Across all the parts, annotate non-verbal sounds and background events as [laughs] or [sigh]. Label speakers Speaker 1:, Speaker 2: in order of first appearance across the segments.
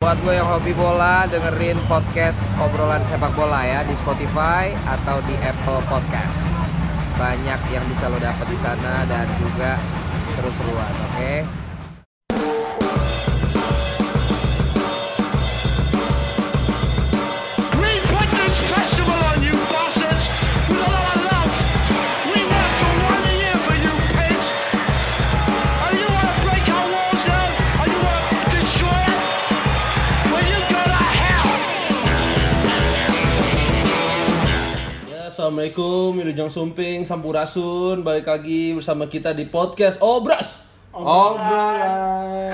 Speaker 1: buat gue yang hobi bola dengerin podcast obrolan sepak bola ya di Spotify atau di Apple Podcast. Banyak yang bisa lo dapet di sana dan juga seru-seruan, oke?
Speaker 2: We put this festival on you, bastards, with all our love. We work for one year for you, pigs. Are you want to break our walls down? Are you want to destroy it? Well, you go to hell.
Speaker 3: Ya, Assalamualaikum, Yudhujang Sumping, Sampurasun, balik lagi bersama kita di podcast Obras.
Speaker 4: Obrolan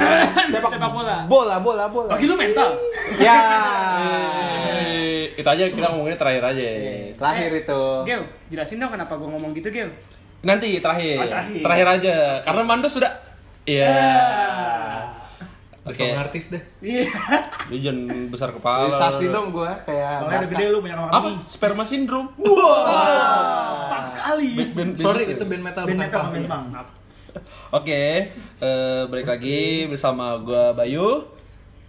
Speaker 4: sepak,
Speaker 5: sepak bola.
Speaker 4: bola bola bola.
Speaker 5: Bagi lu mental.
Speaker 4: Ya.
Speaker 3: Eh, Itu aja kita ngomongin terakhir aja.
Speaker 4: Lahir itu.
Speaker 5: Gil, jelasin dong kenapa gue ngomong gitu, Gil.
Speaker 3: Nanti Ah, terakhir.
Speaker 5: Oh, terakhir.
Speaker 3: aja. Karena Mando sudah Iya. Ah. Oke.
Speaker 6: Sama artis deh.
Speaker 5: Iya.
Speaker 3: Lu jangan besar kepala.
Speaker 4: Sasinom gua kayak
Speaker 6: Kalau udah
Speaker 4: bakat.
Speaker 6: gede lu banyak orang
Speaker 3: Apa? Sperma syndrome. Wah.
Speaker 5: Pak sekali.
Speaker 6: Sorry, itu band metal band metal band punk.
Speaker 3: Oke, eh, balik lagi bersama gua Bayu.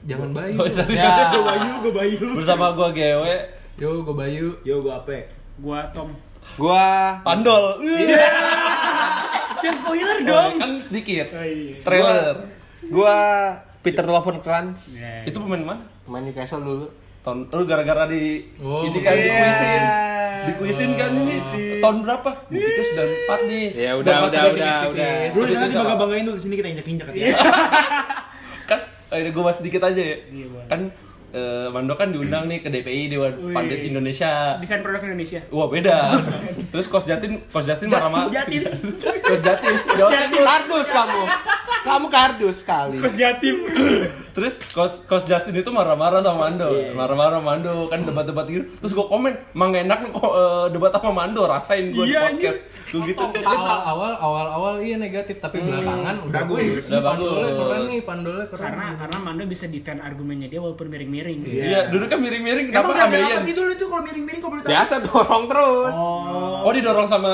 Speaker 6: Jangan bayu.
Speaker 3: Oh, [laughs] sorry,
Speaker 4: Ya.
Speaker 3: sorry, gua Bayu.
Speaker 6: gue bayu.
Speaker 3: Bersama gua Gewe,
Speaker 6: Yo, gue bayu. Yo, gue ape.
Speaker 5: Gua Tom.
Speaker 4: Gua
Speaker 3: Pandol.
Speaker 5: Jangan spoiler
Speaker 3: Oh,
Speaker 5: dong.
Speaker 3: Kan sedikit.
Speaker 5: iya.
Speaker 3: Trailer.
Speaker 4: gua Peter Lovenkranz
Speaker 3: Itu pemain mana?
Speaker 4: main Newcastle dulu.
Speaker 3: Tahun lu gara-gara di
Speaker 6: Oh,
Speaker 3: ini kan
Speaker 6: iya.
Speaker 3: dikuisin. Dikuisin kan ini tahun berapa? Gua pikir 94 nih.
Speaker 4: Ya
Speaker 3: Sebelum
Speaker 4: udah
Speaker 3: masuk
Speaker 4: udah
Speaker 3: ke
Speaker 4: udah
Speaker 3: tipis-tipis.
Speaker 4: udah.
Speaker 6: Bro,
Speaker 3: Tapi
Speaker 6: jangan
Speaker 3: itu sama.
Speaker 6: dibangga-banggain dulu. Di sini kita injak-injak ya.
Speaker 3: Kan ada gua bahas sedikit aja ya. Kan eh, Mando kan diundang nih ke DPI Dewan Pandit Indonesia.
Speaker 5: Desain produk Indonesia.
Speaker 3: Wah [laughs] beda. Terus Coach Jatin, Coach Jatin marah-marah.
Speaker 5: Jatim.
Speaker 3: [laughs] Coach Jatin.
Speaker 5: Jatim.
Speaker 4: [laughs] Kardus kamu. Kamu kardus sekali.
Speaker 5: Terus Jatim.
Speaker 3: Terus Coach, Coach Justin itu marah-marah sama Mando. Marah-marah sama Mando kan debat-debat gitu. Terus gua komen, "Mang enak kok eh, debat sama Mando, rasain gua
Speaker 5: Iya,
Speaker 3: di podcast." Tuh gitu.
Speaker 7: awal-awal awal-awal iya negatif tapi belakangan udah bagus
Speaker 3: Udah
Speaker 7: pandolnya
Speaker 3: bagus.
Speaker 7: keren nih pandolnya keren
Speaker 5: Karena karena Mando bisa defend argumennya dia walaupun miring-miring.
Speaker 3: Iya, dulu kan miring-miring
Speaker 6: Emang
Speaker 3: kenapa
Speaker 6: gak
Speaker 3: Amelian?
Speaker 6: apa sih dulu tuh kalau miring-miring kalau boleh tahu?
Speaker 4: Biasa dorong terus.
Speaker 3: Oh, didorong sama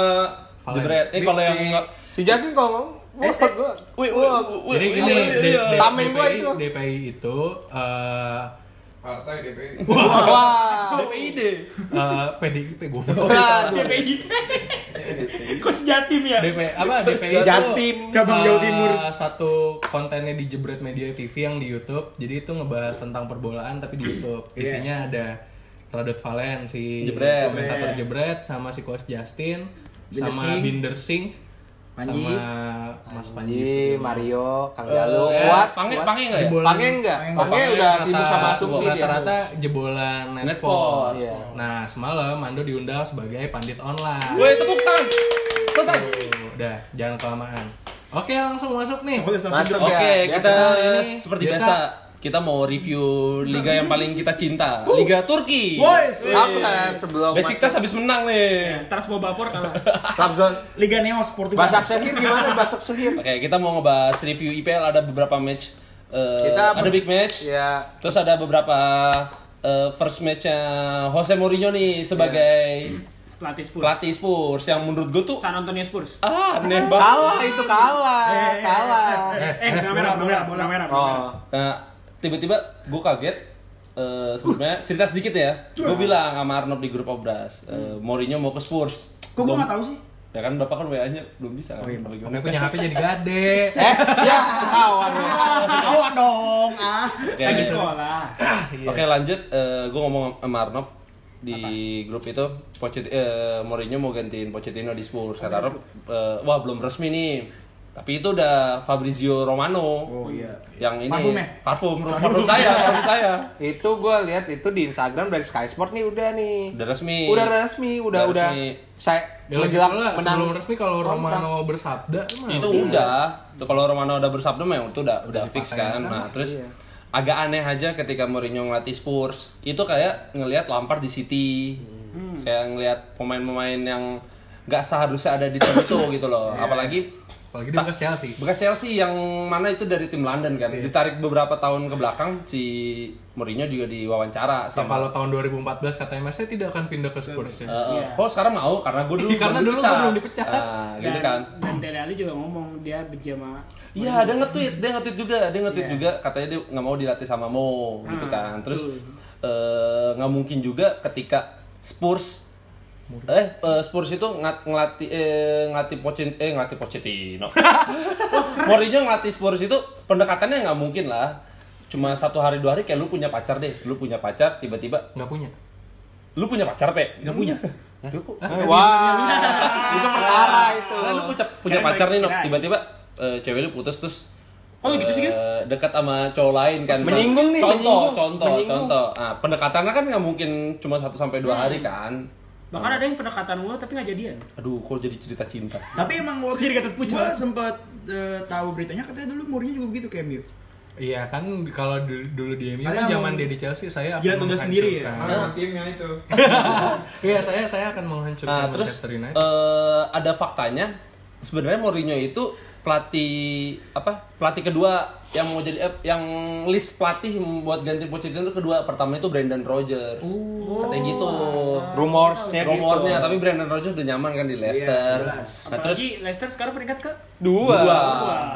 Speaker 3: Jebret. Eh kalau yang Eh,
Speaker 4: Si Jatin kalau Wah, gua.
Speaker 3: Wih, wih, wih,
Speaker 7: jadi
Speaker 3: wih,
Speaker 7: gini
Speaker 3: wih,
Speaker 7: D-
Speaker 3: wih.
Speaker 7: D-
Speaker 4: Tamen Iya, gua
Speaker 7: DPI
Speaker 4: itu.
Speaker 7: DPI itu eh,
Speaker 4: Wah.
Speaker 7: eh, PDIP gue
Speaker 4: [laughs] Oh,
Speaker 7: Nah,
Speaker 4: Waduh.
Speaker 5: Kok Jatim ya?
Speaker 7: DP
Speaker 6: Iya,
Speaker 7: apa DPI itu
Speaker 4: Jatim.
Speaker 7: eh, satu kontennya di Jebret Media TV yang di YouTube jadi itu ngebahas tentang perbolaan tapi di YouTube
Speaker 4: Iya.
Speaker 7: isinya ada Radot Valen si
Speaker 3: Jebret.
Speaker 7: komentator
Speaker 4: iya.
Speaker 7: Jebret sama si Coach Justin sama Binder Singh
Speaker 4: Panji. Iya.
Speaker 7: sama Mas Panji
Speaker 4: Panji, Mario, Kang Jalu,
Speaker 3: Eh,
Speaker 4: kuat.
Speaker 3: Pange,
Speaker 4: kuat.
Speaker 3: Pange enggak ya?
Speaker 4: Pange enggak? Pange udah
Speaker 7: rata-
Speaker 4: sibuk sama asumsi dia.
Speaker 7: rata-rata jebolan
Speaker 3: Netsport.
Speaker 7: Netsport.
Speaker 4: Iya.
Speaker 7: Nah, semalam Mando diundang sebagai pandit online.
Speaker 3: Woi, tepuk tangan. Selesai.
Speaker 7: Udah, jangan kelamaan. Oke, langsung masuk nih.
Speaker 4: Masuk ya.
Speaker 3: Oke,
Speaker 4: biasa.
Speaker 3: kita
Speaker 7: Ini
Speaker 3: seperti
Speaker 7: biasa.
Speaker 3: biasa kita mau review liga yang paling kita cinta, Liga Turki.
Speaker 6: Boys.
Speaker 4: Sabar kan sebelum
Speaker 3: Besiktas habis menang nih.
Speaker 5: Iya. Terus bawa bapor kalah.
Speaker 4: Trabzon.
Speaker 6: Liga Neos Portugal.
Speaker 4: Basak Sehir gimana Basak
Speaker 6: Iya.
Speaker 4: Sehir?
Speaker 3: Oke, kita mau ngebahas review IPL ada beberapa match. eh,
Speaker 4: Kita
Speaker 3: ada big match.
Speaker 4: Ya,
Speaker 3: Terus ada beberapa eh, first matchnya Jose Mourinho nih sebagai
Speaker 5: Pelatih Spurs.
Speaker 3: pelatih Spurs yang menurut gue tuh
Speaker 5: San Antonio Spurs.
Speaker 3: ah, aneh banget.
Speaker 4: kalah itu
Speaker 6: eh,
Speaker 4: kalah, kalah.
Speaker 5: Eh, benang merah, bola, bola, merah, benang merah.
Speaker 4: Oh,
Speaker 3: Nah, tiba-tiba gue kaget eh sebenarnya cerita sedikit ya. Gue bilang sama Arnold di grup Obras, eh, Mourinho mau ke Spurs.
Speaker 6: Kok gue nggak tahu sih?
Speaker 3: Ya kan bapak kan WA-nya belum bisa
Speaker 6: Oh iya,
Speaker 3: kan. Apa gimana?
Speaker 7: Gue punya HP jadi gade.
Speaker 4: eh, ya ketahuan.
Speaker 6: Ketawa dong. Ah.
Speaker 3: Oke.
Speaker 5: Lagi sekolah.
Speaker 3: Oke lanjut, gue ngomong sama Arnob di grup itu Pochet eh, Mourinho mau gantiin Pochettino di Spurs. Kata Arnob, eh, wah belum resmi nih. Tapi itu udah Fabrizio Romano.
Speaker 6: Oh iya.
Speaker 3: Yang ini
Speaker 6: Parfum ya?
Speaker 3: parfum, parfum,
Speaker 6: [laughs]
Speaker 3: saya, parfum saya.
Speaker 4: Itu gue lihat itu di Instagram dari Sky Sport nih udah nih.
Speaker 3: Udah resmi.
Speaker 4: Udah resmi, udah
Speaker 3: Udah
Speaker 4: udah.
Speaker 3: resmi.
Speaker 4: Saya
Speaker 7: Ya lagi
Speaker 4: menjelang
Speaker 7: pula,
Speaker 4: menang.
Speaker 7: sebelum resmi kalau
Speaker 4: kontrak.
Speaker 7: Romano bersabda mah
Speaker 3: Itu udah. Tuh, Kalau Romano udah bersabda memang itu udah udah fix kan. Nah, terus
Speaker 7: Iya.
Speaker 3: agak aneh aja ketika Mourinho ngelatih Spurs. Itu kayak ngelihat Lampard di City.
Speaker 7: Hmm. Iya.
Speaker 3: Kayak ngelihat pemain-pemain yang nggak seharusnya ada di tim itu gitu loh. Apalagi
Speaker 7: Apalagi dia bekas Chelsea.
Speaker 3: Bekas Chelsea yang mana itu dari tim London
Speaker 7: Iya.
Speaker 3: kan. Ditarik beberapa tahun ke belakang si Mourinho juga diwawancara
Speaker 7: Yang
Speaker 3: sama
Speaker 7: kalau tahun 2014 katanya mas saya tidak akan pindah ke
Speaker 3: Eh,
Speaker 7: Spurs.
Speaker 3: eh,
Speaker 5: Iya.
Speaker 3: Kok sekarang mau karena gue dulu
Speaker 7: [laughs] Karena
Speaker 3: baru
Speaker 7: dulu gua belum dipecat. Iya.
Speaker 3: Ah, gitu kan.
Speaker 5: Dan Dele Alli juga ngomong dia benci sama
Speaker 3: Iya, ada nge-tweet, dia nge-tweet juga, dia nge-tweet juga katanya dia nggak mau dilatih sama Mo gitu kan. Terus eh, nggak mungkin juga ketika Spurs eh eh, Spurs itu ngat, ngelatih eh ngelatih Pochin eh ngelatih Pochettino. Mourinho ngelatih Spurs itu pendekatannya nggak mungkin lah. Cuma satu hari dua hari kayak lu punya pacar deh, lu punya pacar tiba-tiba
Speaker 7: Nggak punya.
Speaker 3: lu punya pacar pe? Nggak punya. Lu kok
Speaker 4: Wah, itu perkara itu.
Speaker 3: Nah, lu punya, punya
Speaker 5: Kirain
Speaker 3: pacar nih, Nok.
Speaker 5: kirain.
Speaker 3: Tiba-tiba eh, cewek lu putus terus
Speaker 5: Oh, lu gitu sih, Gil?
Speaker 3: eh, dekat sama cowok lain kan.
Speaker 4: Menyinggung nih,
Speaker 3: contoh,
Speaker 4: menyinggung.
Speaker 3: contoh,
Speaker 4: Menyinggung.
Speaker 3: contoh. Nah, pendekatannya kan nggak mungkin cuma 1 sampai
Speaker 5: Hmm.
Speaker 3: 2 hari kan.
Speaker 5: Bahkan ada yang pendekatan mulu tapi nggak jadian.
Speaker 3: Aduh, kok jadi cerita cinta sih.
Speaker 6: Tapi emang waktu
Speaker 5: Jadi kata pucat.
Speaker 6: Gua sempet eh, tahu beritanya katanya dulu Mourinho juga begitu kayak Mio.
Speaker 7: Iya kan kalau dulu, dulu di MU
Speaker 6: Kalian
Speaker 7: kan zaman
Speaker 6: mau
Speaker 7: dia di Chelsea saya
Speaker 6: jilat
Speaker 7: akan
Speaker 6: udah sendiri ya?
Speaker 7: menghancurkan.
Speaker 6: Mana
Speaker 4: timnya itu.
Speaker 7: [laughs] Iya saya saya akan
Speaker 3: Nah,
Speaker 7: menghancurkan
Speaker 3: terus
Speaker 7: Manchester United.
Speaker 3: eh, ada faktanya sebenarnya Mourinho itu pelatih apa? Pelatih kedua yang mau jadi eh, yang list pelatih buat ganti Pochettino itu kedua. Pertama itu Brendan Rodgers. Katanya gitu.
Speaker 4: Rumorsnya gitu. Iya,
Speaker 3: rumornya tapi Brandon Rogers udah nyaman kan di Leicester. nah, terus
Speaker 5: Apalagi Leicester sekarang peringkat ke
Speaker 4: Dua.
Speaker 3: dua.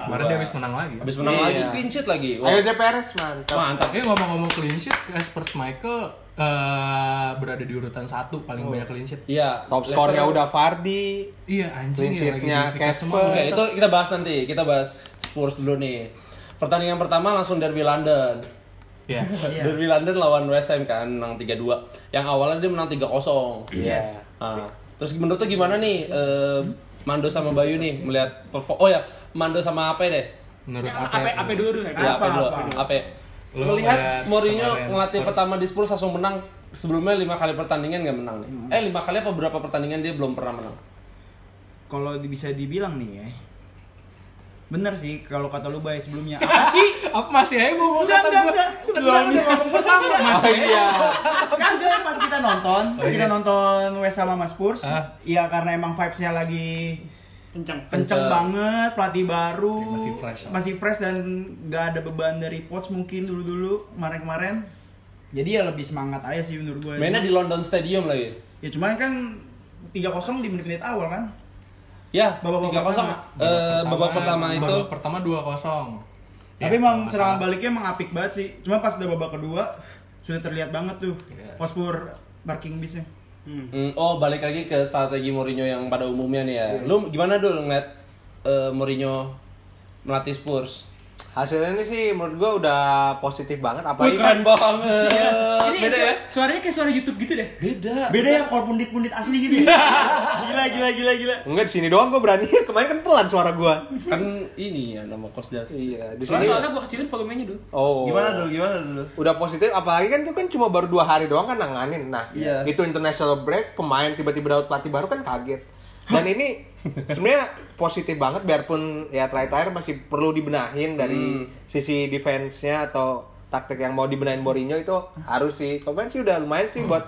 Speaker 7: Kemarin dia habis menang lagi.
Speaker 3: Habis menang
Speaker 4: Iya.
Speaker 3: lagi clean sheet lagi. Wah,
Speaker 4: Ayo Perez mantap.
Speaker 3: mantap.
Speaker 7: Tapi ngomong-ngomong clean sheet, Kasper Michael eh, berada di urutan satu paling banyak clean sheet.
Speaker 3: Iya.
Speaker 4: Top
Speaker 3: Leicester-
Speaker 4: skornya udah Vardy.
Speaker 7: Iya anjing ya
Speaker 4: Clean
Speaker 7: lagi
Speaker 4: sheet-nya
Speaker 7: disikat semua.
Speaker 4: Kasper.
Speaker 3: Oke, itu kita bahas nanti. Kita bahas Spurs dulu nih. Pertandingan pertama langsung derby London.
Speaker 7: Iya.
Speaker 3: Derby London lawan West Ham kan menang 3-2. Yang awalnya dia menang 3-0.
Speaker 6: Yes.
Speaker 3: Nah, terus menurut tuh gimana nih eh, Mando sama Bayu nih melihat perform Oh ya, Mando sama apa deh?
Speaker 7: Menurut
Speaker 5: apa
Speaker 7: apa?
Speaker 5: apa apa dulu dulu
Speaker 3: Ya,
Speaker 6: Apa,
Speaker 3: apa, dulu?
Speaker 6: apa?
Speaker 3: Apa?
Speaker 7: Lu
Speaker 3: Melihat
Speaker 7: ngeliat
Speaker 3: Mourinho
Speaker 7: kemarin
Speaker 3: ngelatih
Speaker 7: Spurs.
Speaker 3: pertama di Spurs langsung menang. Sebelumnya lima kali pertandingan nggak menang nih. Eh lima kali apa berapa pertandingan dia belum pernah menang?
Speaker 6: Kalau di- bisa dibilang nih ya. Bener sih kalau kata lu bay
Speaker 7: [laughs]
Speaker 6: sebelumnya. Apa sih?
Speaker 7: Apa masih aja gue
Speaker 6: Udah, udah, udah.
Speaker 7: Sebelum udah ngomong pertama masih.
Speaker 6: Kagak pas kita nonton, kita nonton West sama Mas Spurs. Ya karena emang vibes-nya lagi
Speaker 5: kencang.
Speaker 6: kenceng banget, pelatih baru.
Speaker 7: masih fresh lah.
Speaker 6: Masih fresh dan gak ada beban dari Poch mungkin dulu-dulu kemarin-kemarin. Jadi ya lebih semangat aja sih menurut gue.
Speaker 3: Mainnya di London Stadium lagi.
Speaker 6: Ya cuman kan 3-0 di menit-menit awal kan.
Speaker 3: Ya,
Speaker 6: Babak
Speaker 3: tiga kosong.
Speaker 6: pertama.
Speaker 3: Eh babak pertama itu
Speaker 7: babak pertama 2-0.
Speaker 6: Tapi emang serangan baliknya emang apik banget sih. Cuma pas udah babak kedua sudah terlihat banget tuh
Speaker 7: Iya.
Speaker 6: postur parking bisnya.
Speaker 3: Hmm, oh balik lagi ke strategi Mourinho yang pada umumnya nih ya. Lu gimana dulu ngeliat eh, Mourinho melatih Spurs?
Speaker 4: Hasilnya ini sih menurut gua udah positif banget
Speaker 3: Wih
Speaker 4: apalagi
Speaker 3: keren banget.
Speaker 5: Ini
Speaker 3: Beda ya?
Speaker 5: su- suaranya kayak suara YouTube gitu deh.
Speaker 3: Beda.
Speaker 6: Beda ya kalau pundit-pundit asli gitu. [laughs] gila gila gila gila.
Speaker 4: kan- Enggak di sini doang gua berani. [laughs] Kemarin kan pelan suara gua.
Speaker 3: Kan ini ya nama Coach Justin.
Speaker 4: Iya, di sini.
Speaker 5: Soalnya, soalnya gua kecilin volumenya dulu.
Speaker 4: Oh.
Speaker 3: Gimana dulu? Gimana dulu?
Speaker 4: Udah positif apalagi kan itu kan cuma baru dua hari doang kan nanganin. Nah,
Speaker 3: Iya.
Speaker 4: itu international break, pemain tiba-tiba dapat pelatih baru kan kaget. Dan ini sebenarnya positif banget biarpun ya terakhir-terakhir masih perlu dibenahin dari sisi defense-nya atau taktik yang mau dibenahin Mourinho itu harus sih. Kemarin sih udah lumayan sih buat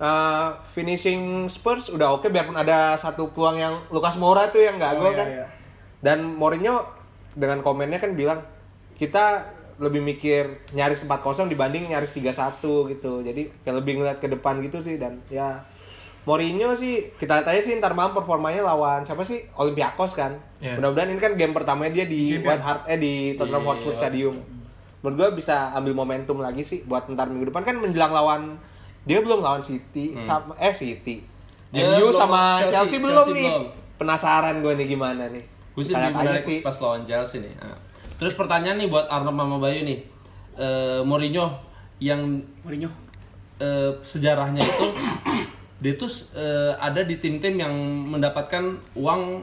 Speaker 4: uh, finishing Spurs udah oke biarpun ada satu peluang yang Lucas Moura tuh yang nggak
Speaker 6: Oh,
Speaker 4: gol
Speaker 6: iya,
Speaker 4: kan.
Speaker 6: iya.
Speaker 4: Dan Mourinho dengan komennya kan bilang kita lebih mikir nyaris 4-0 dibanding nyaris 3-1 gitu. Jadi kayak lebih ngeliat ke depan gitu sih dan ya Mourinho sih kita lihat aja sih ntar malam performanya lawan siapa sih Olympiakos kan.
Speaker 7: Iya.
Speaker 4: Mudah-mudahan ini kan game pertamanya dia di
Speaker 6: Champion.
Speaker 4: White Hart eh di Tottenham Hotspur Stadium. Menurut gua bisa ambil momentum lagi sih buat ntar minggu depan kan menjelang lawan dia belum lawan City sama eh City.
Speaker 3: Hmm. Dia
Speaker 4: MU
Speaker 3: belum-
Speaker 4: sama
Speaker 3: Chelsea-
Speaker 4: Chelsea, belum
Speaker 3: Chelsea
Speaker 4: nih.
Speaker 3: belum.
Speaker 4: Penasaran gua nih gimana nih.
Speaker 3: Gue sih
Speaker 4: Kita
Speaker 3: lebih
Speaker 4: lihat aja
Speaker 3: menarik pas lawan Chelsea nih. Ah. Terus pertanyaan nih buat Arnold sama Bayu nih. Eh, Mourinho yang
Speaker 5: Mourinho.
Speaker 3: eh, sejarahnya itu dia tuh eh, ada di tim-tim yang mendapatkan uang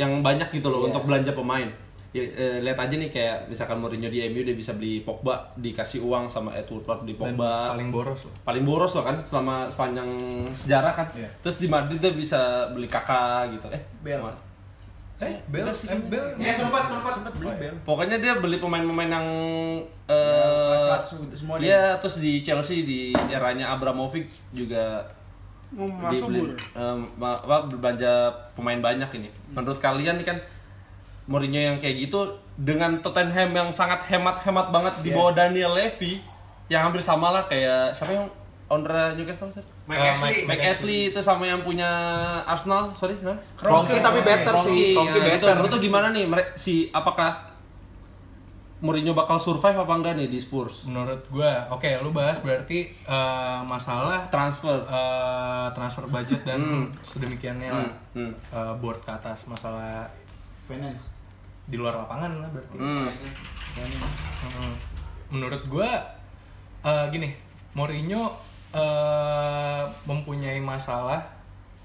Speaker 3: yang banyak gitu
Speaker 7: Iya.
Speaker 3: loh untuk belanja pemain. Ya, eh, lihat aja nih kayak misalkan Mourinho di MU dia bisa beli Pogba dikasih uang sama Edward Ward di
Speaker 7: Dan
Speaker 3: Pogba
Speaker 7: paling boros loh.
Speaker 3: paling boros loh kan selama sepanjang sejarah kan.
Speaker 7: Iya.
Speaker 3: Terus di Madrid dia bisa beli Kakak gitu. Eh,
Speaker 6: Bel.
Speaker 3: mana?
Speaker 7: Eh, Bel, eh, Bel.
Speaker 6: Ya sempat sempat sempat beli bel.
Speaker 3: Pokoknya dia beli pemain-pemain yang eh
Speaker 6: kelas-kelas gitu, semua dia.
Speaker 3: Iya, terus di Chelsea di eranya Abramovich juga
Speaker 5: Mau
Speaker 3: dia
Speaker 5: masuk
Speaker 3: beli,
Speaker 5: bulu.
Speaker 6: Hmm.
Speaker 3: em, ma- apa, belanja pemain banyak ini. Menurut kalian nih kan Mourinho yang kayak gitu dengan Tottenham yang sangat hemat-hemat banget di
Speaker 6: Iya.
Speaker 3: bawah Daniel Levy yang hampir sama lah kayak siapa yang Ondra Newcastle sir?
Speaker 4: Mike
Speaker 7: Eh,
Speaker 4: Ashley.
Speaker 7: Mike-
Speaker 3: Mike Ashley itu sama yang punya Arsenal, sorry siapa?
Speaker 4: Kroenke tapi better sih. Kroenke
Speaker 3: Rocky nah,
Speaker 4: better.
Speaker 3: Itu, itu gimana nih mere- si apakah Mourinho bakal survive apa enggak nih di Spurs?
Speaker 7: Menurut gua, oke lu bahas berarti eh, masalah
Speaker 3: Transfer.
Speaker 7: eh, transfer budget dan sedemikiannya lah.
Speaker 3: Hmm.
Speaker 7: Eh, board ke atas masalah
Speaker 6: Finance.
Speaker 7: di luar lapangan lah berarti.
Speaker 3: Hmm.
Speaker 7: Mm-mm. Menurut gua eh, gini, Mourinho eh, mempunyai masalah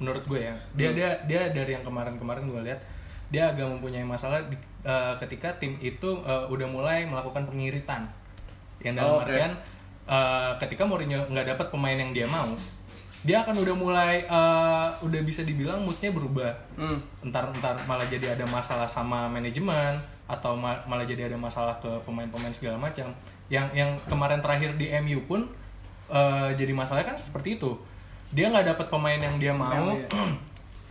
Speaker 7: menurut gue ya. Dia dia dia dari yang kemarin-kemarin gue lihat dia agak mempunyai masalah di- eh, ketika tim itu eh, udah mulai melakukan pengiritan. Yang dalam
Speaker 3: Oh, oke.
Speaker 7: artian eh, ketika Mourinho nggak dapat pemain yang dia mau, dia akan udah mulai eh, udah bisa dibilang moodnya berubah
Speaker 3: Hmm.
Speaker 7: entar-entar malah jadi ada masalah sama manajemen atau ma- malah jadi ada masalah ke pemain-pemain segala macam. Yang yang kemarin terakhir di MU pun eh, jadi masalahnya kan seperti itu. Dia nggak dapat pemain yang dia mau. [clears throat]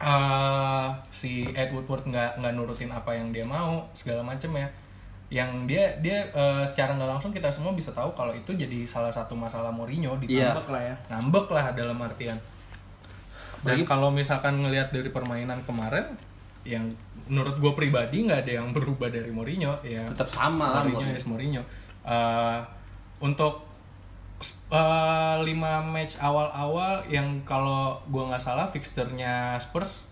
Speaker 7: Eh, si Ed Woodward nggak nggak nurutin apa yang dia mau segala macam ya. Yang dia dia eh, secara nggak langsung kita semua bisa tahu kalau itu jadi salah satu masalah Mourinho di
Speaker 3: Iya.
Speaker 6: Ngambek lah ya.
Speaker 7: ngambek lah dalam artian dan kalau misalkan ngelihat dari permainan kemarin yang menurut gue pribadi nggak ada yang berubah dari Mourinho ya
Speaker 3: Tetap sama lah
Speaker 7: Mourinho
Speaker 3: Ah, Mourinho. ya.
Speaker 7: is Mourinho Eh, untuk s- eh, lima match awal-awal yang kalau gue nggak salah fixturnya Spurs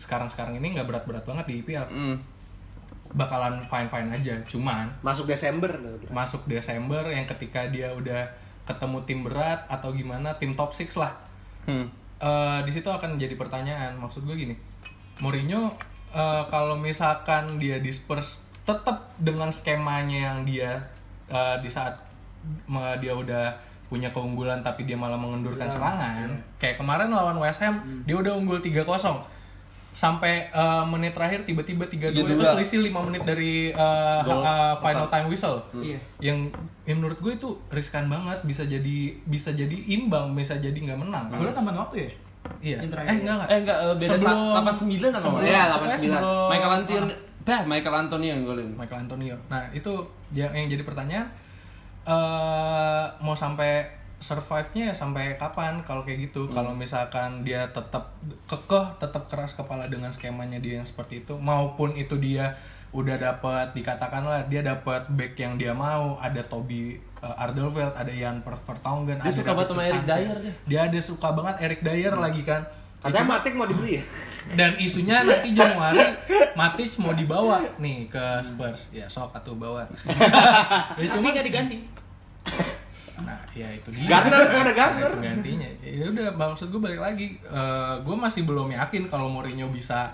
Speaker 7: sekarang-sekarang ini nggak berat-berat banget di IPL
Speaker 3: Hmm.
Speaker 7: bakalan fine-fine aja cuman
Speaker 4: Masuk Desember.
Speaker 7: masuk Desember yang ketika dia udah ketemu tim berat atau gimana tim top 6 lah
Speaker 3: Hmm.
Speaker 7: Eh, di situ akan jadi pertanyaan maksud gue gini Mourinho eh, kalau misalkan dia di Spurs tetap dengan skemanya yang dia eh, di saat me- dia udah punya keunggulan tapi dia malah mengendurkan serangan kayak kemarin lawan West Ham dia udah unggul 3-0 sampai eh, menit terakhir tiba-tiba 3-2 itu
Speaker 3: 3-2.
Speaker 7: selisih 5 menit dari eh,
Speaker 3: Gol
Speaker 7: eh, final time whistle
Speaker 6: Iya.
Speaker 7: yang, yang menurut gue itu riskan banget bisa jadi bisa jadi imbang bisa jadi nggak menang
Speaker 6: Gue tambahan waktu ya?
Speaker 7: Iya.
Speaker 6: Yang terakhir.
Speaker 7: Eh enggak enggak.
Speaker 3: Eh enggak eh, beda
Speaker 7: Sebelum-
Speaker 3: sa- 89 atau
Speaker 7: sebelum-
Speaker 3: enggak? Iya.
Speaker 4: Iya,
Speaker 7: pokoknya
Speaker 4: 89.
Speaker 7: sebelum-
Speaker 3: Michael Antonio. Bah, Michael Antonio yang golin.
Speaker 7: Michael Antonio. Nah, itu ja- yang jadi pertanyaan eh mau sampai survive-nya ya sampai kapan kalau kayak
Speaker 3: Hmm.
Speaker 7: gitu? Kalau misalkan dia tetap kekeh, tetap keras kepala dengan skemanya dia yang seperti itu maupun itu dia udah dapat dikatakanlah dia dapat back yang dia mau, ada Toby eh, Alderweireld, ada Ian Per- Vertonghen, ada
Speaker 3: suka banget
Speaker 7: Davinson
Speaker 3: sama Eric
Speaker 7: Sanchez.
Speaker 3: Dyer dia. Hmm.
Speaker 7: Dia ada suka banget Eric Dyer lagi kan.
Speaker 4: Katanya Matik mau dibeli ya?
Speaker 7: dan isunya nanti Januari Matic mau dibawa nih ke Spurs ya sok atau bawa ya
Speaker 5: Cuma
Speaker 7: cuma
Speaker 5: nggak diganti.
Speaker 7: nah ya itu dia
Speaker 4: Gardner, ada Gardner.
Speaker 7: gantinya ya udah maksud gue balik lagi Eh, gue masih belum yakin kalau Mourinho bisa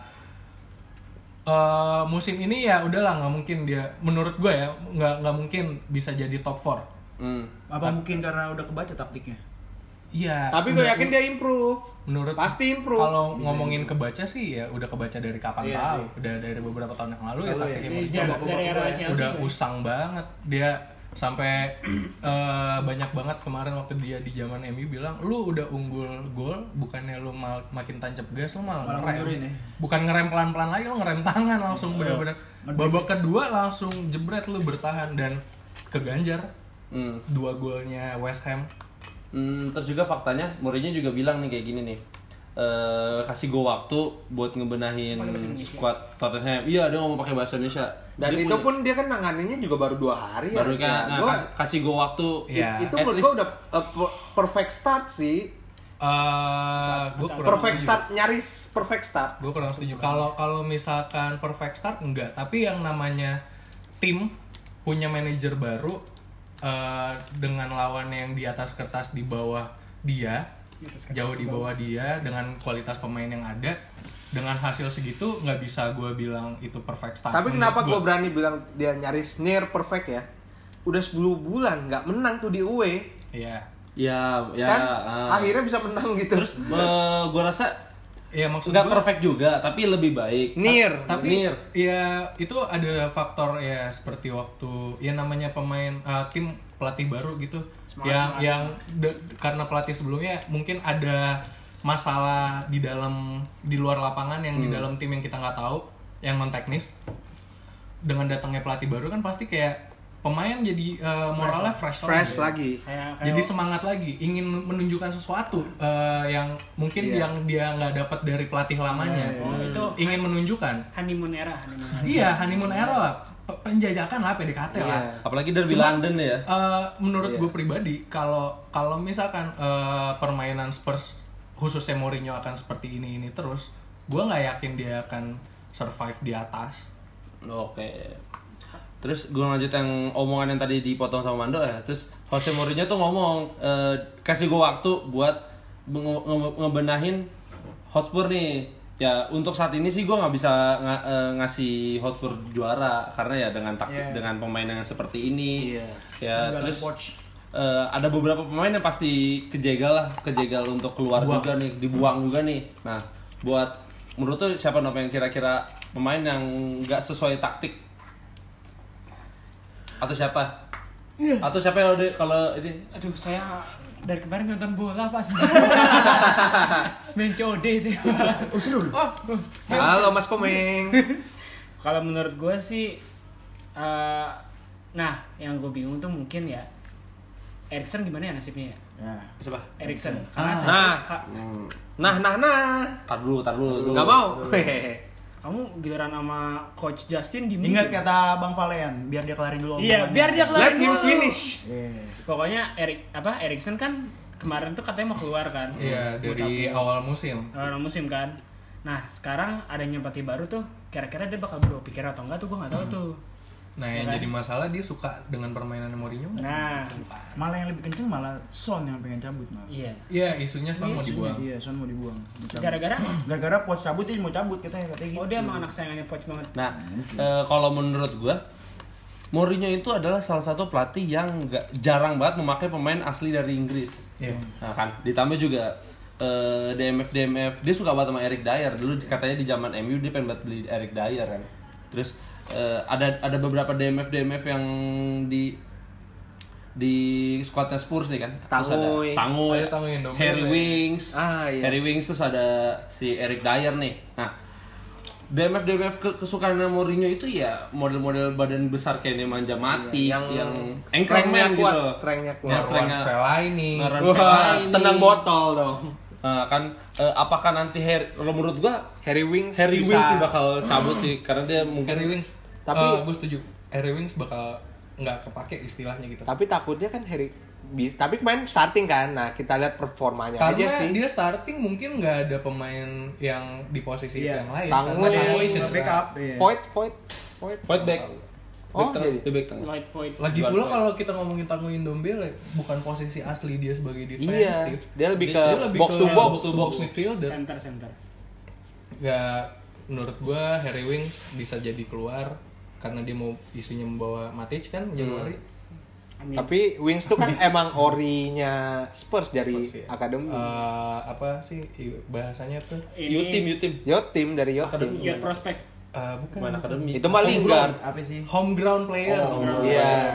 Speaker 7: eh, musim ini ya udahlah nggak mungkin dia menurut gue ya nggak nggak mungkin bisa jadi top 4
Speaker 3: Hmm.
Speaker 6: Apa mungkin karena udah kebaca taktiknya?
Speaker 7: Iya.
Speaker 4: Tapi gue
Speaker 7: menurut-
Speaker 4: yakin dia improve.
Speaker 7: menurut
Speaker 4: Pasti improve.
Speaker 7: kalau ngomongin kebaca sih ya udah kebaca dari kapan
Speaker 6: Iya
Speaker 7: tahu udah dari beberapa tahun yang lalu ya
Speaker 6: Selalu ya.
Speaker 7: taktiknya
Speaker 5: Dari
Speaker 7: Mourinho
Speaker 5: dari- dari era
Speaker 6: Iya,
Speaker 5: Chelsea.
Speaker 7: udah
Speaker 5: coy.
Speaker 7: usang banget dia sampai [clears throat] eh, banyak banget kemarin waktu dia di zaman MU bilang lu udah unggul gol bukannya lu mal- makin tancap gas lu malah
Speaker 6: Malah mundurin ya.
Speaker 7: ngerem
Speaker 6: Iya,
Speaker 7: bukan ngerem pelan-pelan lagi lu ngerem tangan langsung bener-bener babak kedua langsung jebret lu bertahan dan keganjar
Speaker 3: Hmm.
Speaker 7: dua golnya West Ham
Speaker 3: Hmm, terus juga faktanya Mourinho juga bilang nih kayak gini nih. eh kasih gue waktu buat ngebenahin squad Tottenham. Iya, dia ngomong pakai bahasa Indonesia.
Speaker 4: Dan
Speaker 3: Dia
Speaker 4: itu
Speaker 3: punya-
Speaker 4: pun dia kan nanganinnya juga baru dua hari
Speaker 3: baru
Speaker 4: ya.
Speaker 3: kan
Speaker 4: Nah,
Speaker 3: nah,
Speaker 4: gua-
Speaker 3: kas- kasih gue waktu.
Speaker 7: Iya.
Speaker 4: Itu
Speaker 3: At
Speaker 4: menurut gue
Speaker 3: least-
Speaker 4: udah uh, per- perfect start sih.
Speaker 7: eh gue
Speaker 4: Perfect start, nyaris perfect start.
Speaker 7: gue kurang setuju kalau kalau misalkan perfect start enggak tapi yang namanya tim punya manajer baru eh, dengan lawan yang di atas kertas di bawah dia jauh di bawah dia dengan kualitas pemain yang ada dengan hasil segitu nggak bisa gue bilang itu perfect start
Speaker 4: Tapi
Speaker 7: Menurut
Speaker 4: kenapa
Speaker 7: gua.
Speaker 4: gue berani bilang dia nyaris near perfect ya? Udah 10 bulan nggak menang tuh di UE.
Speaker 7: Iya.
Speaker 3: Ya, ya.
Speaker 4: kan
Speaker 3: ah.
Speaker 4: akhirnya bisa menang gitu.
Speaker 3: Terus gue rasa
Speaker 7: Iya maksud
Speaker 3: nggak
Speaker 7: gua-
Speaker 3: perfect juga, tapi lebih baik.
Speaker 4: near.
Speaker 7: tapi
Speaker 3: Mir.
Speaker 7: ya itu ada faktor ya seperti waktu ya namanya pemain eh, tim pelatih baru gitu yang yang de- karena pelatih sebelumnya mungkin ada Hmm. masalah di dalam di luar lapangan yang di dalam tim yang kita nggak tahu yang non teknis dengan datangnya pelatih baru kan pasti kayak pemain jadi eh, moralnya fresh, lagi.
Speaker 4: fresh lagi.
Speaker 5: Kayak, kayak
Speaker 7: Jadi semangat lagi, ingin menunjukkan sesuatu eh, yang mungkin yang dia nggak dapat dari pelatih lamanya.
Speaker 5: itu
Speaker 7: Ingin menunjukkan.
Speaker 5: honeymoon era, honeymoon era.
Speaker 7: Iya, honeymoon era lah, Pe- penjajakan lah PDKT lah.
Speaker 4: Iya.
Speaker 3: Apalagi derby London ya.
Speaker 7: Eh, menurut gue pribadi kalau kalau misalkan eh, permainan Spurs khususnya Mourinho akan seperti ini ini terus, gue nggak yakin dia akan survive di atas.
Speaker 3: Oke. Terus gue lanjut yang omongan yang tadi dipotong sama Mando ya. Terus Jose Mourinho tuh ngomong eh, kasih gue waktu buat nge- nge- ngebenahin Hotspur nih. Ya untuk saat ini sih gue nggak bisa nga- eh, ngasih Hotspur juara karena ya dengan taktik
Speaker 7: Iya.
Speaker 3: dengan pemain yang seperti ini. Ya terus eh, ada beberapa pemain yang pasti kejegal lah, kejegal untuk keluar juga nih, dibuang juga nih. Nah buat menurut tuh siapa nama yang kira-kira pemain yang nggak sesuai taktik atau siapa atau siapa yang udah kalau ini
Speaker 5: Aduh, saya dari kemarin nonton bola [laughs] pak Semen COD sih Oh seru Oh
Speaker 4: Halo Mas Komeng.
Speaker 5: Kalau menurut gue sih eh, Nah, yang gue bingung tuh mungkin ya Erikson gimana ya nasibnya ya?
Speaker 6: Ya.
Speaker 3: siapa
Speaker 5: Erikson
Speaker 7: Ah.
Speaker 5: Karena saya-
Speaker 4: Nah.
Speaker 5: Ka-
Speaker 4: Nah, nah, nah.
Speaker 3: Hmm. tar dulu tar dulu
Speaker 4: Gak mau.
Speaker 5: Kamu giliran sama Coach Justin di
Speaker 6: Ingat kata Bang Valen, biar dia kelarin dulu
Speaker 5: Iya,
Speaker 6: omongannya.
Speaker 5: biar dia keluar
Speaker 4: Let him
Speaker 5: dulu.
Speaker 4: finish.
Speaker 6: Iya.
Speaker 5: Pokoknya Erik apa Erikson kan kemarin tuh katanya mau keluar kan.
Speaker 7: Iya
Speaker 5: Buat
Speaker 7: dari
Speaker 5: tabung.
Speaker 7: awal musim.
Speaker 5: awal musim kan. Nah, sekarang adanya pelatih baru tuh kira-kira dia bakal berubah pikir atau enggak tuh gue nggak tahu tuh.
Speaker 7: Nah yang jadi masalah dia suka dengan permainan Mourinho.
Speaker 5: Nah,
Speaker 6: Malah yang lebih kenceng malah Son yang pengen cabut malah.
Speaker 5: iya.
Speaker 7: Iya isunya Son mau dibuang.
Speaker 6: Iya, Son mau dibuang. mau cabut.
Speaker 5: Gara-gara
Speaker 6: Gara-gara pos cabut dia mau cabut katanya katanya gitu.
Speaker 5: oh dia emang anak sayangannya Poch banget.
Speaker 3: nah eh, kalau menurut gua Mourinho itu adalah salah satu pelatih yang nggak jarang banget memakai pemain asli dari Inggris
Speaker 7: Iya.
Speaker 3: Nah kan, ditambah juga eh, DMF DMF dia suka banget sama Eric Dyer. Dulu katanya di zaman MU dia pengen banget beli Eric Dyer kan. Terus eh, ada ada beberapa DMF DMF yang di di squadnya Spurs nih kan. Terus ada
Speaker 4: Tanguy.
Speaker 3: Tanguy,
Speaker 7: Ada Tanguy Indomie.
Speaker 3: Harry Wings.
Speaker 4: Ah, iya.
Speaker 3: Harry Wings terus ada si Eric Dyer nih. Nah, DMF DMF ke- kesukaan Mourinho itu ya model-model badan besar kayak Nemanja Matic
Speaker 4: Iya,
Speaker 3: yang,
Speaker 4: yang
Speaker 3: yang engkrengnya
Speaker 4: strength-nya
Speaker 3: gitu.
Speaker 4: kuat, strength-nya kuat.
Speaker 3: Ya, strength-nya-
Speaker 7: Marwan Fellaini.
Speaker 3: Marwan
Speaker 4: Wah,
Speaker 3: Fellaini.
Speaker 4: tenang botol dong.
Speaker 3: Nah, kan eh, apakah nanti Harry menurut gua
Speaker 4: Harry Wings
Speaker 3: Harry
Speaker 4: bisa.
Speaker 3: Wings sih bakal cabut sih karena dia
Speaker 7: Harry
Speaker 3: mungkin
Speaker 7: Wings. Tapi
Speaker 4: Tapi-
Speaker 7: gue setuju. Harry Wings bakal nggak kepake istilahnya gitu.
Speaker 4: Tapi takutnya kan Harry bi- tapi main starting kan. Nah, kita lihat performanya Iya aja
Speaker 7: Karena
Speaker 4: sih.
Speaker 7: dia starting mungkin nggak ada pemain yang di posisi
Speaker 6: Iya.
Speaker 7: yang lain.
Speaker 4: Tanguy.
Speaker 7: Karena Tanguy cedera.
Speaker 6: backup. Iya.
Speaker 4: Void, void, void.
Speaker 3: void back.
Speaker 4: Oh,
Speaker 3: Back tengah,
Speaker 4: jadi.
Speaker 3: di back tengah.
Speaker 5: Lloyd Void.
Speaker 7: Lagi
Speaker 3: Juan
Speaker 7: pula
Speaker 3: Foyt.
Speaker 7: kalau kita ngomongin Tanguy Indombele bukan posisi asli dia sebagai
Speaker 4: Iya,
Speaker 7: defensif.
Speaker 4: dia lebih ke
Speaker 7: Dia lebih
Speaker 4: box
Speaker 7: ke
Speaker 4: to box.
Speaker 7: to box midfielder.
Speaker 5: Center center.
Speaker 7: Ya menurut gua Harry Wings bisa jadi keluar karena dia mau isunya membawa Matic kan
Speaker 4: Hmm.
Speaker 7: Januari.
Speaker 5: Amin.
Speaker 4: [laughs] Tapi Wings tuh kan
Speaker 3: [laughs]
Speaker 4: emang orinya Spurs dari
Speaker 7: Spurs, iya.
Speaker 4: akademi.
Speaker 7: Eh, apa sih i- bahasanya tuh?
Speaker 3: U team, U team.
Speaker 4: Yo tim dari Yo tim.
Speaker 5: Youth prospect.
Speaker 7: Eh, bukan
Speaker 3: Main akademi.
Speaker 4: Itu mah Lingard.
Speaker 6: apa sih?
Speaker 7: home ground player.
Speaker 3: Oh,
Speaker 7: home ground
Speaker 4: iya.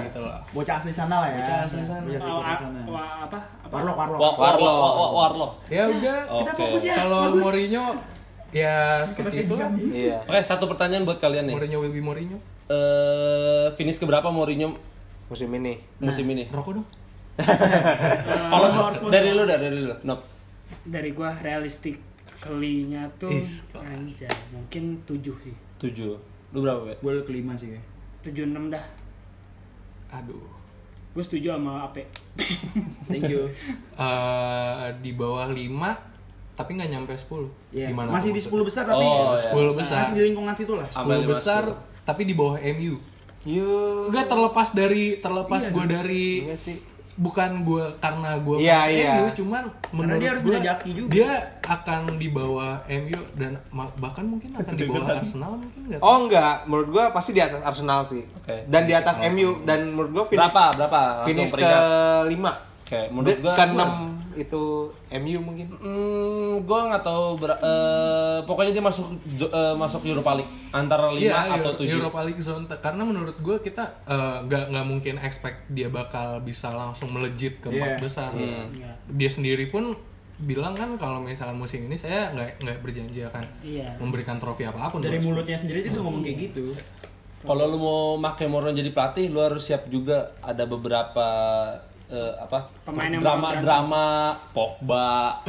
Speaker 7: player gitu loh.
Speaker 6: Bocah asli sana lah ya.
Speaker 7: Bocah asli sana.
Speaker 6: Bocah asli
Speaker 5: Wa-
Speaker 6: kota
Speaker 5: wa-
Speaker 6: sana.
Speaker 5: wa- apa? apa?
Speaker 6: Warlock, warlock.
Speaker 3: Wa- wa- wa- wa- wa- Warlock.
Speaker 7: Ya udah.
Speaker 3: Oke.
Speaker 4: ya.
Speaker 7: Kalau Mourinho ya seperti itu. lah.
Speaker 4: Iya.
Speaker 3: Oke, satu pertanyaan buat kalian nih.
Speaker 7: Mourinho will be Mourinho.
Speaker 3: Eh finish keberapa Mourinho
Speaker 4: Musim ini.
Speaker 3: musim ini?
Speaker 7: Rokok dong.
Speaker 3: Kalau dari lu dah, dari lu. Nop.
Speaker 5: Dari gua realistik kelinya tuh
Speaker 7: Is.
Speaker 5: anjay, mungkin 7 sih.
Speaker 3: 7. Lu berapa, Be?
Speaker 6: Gue kelima sih ya.
Speaker 5: 7-6 dah.
Speaker 7: Aduh.
Speaker 5: Gue setuju sama Ape.
Speaker 6: Thank [laughs] you.
Speaker 7: Eh, di bawah 5 tapi nggak nyampe 10.
Speaker 6: Iya.
Speaker 7: Gimana
Speaker 6: Masih
Speaker 7: tuh
Speaker 6: di
Speaker 7: maksudnya?
Speaker 6: 10 besar tapi
Speaker 3: Oh, iya.
Speaker 7: 10 besar.
Speaker 6: masih di lingkungan situ lah.
Speaker 7: 10 besar tapi di bawah MU. Enggak terlepas dari terlepas gue dari
Speaker 4: Iya sih.
Speaker 7: bukan gue karena gue
Speaker 4: Iya,
Speaker 7: fans
Speaker 4: iya.
Speaker 7: MU cuman menurut
Speaker 6: dia harus
Speaker 7: gua,
Speaker 6: bisa jaki juga.
Speaker 7: dia akan di bawah MU dan ma- bahkan mungkin akan di bawah Arsenal mungkin nggak
Speaker 4: Oh enggak, menurut gua pasti di atas Arsenal sih.
Speaker 3: Oke.
Speaker 4: Dan di atas MU dan menurut gua finish,
Speaker 3: Berapa? Berapa? Langsung
Speaker 4: finish ke
Speaker 3: peringkat.
Speaker 4: 5.
Speaker 3: Oke, menurut gua
Speaker 4: ke 6 itu MU mungkin.
Speaker 3: Hmm, gue nggak tahu ber- eh, pokoknya dia masuk jo- eh, masuk Europa League antara 5
Speaker 7: Iya,
Speaker 3: atau 7.
Speaker 7: Euro- Europa League zone Te- karena menurut gue kita eh, nggak nggak mungkin expect dia bakal bisa langsung melejit ke
Speaker 6: Iya.
Speaker 7: empat besar. Dia sendiri pun bilang kan kalau misalkan musim ini saya nggak nggak berjanji akan
Speaker 5: Iya.
Speaker 7: memberikan trofi apapun.
Speaker 6: Dari
Speaker 7: buat-
Speaker 6: mulutnya sendiri dia tuh ngomong kayak gitu.
Speaker 3: Kalau lu mau pakai Mourinho jadi pelatih, lu harus siap juga ada beberapa eh, apa
Speaker 5: Pemain yang bakal
Speaker 3: drama-drama Pogba.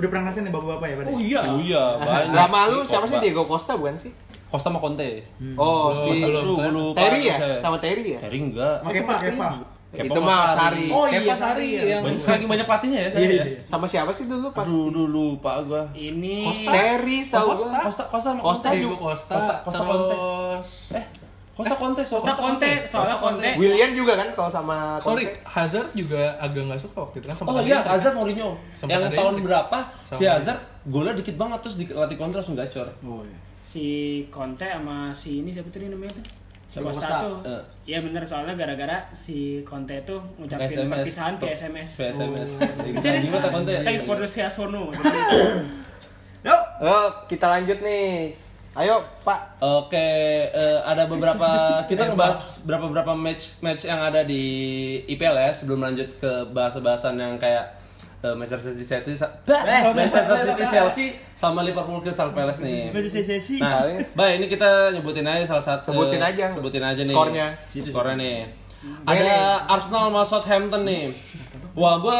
Speaker 6: Udah pernah ngerasain ya bapak-bapak ya pada?
Speaker 5: Oh iya.
Speaker 3: oh iya, banyak.
Speaker 4: Lama lu
Speaker 3: sih
Speaker 4: siapa sih
Speaker 3: Pogba.
Speaker 4: Diego Costa bukan sih?
Speaker 3: Costa sama Conte.
Speaker 4: Oh,
Speaker 7: Oh,
Speaker 4: si
Speaker 7: belum.
Speaker 3: Lu Hmm. gua lupa.
Speaker 4: Terry ya?
Speaker 3: saya.
Speaker 4: Sama Terry ya?
Speaker 3: Terry enggak.
Speaker 6: Kepa, Kepa.
Speaker 3: Kepa
Speaker 4: Itu mah
Speaker 3: Sari.
Speaker 4: Sari.
Speaker 6: Oh
Speaker 7: Kepa
Speaker 6: iya,
Speaker 7: Sari yang
Speaker 3: Banyak saking banyak pelatihnya ya
Speaker 4: Iya,
Speaker 3: saya. ya.
Speaker 4: Sama siapa sih dulu pas?
Speaker 3: Aduh, dulu lupa gua.
Speaker 5: Ini
Speaker 4: Terry Iya, tahu
Speaker 3: Costa, Costa, Costa sama
Speaker 4: Costa
Speaker 3: Conte.
Speaker 4: juga.
Speaker 7: Diego Costa,
Speaker 3: Costa- Costa Conte.
Speaker 7: terus
Speaker 3: Eh, Costa Conte,
Speaker 5: Costa Conte, soalnya Conte.
Speaker 4: William juga kan kalau sama Conte.
Speaker 7: sorry Hazard juga agak nggak suka waktu itu kan
Speaker 3: Oh
Speaker 7: ada
Speaker 3: iya,
Speaker 7: Inter.
Speaker 3: Hazard Mourinho.
Speaker 7: Sempat
Speaker 3: yang
Speaker 7: ada
Speaker 3: tahun
Speaker 7: Inter.
Speaker 3: berapa
Speaker 7: Sama
Speaker 3: si
Speaker 7: Inter.
Speaker 3: Hazard golnya dikit banget terus dilatih kontra langsung gacor.
Speaker 6: Oh, iya.
Speaker 5: si Conte sama si ini siapa tadi namanya tuh? Si
Speaker 6: Diego
Speaker 5: Costa
Speaker 6: Costa.
Speaker 5: tuh.
Speaker 3: Eh.
Speaker 5: Iya bener soalnya gara-gara si Conte tuh ngucapin
Speaker 3: SMS.
Speaker 5: perpisahan ke SMS.
Speaker 3: Ke SMS.
Speaker 5: Serius?
Speaker 3: Gimana tuh Conte?
Speaker 5: Oh. kan? Thanks for the Siasono.
Speaker 4: Yuk, Eh, kita lanjut nih. Ayo, Pak.
Speaker 3: Oke, eh, ada beberapa
Speaker 5: [laughs]
Speaker 3: kita ngebahas berapa berapa match match yang ada di IPL ya sebelum lanjut ke bahasa-bahasan yang kayak eh, Manchester City City sa- Manchester City Chelsea sama Liverpool Crystal Palace nih.
Speaker 6: Masih sesi.
Speaker 3: Nah, baik ini kita nyebutin aja salah satu
Speaker 4: Sebutin aja.
Speaker 3: sebutin aja nih
Speaker 4: Skornya.
Speaker 3: skornya nih ada Arsenal sama Southampton nih wah gue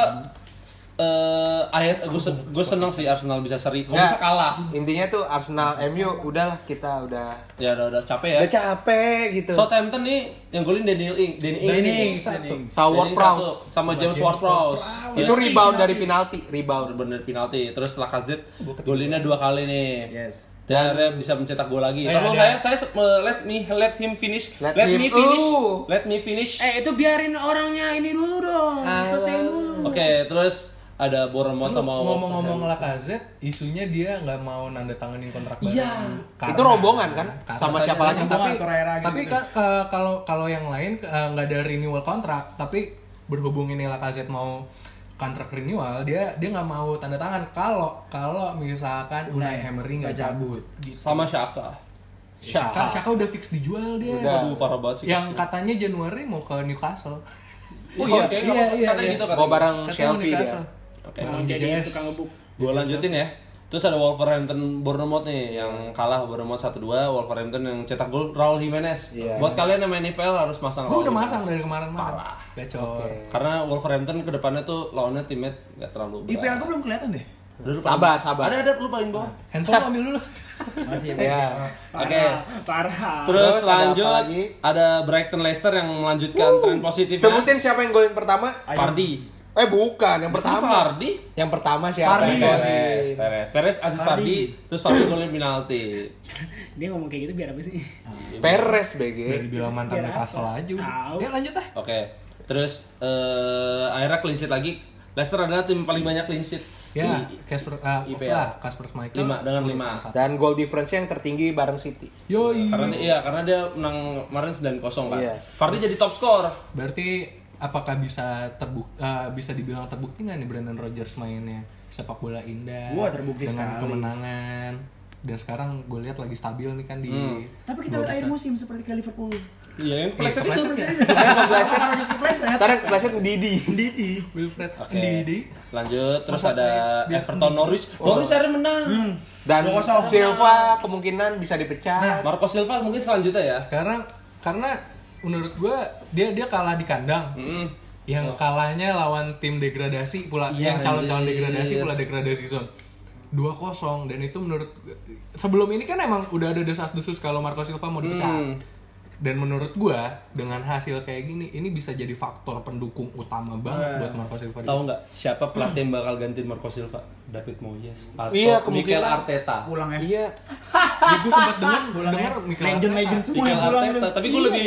Speaker 3: eh akhir gue seneng sih Arsenal bisa seri kok
Speaker 4: Nggak.
Speaker 3: bisa kalah
Speaker 4: Intinya tuh Arsenal MU udahlah kita udah
Speaker 3: ya udah, udah capek ya
Speaker 4: udah capek gitu.
Speaker 3: Southampton nih yang golin Daniel Ing Danny Ings nih.
Speaker 4: Sawa
Speaker 3: Danny satu,
Speaker 4: Prowse.
Speaker 3: sama James Ward-Prowse Iya.
Speaker 4: Itu
Speaker 3: Yes.
Speaker 4: rebound dari penalti, rebound.
Speaker 3: bener penalti terus Lacazette golinnya dua kali nih
Speaker 6: Yes.
Speaker 3: dan akhirnya bisa mencetak gol
Speaker 5: Eh,
Speaker 3: lagi.
Speaker 7: Iya,
Speaker 3: Kalau
Speaker 7: iya.
Speaker 3: saya saya se- me- let me let him finish. Let,
Speaker 4: Let him-
Speaker 3: me finish.
Speaker 4: Ooh.
Speaker 3: Let me finish.
Speaker 5: eh itu biarin orangnya ini dulu dong.
Speaker 4: Ah,
Speaker 5: Selesai
Speaker 4: iya.
Speaker 5: dulu.
Speaker 3: Oke, terus ada Bournemouth
Speaker 7: Lu
Speaker 3: sama
Speaker 7: ngomong-ngomong
Speaker 3: Wolverhampton.
Speaker 7: Lacazette, isunya dia nggak mau nanda tanganin kontrak baru.
Speaker 3: Iya.
Speaker 7: Karena-
Speaker 4: Itu rombongan kan?
Speaker 7: Karena
Speaker 4: Sama
Speaker 7: tadi-
Speaker 4: siapa lagi?
Speaker 7: Tapi,
Speaker 6: Rombongan, Torreira gitu.
Speaker 7: tapi kan eh, kalau kalau yang lain eh, nggak ada renewal kontrak, tapi berhubung ini Lacazette mau kontrak renewal, dia dia nggak mau tanda tangan kalau kalau misalkan Unai
Speaker 6: ya,
Speaker 7: Emery nggak cabut.
Speaker 3: sama Shaka.
Speaker 7: Kan Saka udah fix dijual dia.
Speaker 4: Udah.
Speaker 3: Aduh, parah banget sih.
Speaker 7: Yang katanya Januari mau ke Newcastle.
Speaker 3: Oh iya,
Speaker 7: Iya,
Speaker 3: kayaknya nggak apa-apa.
Speaker 7: iya,
Speaker 3: katanya
Speaker 7: iya.
Speaker 3: gitu katanya.
Speaker 4: Mau bareng
Speaker 7: Katanya mau
Speaker 4: selfie dia.
Speaker 7: Newcastle.
Speaker 3: Oke.
Speaker 5: Mau
Speaker 7: Emang
Speaker 5: jadi
Speaker 7: BTS.
Speaker 5: tukang ngebuk.
Speaker 3: Gua lanjutin ya. Terus ada Wolverhampton Bournemouth nih yang kalah Bournemouth 1-2, Wolverhampton yang cetak gol Raul Jimenez.
Speaker 4: Iya.
Speaker 3: Buat kalian yang main IPL harus masang
Speaker 7: Gue
Speaker 3: Raul
Speaker 7: udah
Speaker 3: Jimenez.
Speaker 7: masang dari kemarin-kemarin. Gacor.
Speaker 3: Karena Wolverhampton kedepannya tuh lawannya timnya nggak terlalu berat.
Speaker 6: IPL gue belum kelihatan deh.
Speaker 3: Udah, lu paling-
Speaker 4: Sabar, sabar.
Speaker 3: Ada ada lu paling bawah.
Speaker 7: Handphone lu ambil
Speaker 6: [laughs]
Speaker 7: dulu.
Speaker 6: Masih ya.
Speaker 4: Ya.
Speaker 3: Oke.
Speaker 5: Parah.
Speaker 3: Terus,
Speaker 4: Terus ada
Speaker 3: lanjut
Speaker 4: apa
Speaker 3: ada,
Speaker 4: lagi?
Speaker 3: Brighton Leicester yang melanjutkan tren positif
Speaker 4: Sebutin siapa yang golin pertama?
Speaker 3: Pardi.
Speaker 4: Eh, bukan, yang pertama.
Speaker 3: Fardi.
Speaker 4: Yang pertama
Speaker 3: Iya.
Speaker 4: siapa?
Speaker 6: Vardy.
Speaker 4: yang golin?
Speaker 3: Perez, Perez, Perez asis Fardi, terus Fardi golin penalti.
Speaker 5: Dia ngomong kayak gitu biar apa sih?
Speaker 4: Perez BG.
Speaker 7: Dibilang
Speaker 6: Iya.
Speaker 7: mantan Newcastle aja udah.
Speaker 5: Tahu.
Speaker 7: Ya lanjut lah.
Speaker 3: Oke. Terus eh akhirnya clean sheet lagi. Leicester adalah tim paling banyak clean sheet.
Speaker 7: Ya, Casper ah,
Speaker 3: IPL.
Speaker 7: lah, Casper Schmeichel.
Speaker 3: Lima, dengan lima.
Speaker 4: Dan goal difference yang tertinggi bareng City.
Speaker 7: Yoi.
Speaker 3: Karena iya, karena dia menang kemarin 9-0 kan.
Speaker 4: Iya.
Speaker 3: Fardi jadi top skor.
Speaker 7: Berarti apakah bisa terbuk eh, bisa dibilang terbukti nggak nih Brandon Rogers mainnya sepak bola indah
Speaker 6: Wah, terbukti
Speaker 7: dengan
Speaker 6: sekali.
Speaker 7: kemenangan dan sekarang gue lihat lagi stabil nih kan di
Speaker 6: Hmm. Tapi kita lihat akhir musim seperti ke Liverpool.
Speaker 3: Iya, yang
Speaker 7: Iya,
Speaker 3: kepleset itu.
Speaker 7: kepleset ya.
Speaker 4: Tadi kepleset,
Speaker 6: Harus kepleset.
Speaker 4: tadi kepleset Didi. Didi.
Speaker 7: [laughs] Wilfred
Speaker 3: Oke.
Speaker 7: Ndidi.
Speaker 3: Lanjut, terus ada Everton Norwich.
Speaker 4: Oh.
Speaker 3: Norwich akhirnya menang.
Speaker 4: Hmm. Dan
Speaker 6: 2-0.
Speaker 4: Silva kemungkinan bisa dipecat.
Speaker 3: Marco Silva mungkin selanjutnya ya.
Speaker 7: Sekarang karena menurut gue dia dia kalah di kandang.
Speaker 3: Hmm.
Speaker 7: Yang kalahnya lawan tim degradasi
Speaker 3: Oh.
Speaker 7: pula
Speaker 3: Iya,
Speaker 7: yang calon-calon
Speaker 3: anjir.
Speaker 7: degradasi pula degradasi zone. 2-0 dan itu menurut sebelum ini kan emang udah ada desas-desus kalau Marco Silva mau dipecat.
Speaker 3: Hmm.
Speaker 7: Dan menurut gua dengan hasil kayak gini ini bisa jadi faktor pendukung utama banget buat Marco Silva.
Speaker 3: Tahu nggak siapa pelatih yang bakal gantiin Marco Silva? David Moyes atau
Speaker 4: Iya,
Speaker 3: Mikel
Speaker 4: kemungkinan.
Speaker 3: Arteta.
Speaker 6: Pulang ya.
Speaker 4: Iya.
Speaker 7: Jadi gua sempat
Speaker 3: [laughs]
Speaker 7: dengar
Speaker 6: Pulang ya.
Speaker 7: dengar Mikel Arteta.
Speaker 6: Legend-legend semua
Speaker 3: Mikel
Speaker 6: yang pulang.
Speaker 3: Arteta, tapi
Speaker 4: Iya,
Speaker 3: gue lebih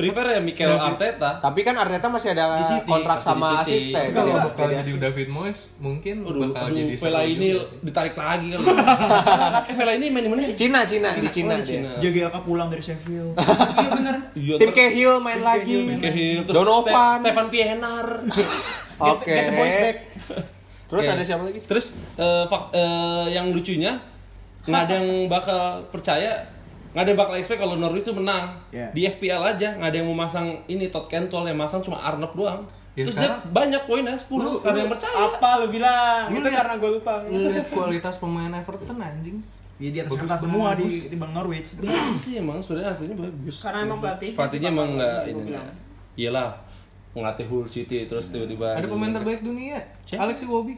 Speaker 3: prefer ya Mikel Arteta.
Speaker 4: Tapi kan Arteta masih ada
Speaker 6: Di City.
Speaker 4: kontrak
Speaker 3: Masih di
Speaker 4: sama
Speaker 3: City.
Speaker 4: asisten.
Speaker 3: Enggak,
Speaker 7: Kalau
Speaker 4: Iya.
Speaker 7: bakal jadi David Moyes mungkin
Speaker 3: Aduh,
Speaker 7: bakal
Speaker 3: aduh,
Speaker 7: jadi seru
Speaker 3: Vela ini
Speaker 7: juga sih.
Speaker 3: ditarik lagi kali. [laughs] eh, Vela ini main di mana sih?
Speaker 4: Cina, Cina, di Cina. dia.
Speaker 3: Cina.
Speaker 6: JGK pulang dari Sheffield.
Speaker 3: Iya,
Speaker 4: Tim
Speaker 3: ter-
Speaker 4: Cahill main lagi.
Speaker 3: Cahill, terus
Speaker 4: Donovan.
Speaker 3: Ste- Stefan Pienaar.
Speaker 4: Oke.
Speaker 6: Get the boys back.
Speaker 4: [laughs] Terus
Speaker 3: Oke.
Speaker 4: ada siapa lagi?
Speaker 3: Terus eh, fak- eh, yang lucunya nggak ada yang bakal percaya nggak ada yang bakal expect kalau Norwich itu menang
Speaker 6: Iya.
Speaker 3: di FPL aja nggak ada yang mau masang ini Todd Cantwell yang masang cuma Arnott doang
Speaker 7: Ya,
Speaker 3: terus
Speaker 7: sekarang-
Speaker 3: dia banyak poinnya 10 nggak ada yang percaya
Speaker 5: Apa lu bilang? Itu karena gue lupa.
Speaker 7: Lu lihat kualitas pemain Iya, Everton anjing.
Speaker 6: Ya di atas
Speaker 7: Bagus
Speaker 6: kertas semua di
Speaker 7: bagus.
Speaker 6: di Bang Norwich.
Speaker 3: Bagus Iya sih emang sebenarnya aslinya bagus.
Speaker 5: Karena emang pelatihnya
Speaker 3: pelatihnya
Speaker 5: sih,
Speaker 3: emang
Speaker 5: Pak,
Speaker 3: enggak
Speaker 5: gua
Speaker 3: ini.
Speaker 5: bilang.
Speaker 3: enggak. Iyalah ngelatih Hull City terus tiba-tiba
Speaker 7: Ada
Speaker 5: Iya.
Speaker 7: pemain terbaik dunia, Alexi Wobi.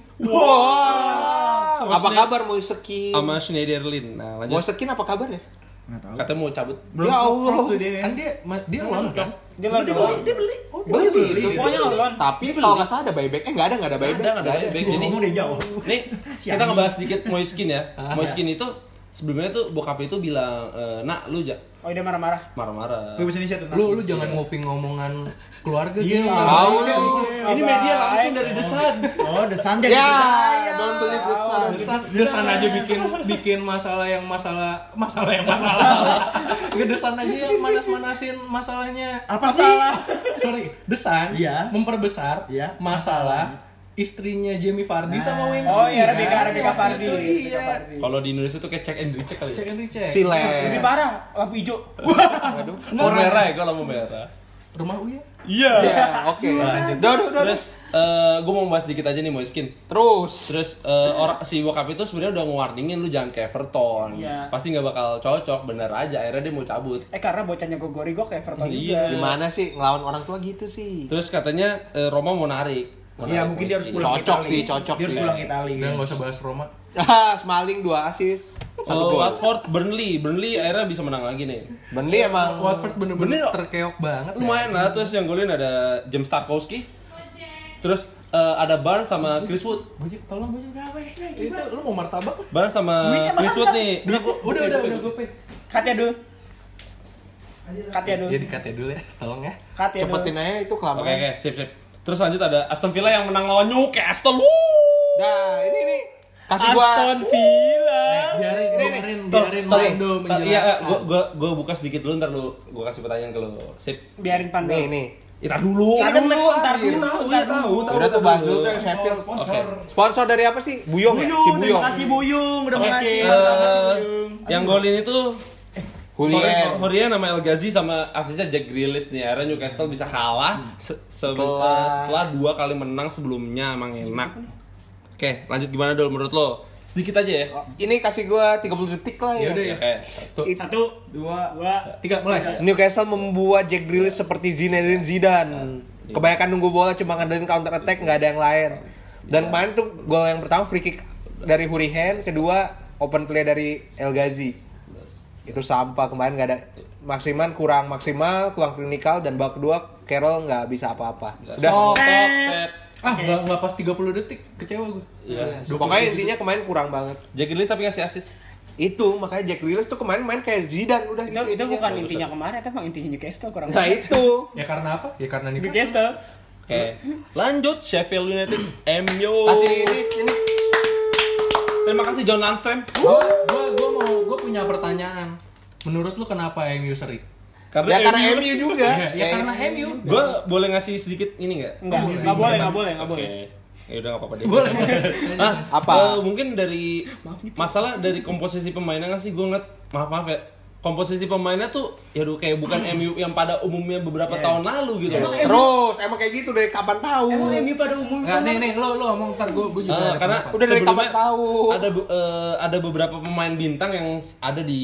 Speaker 3: Wow.
Speaker 4: Apa kabar Moisekin?
Speaker 3: Sama Schneiderlin. Nah, lanjut.
Speaker 4: Moisekin apa ya? kabarnya?
Speaker 6: Enggak tahu.
Speaker 3: Katanya mau cabut.
Speaker 6: Belum
Speaker 4: Ya
Speaker 6: crop- crop
Speaker 4: Allah.
Speaker 6: tuh dia. ya.
Speaker 7: Kan dia ma- dia
Speaker 5: Iya,
Speaker 7: loan kan?
Speaker 5: Dia lah doang.
Speaker 4: Dia beli.
Speaker 3: beli.
Speaker 5: Pokoknya loan.
Speaker 4: Tapi kalau nggak salah ada buyback. Eh nggak ada nggak ada buyback.
Speaker 3: Ada nggak ada baik
Speaker 6: Gua
Speaker 3: jadi.
Speaker 6: Oh, ngomong dia jauh.
Speaker 3: Nih, kita ngebahas sedikit Moiskin ya. Moiskin itu sebelumnya tuh bokapnya itu bilang, "Eh, "Nak, lu ja-
Speaker 5: Oh, dia marah-marah.
Speaker 3: marah-marah."
Speaker 6: Gue bisa Indonesia tuh.
Speaker 7: Lu lu jangan ngoping ngomongan keluarga
Speaker 6: Iya.
Speaker 7: gitu.
Speaker 4: Tahu lu.
Speaker 3: Ini media langsung dari The Sun.
Speaker 6: Oh, the sun jadi
Speaker 4: Ya,
Speaker 6: kita.
Speaker 4: don't believe the sun.
Speaker 5: Iya.
Speaker 7: Desan aja bikin bikin masalah yang masalah masalah yang
Speaker 5: Iya.
Speaker 7: masalah. Desan aja yang manas-manasin masalahnya.
Speaker 6: Apa sih?
Speaker 7: masalah. Sorry, Desan
Speaker 6: Iya.
Speaker 7: memperbesar
Speaker 6: Iya.
Speaker 7: masalah istrinya Jamie Fardy sama Wemby.
Speaker 5: Oh, iya,
Speaker 7: kan?
Speaker 5: Rebecca Rebecca
Speaker 7: Waktu
Speaker 5: Fardi.
Speaker 7: itu,
Speaker 5: Rebecca
Speaker 7: Iya.
Speaker 5: Fardi.
Speaker 3: Kalau di Indonesia tuh kayak check and recheck kali
Speaker 7: Cek
Speaker 3: ya.
Speaker 7: ini cek.
Speaker 4: Silen.
Speaker 5: Lebih parah, lampu hijau.
Speaker 3: Aduh, lampu merah ya, gue lampu merah.
Speaker 7: Rumah Uya.
Speaker 4: Ya, oke. Udah, udah, udah.
Speaker 3: Terus, eh, gue mau bahas sedikit aja nih Moiskin.
Speaker 4: Terus.
Speaker 3: Terus eh, orang si bokap itu sebenarnya udah ngewarningin lu jangan ke Everton.
Speaker 5: Iya.
Speaker 3: Pasti nggak bakal cocok, bener aja. Akhirnya dia mau cabut.
Speaker 5: Eh karena bocahnya Gogori gue kayak Everton juga.
Speaker 3: Iya.
Speaker 4: Gimana sih ngelawan orang tua gitu sih? [laughs]
Speaker 3: Terus katanya eh, Roma mau narik. Mau
Speaker 6: Iya,
Speaker 3: narik
Speaker 6: mungkin dia harus
Speaker 3: Moiskin.
Speaker 6: pulang. ke
Speaker 4: Cocok
Speaker 6: Itali.
Speaker 4: sih, cocok
Speaker 6: Dia harus
Speaker 4: sih.
Speaker 6: pulang ke Itali.
Speaker 7: Dan nggak usah bahas Roma.
Speaker 4: Ah, Smalling dua asis. Satu
Speaker 3: Oh,
Speaker 4: gol.
Speaker 3: Watford, Burnley, Burnley akhirnya bisa menang lagi nih.
Speaker 4: Burnley emang
Speaker 7: Watford ya,
Speaker 3: Bener.
Speaker 7: bener-bener terkeok banget.
Speaker 3: Nah, Lumayan lah, terus yang golin ada James Tarkowski. Terus eh, ada Barnes sama Chris Wood.
Speaker 7: Bojek, tolong bojek apa Itu lu mau martabak?
Speaker 3: Barnes sama Chris Wood nih. Nah, gua-
Speaker 7: Udah, udah, udah gue pay.
Speaker 5: Katnya dulu. Katnya dulu.
Speaker 7: Ya dikate dulu ya, tolong ya.
Speaker 5: Katnya dulu.
Speaker 4: cepetin aja itu
Speaker 3: Oke,
Speaker 4: kelamaan.
Speaker 3: oke, sip, sip. Terus lanjut ada Aston Villa yang menang lawan Newcastle. Wuh!
Speaker 4: Nah, ini ini kasih gua
Speaker 3: Aston Villa.
Speaker 7: Eh, Biarin, biarin,
Speaker 3: Tol-
Speaker 7: Eh, biarin
Speaker 3: tolong.
Speaker 7: Mando
Speaker 3: Tol- Iya, eh,
Speaker 7: menjelaskan.
Speaker 3: gua gua gua buka sedikit dulu ntar lu gua kasih pertanyaan ke lu. Sip.
Speaker 5: Biarin pandai.
Speaker 4: nih nih.
Speaker 3: Ntar dulu.
Speaker 5: Ini kan
Speaker 3: Iya,
Speaker 5: next, ntar dulu,
Speaker 3: tahu,
Speaker 5: ntar
Speaker 3: iya, tahu, tahu,
Speaker 4: Udah tuh
Speaker 3: tahu.
Speaker 4: bahas dulu tuh yang
Speaker 6: Sponsor,
Speaker 4: Sheffield.
Speaker 6: sponsor.
Speaker 4: Sponsor dari apa sih? Buyong ya? Si
Speaker 6: Buyung, terima
Speaker 4: Buyong.
Speaker 6: kasih Buyung, udah
Speaker 3: Oke,
Speaker 6: makasih.
Speaker 3: eh, yang golin itu Hurien,
Speaker 4: Hulien.
Speaker 3: Hurien sama El Ghazi sama asisnya Jack Grealish nih akhirnya Newcastle bisa kalah se- se- eh,
Speaker 4: Setelah-
Speaker 3: setelah dua kali menang sebelumnya emang enak. Oke, lanjut gimana dulu menurut lo? Sedikit aja ya.
Speaker 4: Ini kasih gua 30 detik lah
Speaker 7: Ya
Speaker 4: ya.
Speaker 7: udah ya.
Speaker 3: Oke.
Speaker 7: Tuh,
Speaker 5: Satu,
Speaker 6: Dua.
Speaker 5: dua,
Speaker 7: tiga mulai.
Speaker 4: Newcastle membuat Jack Grealish
Speaker 7: Iya.
Speaker 4: seperti Zinedine Zidane. Kebanyakan nunggu bola cuma ngandelin counter attack nggak ada yang lain.
Speaker 7: Iya.
Speaker 4: Dan kemarin tuh gol yang pertama free kick dari Hurihan, kedua open play dari El Ghazi. Itu sampah kemarin nggak ada maksimal kurang maksimal kurang klinikal dan babak kedua Carroll nggak bisa apa-apa. Udah.
Speaker 3: Stop, Ted.
Speaker 7: Ah, nggak nggak pas 30 detik, kecewa gue.
Speaker 3: Iya.
Speaker 4: Pokoknya intinya kemarin kurang banget.
Speaker 3: Jack Grealish tapi ngasih asis.
Speaker 4: Itu makanya Jack Grealish tuh kemarin main kayak Zidane udah
Speaker 5: itu itu bukan intinya kemarin, itu emang intinya Newcastle kurang.
Speaker 4: Nah itu.
Speaker 7: Ya karena apa? Ya karena nih.
Speaker 5: Newcastle.
Speaker 3: Oke. Lanjut Sheffield United MU.
Speaker 4: Kasih ini ini
Speaker 3: Terima kasih John Landstram.
Speaker 7: Gua Oh, gua gua mau gua punya pertanyaan. Menurut lu kenapa MU seri?
Speaker 4: ya karena MU juga.
Speaker 7: Ya, ya karena MU.
Speaker 3: Gue boleh ngasih sedikit ini nggak?
Speaker 5: Enggak, enggak boleh, enggak boleh, enggak boleh.
Speaker 3: Ya udah nggak apa-apa deh.
Speaker 7: Boleh.
Speaker 3: Hah?
Speaker 4: Apa?
Speaker 3: Eh, mungkin dari masalah dari komposisi pemainnya nggak sih gue ngeliat maaf maaf ya komposisi pemainnya tuh ya aduh kayak bukan MU yang pada umumnya beberapa tahun lalu gitu loh.
Speaker 4: iya. Terus emang kayak gitu dari kapan tahu?
Speaker 5: Oh, Ini pada umumnya
Speaker 7: Nggak, nih nih lu lu ngomong ntar gua gua juga.
Speaker 3: Ah,
Speaker 7: ada
Speaker 3: karena
Speaker 7: pendapat.
Speaker 4: Udah dari
Speaker 3: sebelumnya
Speaker 4: kapan tahu?
Speaker 3: Ada be- eh, ada beberapa pemain bintang yang s- ada di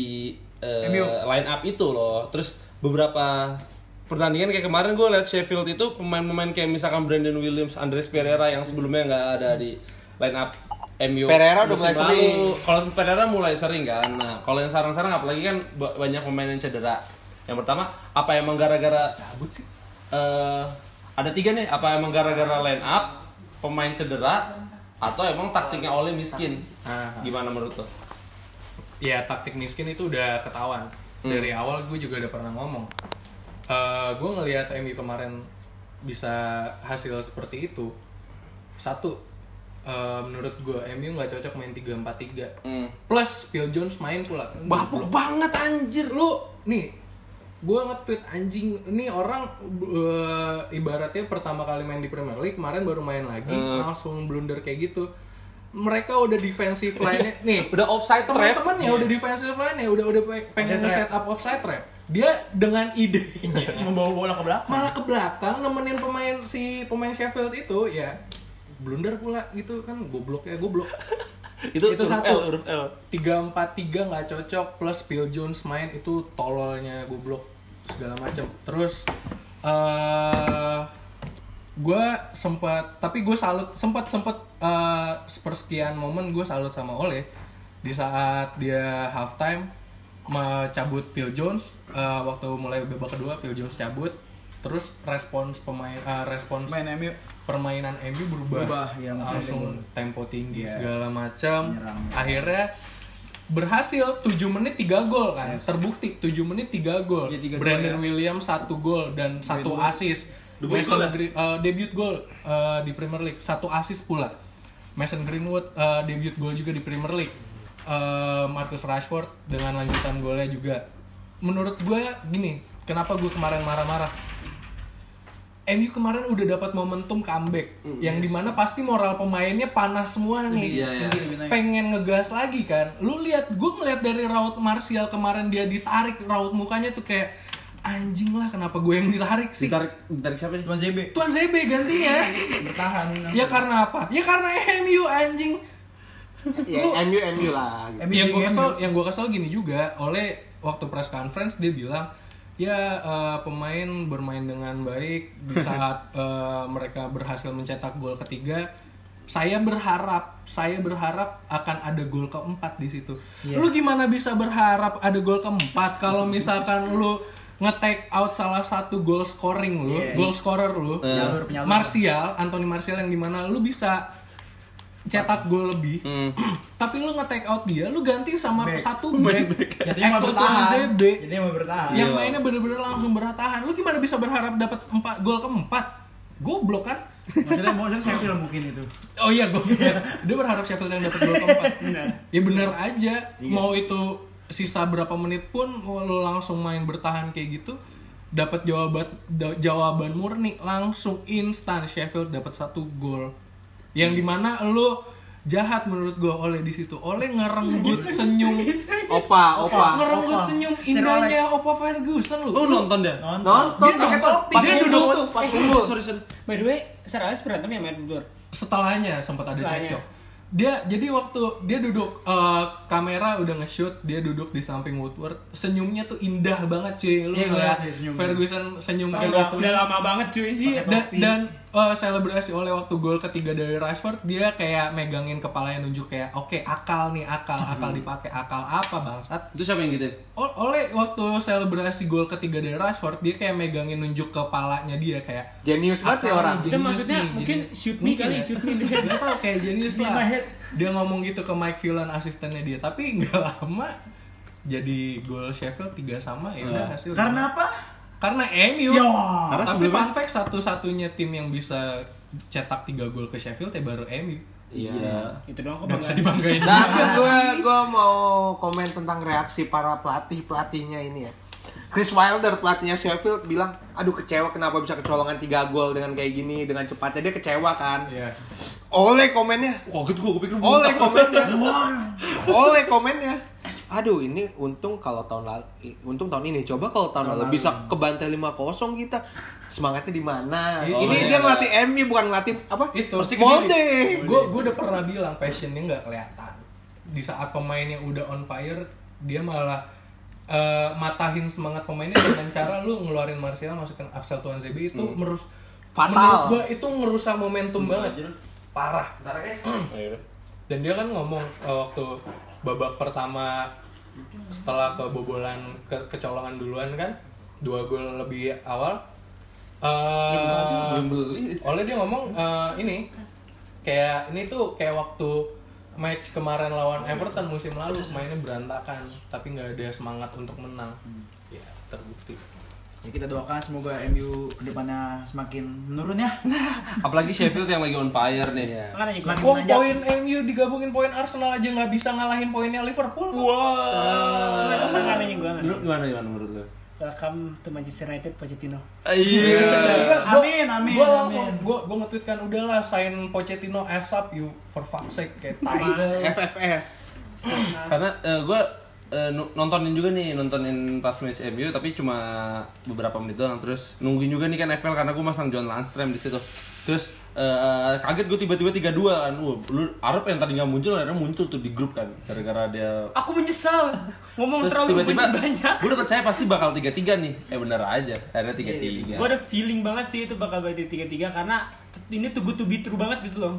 Speaker 3: eh, line up itu loh. Terus beberapa pertandingan kayak kemarin gue liat Sheffield itu pemain-pemain kayak misalkan Brandon Williams, Andres Pereira yang sebelumnya nggak ada di line up MU.
Speaker 4: Pereira udah
Speaker 3: musim
Speaker 4: mulai sering.
Speaker 3: lalu. Kalau Pereira mulai sering kan. Nah, kalau yang sarang-sarang apalagi kan ba- banyak pemain yang cedera. Yang pertama, apa emang gara-gara eh ada tiga nih apa emang gara-gara line up pemain cedera atau emang taktiknya oleh miskin gimana menurut lo
Speaker 7: ya taktik miskin itu udah ketahuan dari awal gue juga udah pernah ngomong Eh gue ngelihat MU kemarin bisa hasil seperti itu satu eh, menurut gue MU nggak cocok main 3-4-3 plus Phil Jones main pula
Speaker 3: bapuk banget anjir
Speaker 7: lu nih gue nge-tweet anjing ini orang eh, ibaratnya pertama kali main di Premier League kemarin baru main lagi
Speaker 3: Eh.
Speaker 7: langsung blunder kayak gitu mereka udah
Speaker 3: [laughs]
Speaker 7: defensive line nih
Speaker 3: udah offside trap Iya.
Speaker 7: teman-teman ya udah defensive line ya udah udah pe- pengen nge-set up offside trap dia dengan idenya
Speaker 6: Membawa bola ke belakang.
Speaker 7: [laughs] malah ke belakang nemenin pemain si pemain Sheffield itu ya blunder pula gitu kan goblok ya goblok
Speaker 4: itu,
Speaker 7: Itu
Speaker 4: huruf
Speaker 7: satu.
Speaker 4: L, huruf L.
Speaker 7: tiga empat tiga nggak cocok plus Phil Jones main itu tololnya goblok segala macam terus eh gue sempat tapi gue salut sempat sempat eh, sepersekian momen gue salut sama Ole di saat dia halftime mencabut Phil Jones eh, waktu mulai babak kedua Phil Jones cabut terus respons pemain eh, respons
Speaker 6: Main MU
Speaker 7: permainan MU berubah,
Speaker 6: Berubah, ya, makanya
Speaker 7: langsung
Speaker 6: dia
Speaker 7: tempo tinggi
Speaker 6: Iya.
Speaker 7: segala macam
Speaker 6: Menyerang. ya.
Speaker 7: akhirnya berhasil 7 menit 3 gol kan terbukti 7 menit 3 gol
Speaker 6: Iya, tiga gol, ya.
Speaker 7: Brandon Williams 1 gol dan satu assist Mason Gre- eh, debut gol eh, di Premier League satu assist pula Mason Greenwood eh, debut gol juga di Premier League Eh, Marcus Rashford dengan lanjutan golnya juga menurut gue gini kenapa gue kemarin marah-marah MU kemarin udah dapat momentum comeback yang dimana pasti moral pemainnya panas semua nih
Speaker 3: Mm, Iya, iya.
Speaker 6: lebih naik.
Speaker 7: pengen ngegas lagi kan lu lihat gue ngeliat dari raut Martial kemarin dia ditarik raut mukanya tuh kayak anjing lah kenapa gue yang ditarik sih
Speaker 3: Ditarik, ditarik siapa nih?
Speaker 6: Tuan ZB
Speaker 7: Tuan ZB gantinya
Speaker 3: [laughs]
Speaker 6: bertahan.
Speaker 7: ya karena apa ya karena MU anjing
Speaker 4: Ya, MU MU lah. gitu.
Speaker 6: MU
Speaker 7: yang gue
Speaker 6: dingin,
Speaker 7: kesel
Speaker 6: gitu.
Speaker 7: yang gue kesel gini juga oleh waktu press conference dia bilang ya eh, pemain bermain dengan baik di saat eh, mereka berhasil mencetak gol ketiga saya berharap saya berharap akan ada gol keempat di situ lu gimana bisa berharap ada gol keempat kalau misalkan lu nge-take out salah satu goal scoring lu goal scorer lu
Speaker 6: Penyalur, penyalur.
Speaker 7: Martial Anthony Martial yang dimana lu bisa cetak gol lebih [clears throat] tapi lu nge-take out dia lu ganti sama
Speaker 6: Back.
Speaker 7: satu back
Speaker 6: Jadinya mau
Speaker 7: Exo
Speaker 6: bertahan. Iya.
Speaker 7: ZB
Speaker 6: Jadinya mau bertahan.
Speaker 7: yang mainnya bener-bener langsung bertahan lu gimana bisa berharap dapat empat gol keempat goblok kan
Speaker 6: Maksudnya maksudnya saya film mungkin itu.
Speaker 7: oh iya goblok dia berharap Sheffield yang dapat gol keempat ya bener aja mau itu sisa berapa menit pun mau lu langsung main bertahan kayak gitu dapat jawaban da- jawaban murni langsung instan Sheffield dapat satu gol yang dimana lu jahat menurut gue oleh di situ oleh ngerenggut senyum
Speaker 4: Opa, opa.
Speaker 7: ngerenggut
Speaker 6: Opa.
Speaker 7: senyum
Speaker 6: Sir
Speaker 7: indahnya
Speaker 6: Alex.
Speaker 7: Opa Ferguson lu
Speaker 3: Lu nonton dia?
Speaker 4: Nonton
Speaker 7: Dia
Speaker 4: pakai
Speaker 7: nonton.
Speaker 4: topi. Pas
Speaker 7: Dia
Speaker 4: unggul
Speaker 7: duduk.
Speaker 4: tuh, pas unggul.
Speaker 3: Sorry, sorry.
Speaker 5: By the way, Sir Alex berantem ya main berdua?
Speaker 7: setelahnya sempat ada
Speaker 5: Setelahnya.
Speaker 7: cekcok dia jadi waktu dia duduk eh, kamera udah nge-shoot dia duduk di samping Woodward senyumnya tuh indah banget cuy lu
Speaker 6: Iya,
Speaker 7: ngeliat
Speaker 6: ngeliat sih senyum.
Speaker 7: Ferguson senyum kayak
Speaker 5: Udah,
Speaker 7: gitu
Speaker 5: udah lama banget cuy.
Speaker 7: Iya,
Speaker 6: Pakai
Speaker 7: dan,
Speaker 6: topi.
Speaker 7: dan eh, selebrasi oleh waktu gol ketiga dari Rashford dia kayak megangin kepalanya nunjuk kayak oke akal nih akal akal dipakai akal apa bangsat
Speaker 3: Itu siapa yang gitu?
Speaker 7: O- oleh waktu selebrasi gol ketiga dari Rashford dia kayak megangin nunjuk kepalanya dia kayak
Speaker 4: Jenius banget ya
Speaker 7: Akal
Speaker 4: orang.
Speaker 7: nih,
Speaker 5: Itu
Speaker 7: jenius
Speaker 5: maksudnya
Speaker 7: nih,
Speaker 5: mungkin
Speaker 7: jenius.
Speaker 5: shoot me
Speaker 7: Mungkin
Speaker 5: kali,
Speaker 7: ya.
Speaker 5: shoot me.
Speaker 7: [laughs] Gak tau kayak jenius
Speaker 6: Shoot me
Speaker 7: lah
Speaker 6: my head.
Speaker 7: Dia ngomong gitu ke Mike Villan asistennya dia Tapi nggak lama jadi gol Sheffield 3 sama ya udah hasil
Speaker 6: Karena apa?
Speaker 7: karena MU
Speaker 6: Ya.
Speaker 7: Karena
Speaker 3: Karena
Speaker 7: tapi
Speaker 3: sebelumnya-
Speaker 7: fun fact satu-satunya tim yang bisa cetak 3 gol ke Sheffield ya baru MU
Speaker 3: Iya.
Speaker 5: Itu doang kok
Speaker 7: nggak bisa
Speaker 5: bangga.
Speaker 7: dibanggain
Speaker 4: Tapi gue gue Nah, mau komen tentang reaksi para pelatih pelatihnya ini ya. Chris Wilder pelatihnya Sheffield bilang, aduh kecewa kenapa bisa kecolongan 3 gol dengan kayak gini dengan cepatnya dia kecewa kan.
Speaker 7: Iya.
Speaker 4: Oleh komennya,
Speaker 3: Kaget gua, gua pikir
Speaker 4: oleh komennya, oleh komennya. Aduh ini untung kalau tahun lalu, untung tahun ini. Coba kalau tahun lalu bisa kebantai 5-0 kita. Semangatnya di mana?
Speaker 7: Iya.
Speaker 4: ini
Speaker 7: Oh,
Speaker 4: dia
Speaker 3: iya.
Speaker 4: ngelatih MU bukan ngelatih apa?
Speaker 7: Itu.
Speaker 4: Molde.
Speaker 7: gue gue gitu. udah pernah bilang passionnya nggak kelihatan di saat pemainnya udah on fire dia malah eh, matahin semangat pemainnya dengan cara lu ngeluarin Martial masukin Axel Tuan itu merus
Speaker 4: Fatal.
Speaker 7: menurut gua itu ngerusak momentum banget parah [clears throat] dan dia kan ngomong eh, waktu babak pertama setelah kebobolan ke kecolongan duluan kan dua gol lebih awal eh oleh dia ngomong eh, ini kayak ini tuh kayak waktu match kemarin lawan Everton musim lalu mainnya berantakan tapi nggak ada semangat untuk menang ya terbukti
Speaker 6: Ya kita doakan semoga MU kedepannya semakin menurun
Speaker 4: [laughs]
Speaker 6: ya.
Speaker 3: Apalagi Sheffield yang lagi on fire nih.
Speaker 4: Iya.
Speaker 5: Makanya ikut.
Speaker 6: Semakin
Speaker 7: Wong
Speaker 6: menanjak.
Speaker 7: poin MU digabungin poin Arsenal aja nggak bisa ngalahin poinnya Liverpool
Speaker 5: Makanya gua nggak.
Speaker 3: Lu gimana gimana menurut lu?
Speaker 5: Welcome to Manchester United Pochettino.
Speaker 3: Iya.
Speaker 6: Amin, amin,
Speaker 7: Gue langsung
Speaker 6: amin.
Speaker 7: gue gue nge-tweet kan udahlah sign Pochettino ASAP you for fuck's sake kayak tai.
Speaker 5: Mas,
Speaker 4: FFS.
Speaker 5: Mas.
Speaker 3: Karena eh, gua eh, nu- nontonin juga nih nontonin pas match MU tapi cuma beberapa menit doang terus nungguin juga nih kan FL karena gue masang John Landstram di situ terus eh, kaget gue tiba-tiba 3-2 kan Wah, lu Arab yang tadi nggak muncul akhirnya muncul tuh di grup kan gara-gara dia
Speaker 5: Aku menyesal ngomong
Speaker 3: terus
Speaker 5: terlalu
Speaker 3: tiba-tiba
Speaker 5: banyak.
Speaker 3: gue udah percaya pasti bakal 3-3 nih eh bener aja akhirnya 3-3
Speaker 7: Ya.
Speaker 4: Iya,
Speaker 5: Gue ada feeling banget sih itu bakal balik tiga tiga karena ini tuh good to be true banget gitu loh.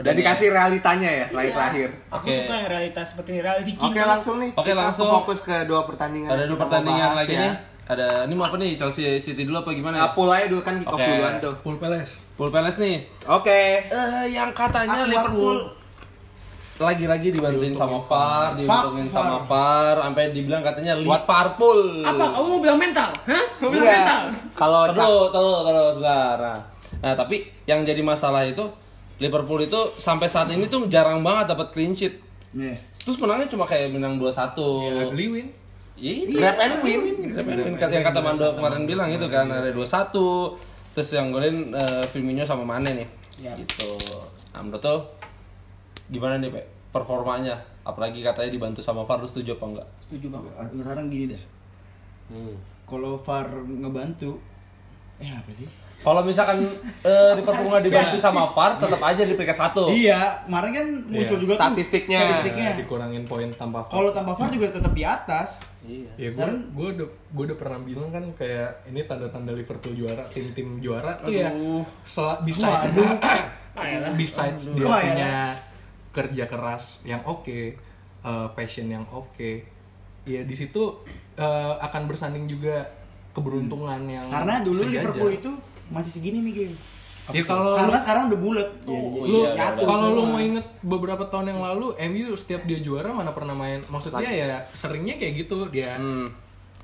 Speaker 4: Udah
Speaker 3: nih.
Speaker 4: dikasih realitanya ya terakhir-terakhir.
Speaker 5: Aku
Speaker 3: Oke.
Speaker 5: suka yang realitas seperti ini, reality king.
Speaker 4: Oke langsung nih.
Speaker 3: Oke,
Speaker 4: kita
Speaker 3: langsung.
Speaker 4: Fokus ke dua pertandingan.
Speaker 3: ada dua
Speaker 4: yang kita mau
Speaker 3: pertandingan
Speaker 4: bahas
Speaker 3: lagi
Speaker 4: ya.
Speaker 3: nih ada ini mau apa nih Chelsea City dulu apa gimana ya?
Speaker 4: Nah, pool aja dulu kan kick off
Speaker 3: Oke.
Speaker 4: duluan tuh.
Speaker 7: Full Palace.
Speaker 3: Pool Palace nih
Speaker 4: Oke.
Speaker 3: Eh, yang katanya
Speaker 4: Aku
Speaker 3: Liverpool lagi-lagi dibantuin sama VAR, diuntungin sama VAR, sampai dibilang katanya Liverpool.
Speaker 5: Apa? Kamu mau bilang mental? Hah? Mau bilang
Speaker 4: Enggak.
Speaker 5: mental?
Speaker 4: Iya. Kalau
Speaker 3: Terus, terus, terus, sebentar. Nah, nah, tapi yang jadi masalah itu Liverpool itu sampai saat ini tuh jarang banget dapat clean sheet.
Speaker 6: Nih.
Speaker 3: Terus menangnya cuma kayak menang
Speaker 7: Oh.
Speaker 3: 2-1.
Speaker 7: Ugly win.
Speaker 3: Iya, itu.
Speaker 4: grab and win.
Speaker 3: Grab and win. Yang kata Mando kemarin bilang itu kan ada 2-1. Terus yang golin eh, Firmino sama Mane nih. Gitu. Nah, menurut tuh gimana nih, Pak? Performanya apalagi katanya dibantu sama VAR lu setuju apa enggak?
Speaker 5: Setuju banget.
Speaker 6: Sekarang gini dah.
Speaker 4: Hmm.
Speaker 6: Kalau VAR ngebantu, eh apa sih?
Speaker 3: Kalau misalkan eh, Liverpool nggak dibantu sama VAR, tetap aja di peringkat 1.
Speaker 6: Iya, kemarin kan muncul juga tuh
Speaker 4: Statistiknya.
Speaker 6: Statistiknya.
Speaker 7: Iya, Dikurangin poin tanpa
Speaker 6: Kalau tanpa VAR juga tetap di atas.
Speaker 7: Ya gue
Speaker 6: Sekarang-
Speaker 7: gue udah gue udah pernah bilang kan kayak ini tanda-tanda Liverpool juara tim-tim juara tuh ya sel- bisa [laughs] besides dia
Speaker 6: Gua
Speaker 7: punya kerja keras yang oke eh, passion yang oke ya di situ eh, akan bersanding juga keberuntungan yang
Speaker 6: Karena dulu
Speaker 7: sejajar.
Speaker 6: Liverpool itu masih segini Miguel.
Speaker 7: ya kalau
Speaker 6: Karena sekarang udah bulat. Oh,
Speaker 7: lu
Speaker 6: nyatu
Speaker 7: kalau lu
Speaker 6: semua.
Speaker 7: mau inget beberapa tahun yang lalu MU setiap dia juara mana pernah main maksudnya ya seringnya kayak gitu dia
Speaker 6: Hmm.
Speaker 3: Hmm.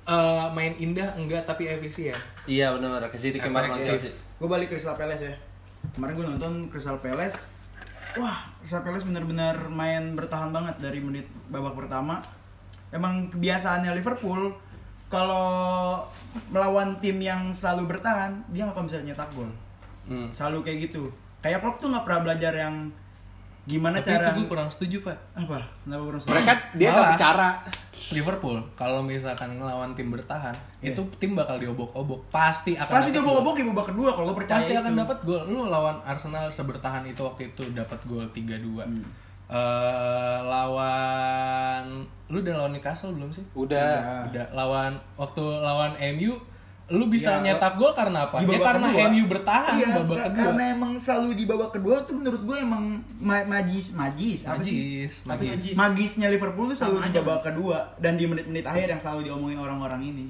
Speaker 7: eh, main indah enggak tapi efisien
Speaker 3: Iya benar, ke City kemarin lawan Chelsea.
Speaker 6: Gue balik Crystal Palace ya. Kemarin gue nonton Crystal Palace. Wah, Crystal Palace bener-bener main bertahan banget dari menit babak pertama. Emang kebiasaannya Liverpool kalau melawan tim yang selalu bertahan, dia nggak akan bisa nyetak gol.
Speaker 3: Hmm.
Speaker 6: Selalu kayak gitu. Kayak Klopp tuh nggak pernah belajar yang gimana
Speaker 7: tapi
Speaker 6: cara
Speaker 7: itu gue kurang setuju pak
Speaker 6: apa? Kenapa kurang setuju?
Speaker 4: Mereka dia nggak
Speaker 7: Malah.
Speaker 4: bicara.
Speaker 7: Liverpool kalau misalkan ngelawan tim bertahan itu tim bakal diobok-obok pasti akan
Speaker 6: Iya. Pasti
Speaker 7: dapat
Speaker 6: dia
Speaker 7: gol.
Speaker 6: bobok di babak kedua kalau gue percaya.
Speaker 7: pasti akan
Speaker 6: itu.
Speaker 7: dapat gol lu lawan Arsenal sebertahan itu waktu itu dapat gol 3-2
Speaker 6: Hmm.
Speaker 7: Eh, lawan lu udah lawan Newcastle belum sih
Speaker 4: Udah.
Speaker 6: Ah.
Speaker 7: udah lawan waktu lawan MU lu bisa nyetak gol karena apa?
Speaker 6: Iya, Di
Speaker 7: Ya
Speaker 6: babak
Speaker 7: karena
Speaker 6: kedua.
Speaker 7: MU bertahan
Speaker 6: Iya,
Speaker 7: babak
Speaker 6: ka-
Speaker 7: kedua.
Speaker 6: Karena emang selalu di babak kedua tuh menurut gue emang ma- majis, majis, apa sih?
Speaker 7: Magis, magis.
Speaker 6: Apa sih? Magisnya Liverpool tuh selalu di babak kedua dan di menit-menit akhir yang selalu diomongin orang-orang ini.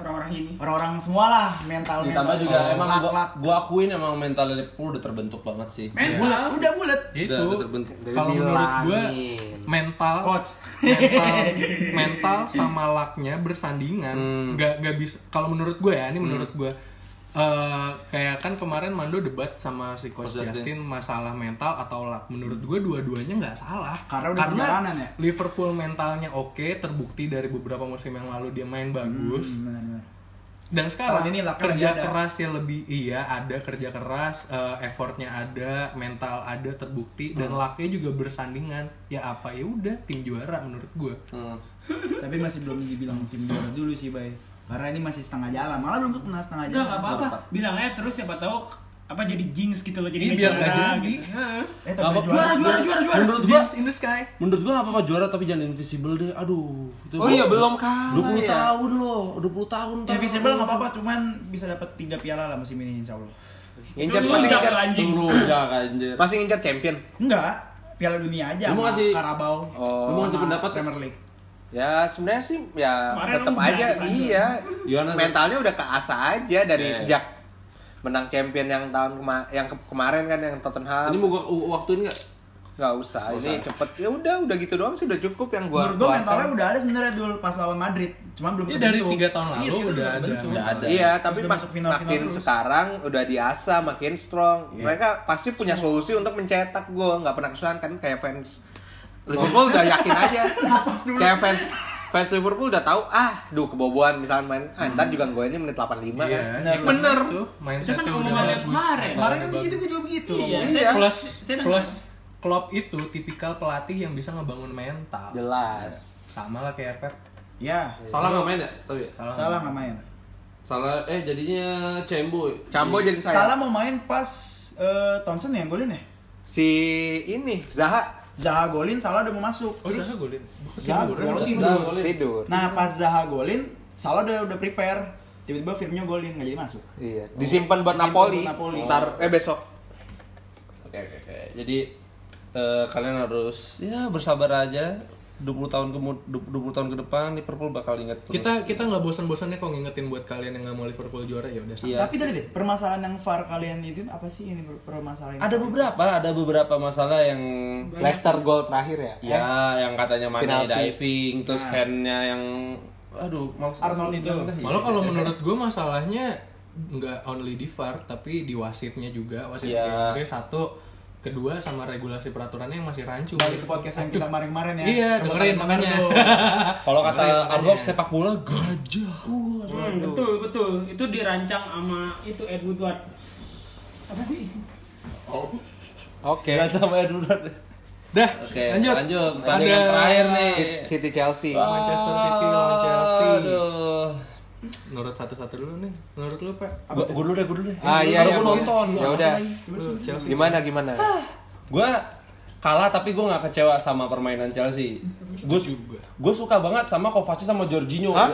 Speaker 5: Orang-orang ini.
Speaker 6: Orang-orang semualah mental mental.
Speaker 3: Ditambah juga emang
Speaker 6: Oh, lak,
Speaker 3: gua,
Speaker 6: lak.
Speaker 3: gua akuin emang mental Liverpool udah terbentuk banget sih.
Speaker 5: Iya.
Speaker 6: bulat,
Speaker 5: Mental.
Speaker 6: udah bulat.
Speaker 7: Itu
Speaker 3: Udah terbentuk.
Speaker 4: Dari
Speaker 7: Gitu. kalau menurut gue
Speaker 4: bilangin.
Speaker 7: mental
Speaker 6: Coach. [laughs]
Speaker 7: mental mental sama lucknya bersandingan
Speaker 3: Hmm.
Speaker 7: nggak nggak bisa kalau menurut gue ya ini menurut gue eh, kayak kan kemarin Mando debat sama si Coach
Speaker 3: Coach Justin.
Speaker 7: Justin masalah mental atau luck menurut gue dua-duanya nggak salah
Speaker 6: Karena udah perjalanan ya?
Speaker 7: Liverpool mentalnya oke terbukti dari beberapa musim yang lalu dia main bagus
Speaker 6: Hmm. Benar-benar.
Speaker 7: dan sekarang
Speaker 6: Tahun ini lucknya
Speaker 7: kerja
Speaker 6: lagi ada.
Speaker 7: kerasnya lebih iya ada kerja keras eh, effortnya ada mental ada terbukti dan lucknya juga bersandingan ya apa ya udah tim juara menurut gue
Speaker 3: Hmm.
Speaker 6: Tapi masih belum dibilang tim juara dulu sih, Bay. Karena ini masih setengah jalan, malah belum pernah setengah
Speaker 5: Enggak
Speaker 6: jalan.
Speaker 5: enggak apa-apa. Bilang aja terus siapa tahu apa jadi jinx gitu loh jadi
Speaker 7: Iya,
Speaker 5: nggak
Speaker 7: biar nggak
Speaker 5: juara,
Speaker 7: jadi.
Speaker 5: gitu. Hah.
Speaker 6: Eh, tapi
Speaker 3: Nggak
Speaker 6: juara.
Speaker 5: Juara juara juara juara.
Speaker 3: Menurut gua,
Speaker 7: James in the sky
Speaker 3: menurut gua nggak apa-apa juara tapi jangan invisible deh. Aduh, itu
Speaker 4: Oh iya belum kan.
Speaker 3: 20 tahun loh, 20 tahun ntar.
Speaker 6: Invisible nggak apa-apa, cuman bisa dapat tiga piala lah musim ini insya Allah.
Speaker 4: Ngincer
Speaker 5: Itu
Speaker 4: masih
Speaker 5: lu
Speaker 4: ngincer
Speaker 5: jangan anjing.
Speaker 3: Lu udah anjir.
Speaker 4: masih ngincer champion.
Speaker 6: Enggak, Piala Dunia aja
Speaker 3: Lu
Speaker 6: sama
Speaker 3: masih-
Speaker 6: Karabau.
Speaker 4: Oh.
Speaker 3: Lu mau ngasih
Speaker 6: sama
Speaker 3: pendapat?
Speaker 6: Premier League.
Speaker 4: Ya sebenarnya sih ya
Speaker 5: Kemarin
Speaker 4: tetap
Speaker 5: lu
Speaker 4: aja
Speaker 5: berani,
Speaker 4: iya.
Speaker 3: Gimana, Sat?
Speaker 4: Mentalnya udah keasa aja dari
Speaker 3: Iya.
Speaker 4: sejak menang champion yang tahun kema- yang ke- kemarin kan yang Tottenham.
Speaker 3: Ini mau gua u- waktuin enggak?
Speaker 4: nggak usah ini cepet ya udah udah gitu doang sih udah cukup yang gua
Speaker 6: Menurut gua
Speaker 4: keluarkan.
Speaker 6: mentalnya udah ada sebenarnya dul pas lawan Madrid, cuman belum
Speaker 7: Iya,
Speaker 6: kebentuk.
Speaker 7: dari tiga tahun lalu
Speaker 6: tiga tahun
Speaker 7: udah ada.
Speaker 6: kebentuk.
Speaker 3: Udah ada.
Speaker 4: iya
Speaker 6: Terus
Speaker 4: tapi
Speaker 6: udah
Speaker 4: mak-
Speaker 6: masuk final-final
Speaker 4: makin
Speaker 6: terus. Iya.
Speaker 4: sekarang udah diasah makin strong mereka pasti punya solusi untuk mencetak gol nggak pernah kesulitan kan kayak fans
Speaker 6: Oh.
Speaker 4: Liverpool udah yakin
Speaker 6: [laughs]
Speaker 4: aja
Speaker 6: Nah,
Speaker 4: kayak fans fans Liverpool udah tahu ah duh kebobolan misalnya main ah,
Speaker 6: Hmm.
Speaker 4: ntar juga gue ini menit
Speaker 7: Iya,
Speaker 4: 85 kan
Speaker 7: ya,
Speaker 4: bener
Speaker 7: tuh
Speaker 5: Itu
Speaker 7: mindsetnya
Speaker 5: kan
Speaker 7: udah
Speaker 5: omongannya
Speaker 7: bagus
Speaker 5: kemarin.
Speaker 6: Kemarin kan di
Speaker 7: bagus.
Speaker 6: situ gua juga begitu.
Speaker 5: Iya,
Speaker 6: ngomong.
Speaker 5: saya
Speaker 7: plus
Speaker 5: saya-
Speaker 7: plus Klopp itu tipikal pelatih yang bisa ngebangun mental.
Speaker 4: Jelas.
Speaker 7: Sama lah kayak Pep.
Speaker 6: Ya,
Speaker 3: Salah nggak main ya? Tapi ya?
Speaker 7: Salah.
Speaker 6: salah nggak main.
Speaker 3: Salah eh jadinya Cembo.
Speaker 4: Cambo jadi saya.
Speaker 6: Salah mau main pas eh, Thompson yang golin ya?
Speaker 4: Si ini Zaha
Speaker 6: Zaha golin, salah udah mau masuk.
Speaker 7: Oh, Zaha golin. Bukan
Speaker 6: Zaha
Speaker 7: golin.
Speaker 6: golin.
Speaker 3: Nah, boleh.
Speaker 4: tidur.
Speaker 6: Nah, pas Zaha golin, salah udah udah prepare. Tiba-tiba Firmino golin, nggak jadi masuk.
Speaker 4: Iya. Disimpan
Speaker 6: Oh.
Speaker 4: buat
Speaker 6: Disimpan
Speaker 4: Napoli.
Speaker 6: buat Napoli.
Speaker 4: Ntar eh besok.
Speaker 3: Oke oke oke. Jadi eh, kalian harus ya bersabar aja. 20 tahun ke 20 tahun ke depan Liverpool bakal inget terus.
Speaker 7: Kita kita nggak bosan-bosannya kok ngingetin buat kalian yang nggak mau Liverpool juara ya udah sama.
Speaker 3: Iya
Speaker 6: Tapi tadi deh, permasalahan yang VAR kalian itu apa sih ini per- permasalahan?
Speaker 3: ada beberapa ada beberapa masalah yang
Speaker 4: Leicester gol terakhir ya.
Speaker 3: ya yang katanya mana
Speaker 4: Penalti.
Speaker 3: diving terus handnya yang aduh maksud
Speaker 6: Arnold itu.
Speaker 7: Malah
Speaker 3: Iya.
Speaker 7: kalau menurut gue masalahnya nggak only di VAR tapi di wasitnya juga wasit
Speaker 3: Iya.
Speaker 7: VAR satu kedua sama regulasi peraturannya yang masih rancu
Speaker 6: Balik ke podcast yang kita kemarin-kemarin ya.
Speaker 7: Iya,
Speaker 6: Coba
Speaker 7: dengerin
Speaker 6: kalian
Speaker 7: makanya.
Speaker 6: denger
Speaker 3: kalau kata Arnold sepak bola gajah
Speaker 5: Hmm, betul betul itu dirancang sama itu Ed Woodward apa sih
Speaker 4: Oke.
Speaker 3: Jangan sama Edward
Speaker 7: [laughs] Dah,
Speaker 3: oke
Speaker 7: lanjut.
Speaker 3: lanjut pertandingan terakhir nih
Speaker 4: City Chelsea.
Speaker 7: Manchester City lawan Chelsea.
Speaker 3: aduh
Speaker 7: Menurut satu-satu dulu nih. Menurut lu, Pak?
Speaker 3: gua, gua dulu deh gua dulu deh
Speaker 4: Ah
Speaker 3: Karena
Speaker 4: iya iya.
Speaker 3: gua
Speaker 4: Bu, ya.
Speaker 3: nonton
Speaker 4: Ya udah.
Speaker 7: Lu Chelsea.
Speaker 4: Gimana gimana?
Speaker 3: gue kalah tapi gue nggak kecewa sama permainan Chelsea gue gue suka banget sama Kovacic sama Jorginho
Speaker 4: Hah?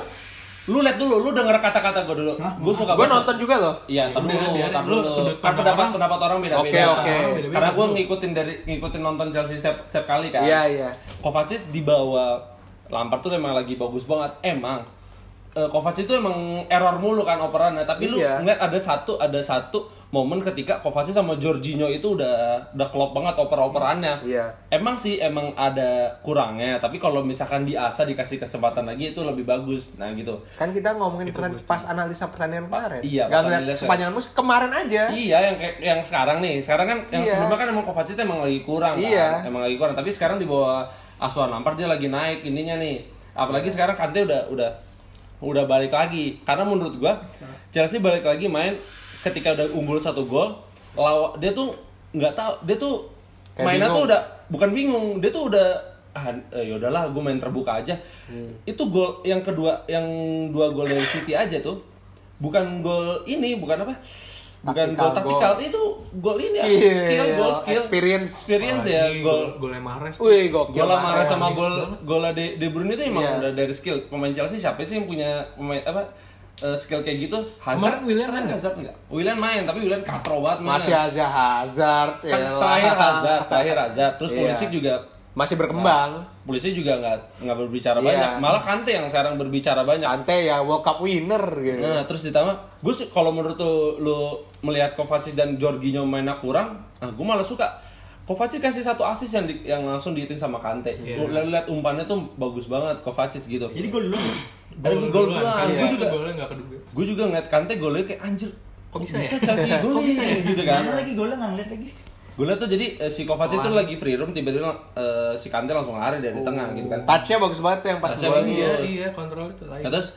Speaker 3: lu lihat dulu lu denger kata-kata gue dulu gue suka
Speaker 4: Gue
Speaker 3: banget
Speaker 4: nonton juga loh.
Speaker 3: Iya, tar dulu,
Speaker 7: biarin.
Speaker 3: tar
Speaker 7: Lu
Speaker 3: dulu.
Speaker 7: sudut
Speaker 3: Kan
Speaker 7: pandang
Speaker 3: pendapat
Speaker 7: orang.
Speaker 3: pendapat orang beda-beda.
Speaker 4: Oke, oke.
Speaker 7: Beda-beda.
Speaker 3: Karena gue ngikutin dari ngikutin nonton Chelsea setiap setiap kali kan.
Speaker 4: Iya iya.
Speaker 3: Kovacic di bawah Lampard tuh emang lagi bagus banget. Emang eh, Kovacic itu emang error mulu kan operannya, tapi lu
Speaker 4: Iya.
Speaker 3: ngeliat ada satu ada satu momen ketika Kovacic sama Jorginho itu udah udah klop banget oper-operannya.
Speaker 4: Iya.
Speaker 3: Emang sih emang ada kurangnya, tapi kalau misalkan di Asa dikasih kesempatan lagi itu lebih bagus. Nah gitu.
Speaker 4: Kan kita ngomongin pertandingan- pas analisa pertandingan kemarin.
Speaker 3: iya,
Speaker 4: Gak
Speaker 3: pas
Speaker 4: ngeliat
Speaker 3: analisa.
Speaker 4: sepanjangan musim kemarin aja.
Speaker 3: Iya, yang kayak yang sekarang nih. Sekarang kan yang
Speaker 4: Iya.
Speaker 3: sebelumnya kan emang Kovacic emang lagi kurang kan?
Speaker 4: Iya.
Speaker 3: Emang lagi kurang, tapi sekarang di bawah asuhan Lampard dia lagi naik ininya nih.
Speaker 4: Iya.
Speaker 3: Apalagi sekarang Kante udah udah udah balik lagi. Karena menurut gua Chelsea balik lagi main ketika udah unggul satu gol, lawa dia tuh nggak tahu dia tuh
Speaker 4: Kayak
Speaker 3: mainnya tuh
Speaker 4: bingung.
Speaker 3: udah bukan bingung, dia tuh udah ah eh, yaudahlah gue main terbuka aja.
Speaker 4: Hmm.
Speaker 3: Itu gol yang kedua yang dua gol dari City aja tuh. Bukan gol ini, bukan apa? Bukan
Speaker 4: Taktikal
Speaker 3: gol taktikal
Speaker 4: goal.
Speaker 3: itu gol ini ya
Speaker 4: Skill,
Speaker 3: skill gol skill
Speaker 4: experience.
Speaker 3: experience
Speaker 7: Wah,
Speaker 3: ya
Speaker 7: ini
Speaker 3: gol
Speaker 7: golnya Mahrez. tuh.
Speaker 4: Wih gokil. Iya.
Speaker 3: gol Amara
Speaker 4: banget.
Speaker 3: sama gol gol de, de Bruyne itu emang
Speaker 4: Iya.
Speaker 3: udah dari skill pemain Chelsea siapa sih yang punya pemain apa eh, skill kayak gitu
Speaker 7: Kemarin
Speaker 3: Hazard
Speaker 7: Willian kan nggak?
Speaker 3: Hazard enggak Willian main tapi Willian katro banget mainnya.
Speaker 4: Masih aja Hazard.
Speaker 3: kan
Speaker 4: elah.
Speaker 3: terakhir Hazard terakhir Hazard terus
Speaker 4: Iya.
Speaker 3: Pulisic juga
Speaker 4: Masih berkembang.
Speaker 3: Pulisic juga nggak nggak berbicara
Speaker 4: Iya.
Speaker 3: banyak malah Kante yang sekarang berbicara banyak
Speaker 4: Kante ya World Cup winner gitu.
Speaker 3: Nah, terus ditambah, gue sih kalau menurut tuh lu melihat Kovacic dan Jorginho mainnya kurang, nah gue malah suka. Kovacic kasih satu assist yang di- yang langsung dihitung sama Kante. Lu lu lihat umpannya tuh bagus banget Kovacic gitu.
Speaker 6: Jadi gol dulu.
Speaker 3: Dan gol duluan,
Speaker 7: Iya.
Speaker 3: gue juga
Speaker 7: golnya nggak keduga.
Speaker 3: gue juga ngeliat Kante golnya kayak anjir kok bisa, Chelsea [laughs] golin gitu kan.
Speaker 6: Kan lagi golnya nggak ngeliat lagi.
Speaker 3: Gue liat tuh jadi eh, si Kovacic tuh lagi free room tiba-tiba eh, si Kante langsung lari dari tengah gitu kan.
Speaker 4: Touchnya bagus banget tuh yang pas
Speaker 3: Touch-nya
Speaker 4: Oh. gol.
Speaker 3: bagus.
Speaker 7: Iya, iya, kontrol itu lain.
Speaker 3: Ya, terus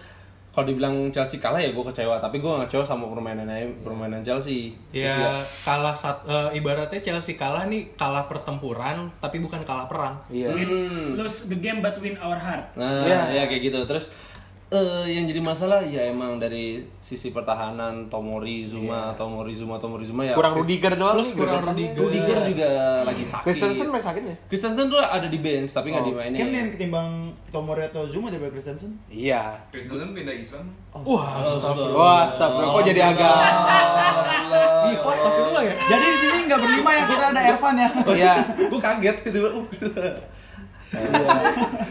Speaker 3: kalau dibilang Chelsea kalah ya gue kecewa, tapi gue gak kecewa sama
Speaker 4: Iya.
Speaker 3: permainannya permainan Chelsea. Terus juga-
Speaker 7: Ya kalah sat, eh, ibaratnya Chelsea kalah nih kalah pertempuran tapi bukan kalah perang.
Speaker 4: Iya.
Speaker 7: Hmm.
Speaker 5: lose the game but win our heart
Speaker 3: Nah,
Speaker 4: Ya.
Speaker 3: ya kayak gitu. Terus eh, yang jadi masalah ya emang dari sisi pertahanan Tomori Zuma, Tomori Zuma, Tomori Zuma ya.
Speaker 4: Iya. Kurang Rudiger doang
Speaker 7: Terus
Speaker 4: nih,
Speaker 7: kurang
Speaker 4: gebrakannya.
Speaker 7: Rudiger.
Speaker 3: Rudiger juga lagi sakit.
Speaker 4: Christensen main Oh. sakit nggak?
Speaker 3: Christensen tuh ada di bench tapi nggak dimainin.
Speaker 6: Kan yang ketimbang Tomori atau Zuma daripada Christensen.
Speaker 4: Iya.
Speaker 8: Kristen pindah Islam.
Speaker 4: Wah, astagfirullah kok jadi agak
Speaker 3: [laughs] Oh,
Speaker 7: Ih,
Speaker 3: iya.
Speaker 7: kok astagfirullah ya?
Speaker 6: Jadi di sini nggak berlima ya kita ada Ervan ya.
Speaker 4: Iya.
Speaker 3: gue kaget gitu. Uh.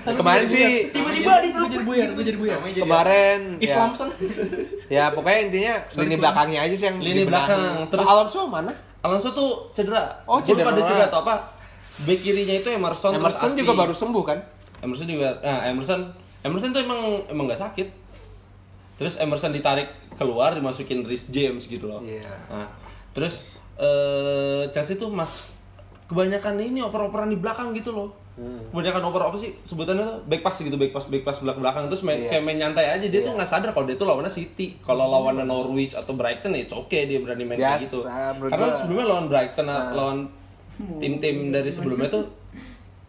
Speaker 4: Kemarin sih
Speaker 6: Tiba-tiba di
Speaker 7: Gue jadi buyar, gue jadi buyar.
Speaker 4: kemarin ya,
Speaker 7: Islam sen.
Speaker 4: ya pokoknya intinya lini belakangnya aja sih yang
Speaker 3: Lini
Speaker 4: dibenahi.
Speaker 3: belakang, terus-
Speaker 4: Alonso mana?
Speaker 3: Alonso tuh cedera.
Speaker 4: Oh,
Speaker 3: Gua lupa
Speaker 4: cedera.
Speaker 3: dia cedera atau apa? Bek kirinya itu Emerson, terus
Speaker 4: Emerson
Speaker 3: Aspi.
Speaker 4: juga baru sembuh kan?
Speaker 3: Emerson juga nah Emerson Emerson tuh emang emang nggak sakit terus Emerson ditarik keluar dimasukin Rhys James gitu loh
Speaker 4: Iya.
Speaker 3: nah, terus eh, Chelsea tuh mas kebanyakan ini oper-operan di belakang gitu loh
Speaker 4: Hmm.
Speaker 3: kebanyakan oper apa sih sebutannya tuh back pass gitu back pass back pass belak belakang terus main,
Speaker 4: Iya.
Speaker 3: kayak main nyantai aja dia tuh nggak sadar kalau dia tuh lawannya City kalau lawannya Norwich atau Brighton ya oke dia berani main kayak
Speaker 4: Biasa, Nah.
Speaker 3: gitu
Speaker 4: menurut
Speaker 3: karena
Speaker 4: gua.
Speaker 3: sebelumnya lawan Brighton lawan tim-tim dari sebelumnya tuh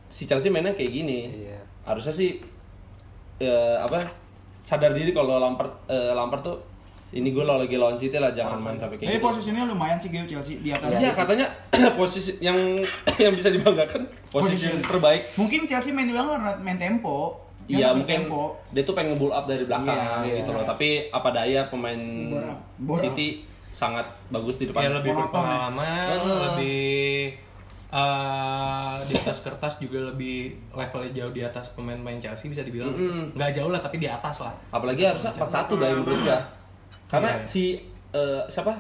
Speaker 3: si Chelsea mainnya kayak gini.
Speaker 4: Iya.
Speaker 3: Harusnya sih eh, apa sadar diri kalau Lampard eh, Lampard tuh ini gue lagi lawan City lah jangan main sampai kayak
Speaker 6: Tapi
Speaker 3: gini.
Speaker 6: posisinya lumayan sih Gio Chelsea di atas.
Speaker 3: Iya katanya [coughs] posisi yang [coughs] yang bisa dibanggakan posisi yang
Speaker 6: Posisi.
Speaker 3: terbaik.
Speaker 6: Mungkin Chelsea main di belakang karena main tempo. Dia
Speaker 3: Iya
Speaker 6: takut
Speaker 3: mungkin
Speaker 6: tempo.
Speaker 3: dia tuh pengen nge-build up dari belakang
Speaker 4: Iya,
Speaker 3: gitu
Speaker 4: iya.
Speaker 3: loh. Tapi apa daya pemain
Speaker 6: Borak.
Speaker 3: City sangat bagus di depan.
Speaker 7: Ya lebih
Speaker 6: Monoton,
Speaker 7: berpengalaman,
Speaker 3: Heeh.
Speaker 7: lebih eh, di atas kertas juga lebih levelnya jauh di atas pemain-pemain Chelsea bisa dibilang
Speaker 3: Mm-mm.
Speaker 7: nggak jauh lah tapi di atas lah.
Speaker 3: Apalagi harusnya 4-1 dari menurut gua. Karena
Speaker 7: Iya, iya.
Speaker 3: si eh, siapa?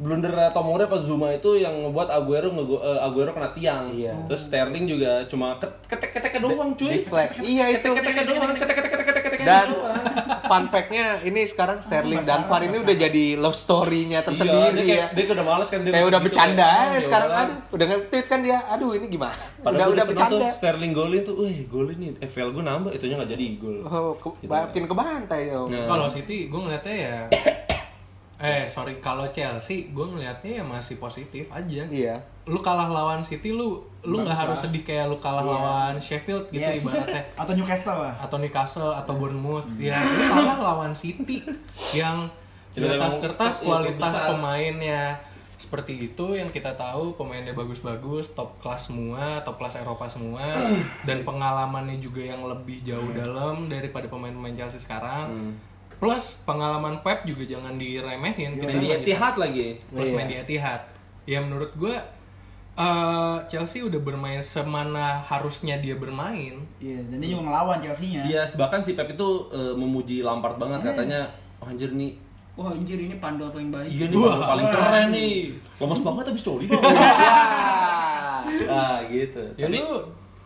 Speaker 3: Blunder Tomori apa Zuma itu yang ngebuat Aguero ngego- eh, Aguero kena tiang.
Speaker 4: Iya.
Speaker 3: Terus Sterling juga cuma ketek-ketek doang cuy.
Speaker 4: Deflect. Iya itu.
Speaker 3: Ketek-ketek doang, ketek-ketek
Speaker 4: Dan fun fact-nya ini sekarang Sterling dan Far ini udah jadi love story-nya
Speaker 3: Iya,
Speaker 4: tersendiri
Speaker 3: dia kayak,
Speaker 4: ya.
Speaker 3: dia kayak udah males kan dia.
Speaker 4: Kayak udah
Speaker 3: gitu,
Speaker 4: bercanda
Speaker 3: kayak,
Speaker 4: aja
Speaker 3: "Ah,
Speaker 4: sekarang
Speaker 3: yaudahlah."
Speaker 4: aduh, udah nge-tweet kan dia, aduh ini gimana?
Speaker 3: Padahal gue
Speaker 4: udah udah
Speaker 3: udah seneng tuh
Speaker 4: bercanda.
Speaker 3: Sterling golin tuh, wih golin nih, FPL gue nambah, itunya nggak jadi gol.
Speaker 4: Oh, ke,
Speaker 3: Gitu.
Speaker 4: makin kebantai yo.
Speaker 3: Nah,
Speaker 7: Kalau City gue ngeliatnya ya [coughs] eh sorry kalau Chelsea gue ngeliatnya ya masih positif aja.
Speaker 4: Iya.
Speaker 7: Lu kalah lawan City lu lu nggak harus sedih kayak lu kalah lawan Sheffield gitu
Speaker 6: Yes.
Speaker 7: ibaratnya.
Speaker 6: Atau Newcastle lah.
Speaker 7: atau Newcastle atau Bournemouth ya lu kalah lawan City yang di
Speaker 3: Itu
Speaker 7: atas
Speaker 3: memang
Speaker 7: kertas
Speaker 3: klub-
Speaker 7: kualitas
Speaker 3: klub besar.
Speaker 7: pemainnya seperti itu yang kita tahu pemainnya bagus-bagus top kelas semua top kelas Eropa semua dan pengalamannya juga yang lebih jauh
Speaker 3: Hmm.
Speaker 7: dalam daripada pemain-pemain Chelsea sekarang plus pengalaman Pep juga jangan diremehin kita
Speaker 3: dan di
Speaker 7: nggak bisa-
Speaker 3: Etihad lagi.
Speaker 7: plus main di Etihad. Ya menurut gue eh, Chelsea udah bermain semana harusnya dia bermain.
Speaker 6: Iya, dan dia juga ngelawan Chelsea-nya.
Speaker 3: Iya, bahkan si Pep itu eh, memuji Lampard
Speaker 4: Iya.
Speaker 3: banget katanya, "Wah, anjir nih,
Speaker 5: Wah anjir ini pandol paling baik.
Speaker 3: iya nih paling, paling keren nih, lemes banget abis kan coli. ah gitu.
Speaker 7: Iya. Ya
Speaker 3: Tapi
Speaker 7: lu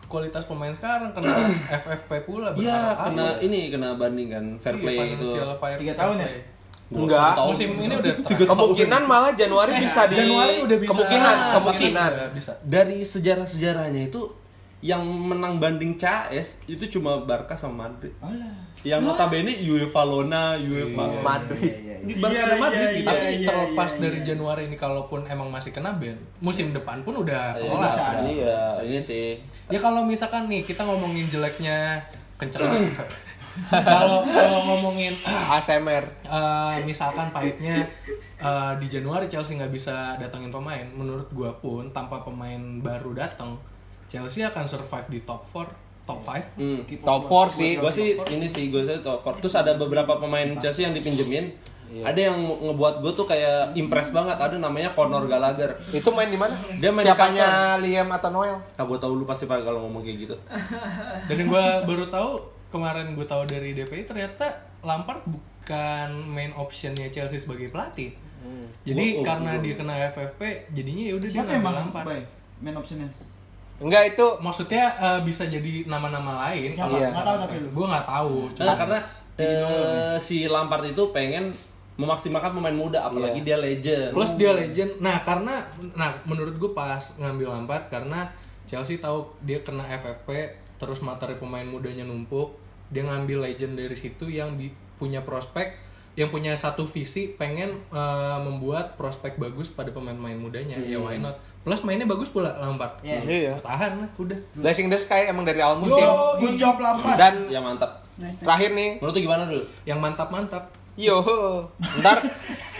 Speaker 7: kualitas pemain sekarang
Speaker 3: [clears throat]
Speaker 7: kena FFP pula
Speaker 3: iya
Speaker 7: berkali-kali.
Speaker 3: kena ini kena banding kan fair
Speaker 7: Iya,
Speaker 3: play itu.
Speaker 7: financial fair-
Speaker 6: Tiga
Speaker 7: fair
Speaker 6: tahun ya?
Speaker 7: play. Iya,
Speaker 4: Enggak.
Speaker 3: Tahun
Speaker 7: Musim ini udah
Speaker 3: tiga
Speaker 7: terang.
Speaker 3: tahun.
Speaker 4: Kemungkinan malah Januari bisa di
Speaker 7: Januari udah bisa. Iya.
Speaker 4: kemungkinan
Speaker 7: Januari
Speaker 4: kemungkinan.
Speaker 7: udah bisa.
Speaker 3: dari sejarah-sejarahnya itu yang menang banding CAS itu cuma Barca sama Madrid.
Speaker 6: Alah.
Speaker 3: Yang notabene UEFA Lona,
Speaker 7: Iya,
Speaker 3: UEFA
Speaker 4: Madrid.
Speaker 3: Ini Barca dan
Speaker 6: Iya,
Speaker 3: Madrid gitu.
Speaker 7: Tapi terlepas dari Januari ini kalaupun emang masih kena ban, musim depan pun udah
Speaker 3: Iya,
Speaker 7: kelar.
Speaker 3: bisa. Iya, ini sih.
Speaker 7: Ya kalau misalkan nih kita ngomongin jeleknya kenceng.
Speaker 3: [clears throat]
Speaker 7: kalau kalau ngomongin
Speaker 4: ASMR.
Speaker 7: eh, misalkan pahitnya eh, di Januari Chelsea nggak bisa datangin pemain, menurut gua pun tanpa pemain baru datang Chelsea akan survive di top 4, top 5.
Speaker 3: Hmm.
Speaker 4: Top 4 sih.
Speaker 3: Gue sih ini sih gue sih top four. Terus ada beberapa pemain Chelsea yang dipinjemin. Ada yang ngebuat gue tuh kayak impress banget. Ada namanya Conor Gallagher.
Speaker 4: Itu main di mana?
Speaker 3: Dia main di
Speaker 4: Siapanya Liam atau Noel?
Speaker 3: Ah gue tau lu pasti pada kalau ngomong kayak gitu.
Speaker 7: Dan yang gua baru tahu kemarin gua tahu dari DPI ternyata Lampard bukan main optionnya Chelsea sebagai pelatih. Jadi
Speaker 3: Gua- oh,
Speaker 7: karena
Speaker 3: gua-
Speaker 7: dia kena FFP, jadinya ya udah dia
Speaker 6: Siapa
Speaker 7: ngambil
Speaker 6: emang
Speaker 7: Lampard.
Speaker 6: Bay? Main optionnya.
Speaker 4: Enggak itu
Speaker 7: Maksudnya eh, bisa jadi nama-nama lain.
Speaker 6: Siapa?
Speaker 7: kalau
Speaker 4: Iya.
Speaker 6: Nggak tahu tapi lu.
Speaker 7: Gue nggak tahu. Cuma
Speaker 3: Nah, karena eh, si Lampard itu pengen memaksimalkan pemain muda, apalagi dia legend.
Speaker 7: Plus dia legend. Nah, karena nah menurut gue pas ngambil Lampard karena Chelsea tahu dia kena FFP terus materi pemain mudanya numpuk, dia ngambil legend dari situ yang bi- punya prospek yang punya satu visi pengen eh, membuat prospek bagus pada pemain-pemain mudanya. Ya why not. Plus mainnya bagus pula Lampard. Ya,
Speaker 6: Iya.
Speaker 4: Iya.
Speaker 7: Tahan lah udah.
Speaker 4: Blessing the Sky emang dari awal musim.
Speaker 7: Yo,
Speaker 6: Good job Lampard.
Speaker 4: Dan
Speaker 3: Ya mantap.
Speaker 5: Nice, nice.
Speaker 4: terakhir nih,
Speaker 3: Menurut lu gimana dulu?
Speaker 7: yang mantap-mantap.
Speaker 4: yo. Ntar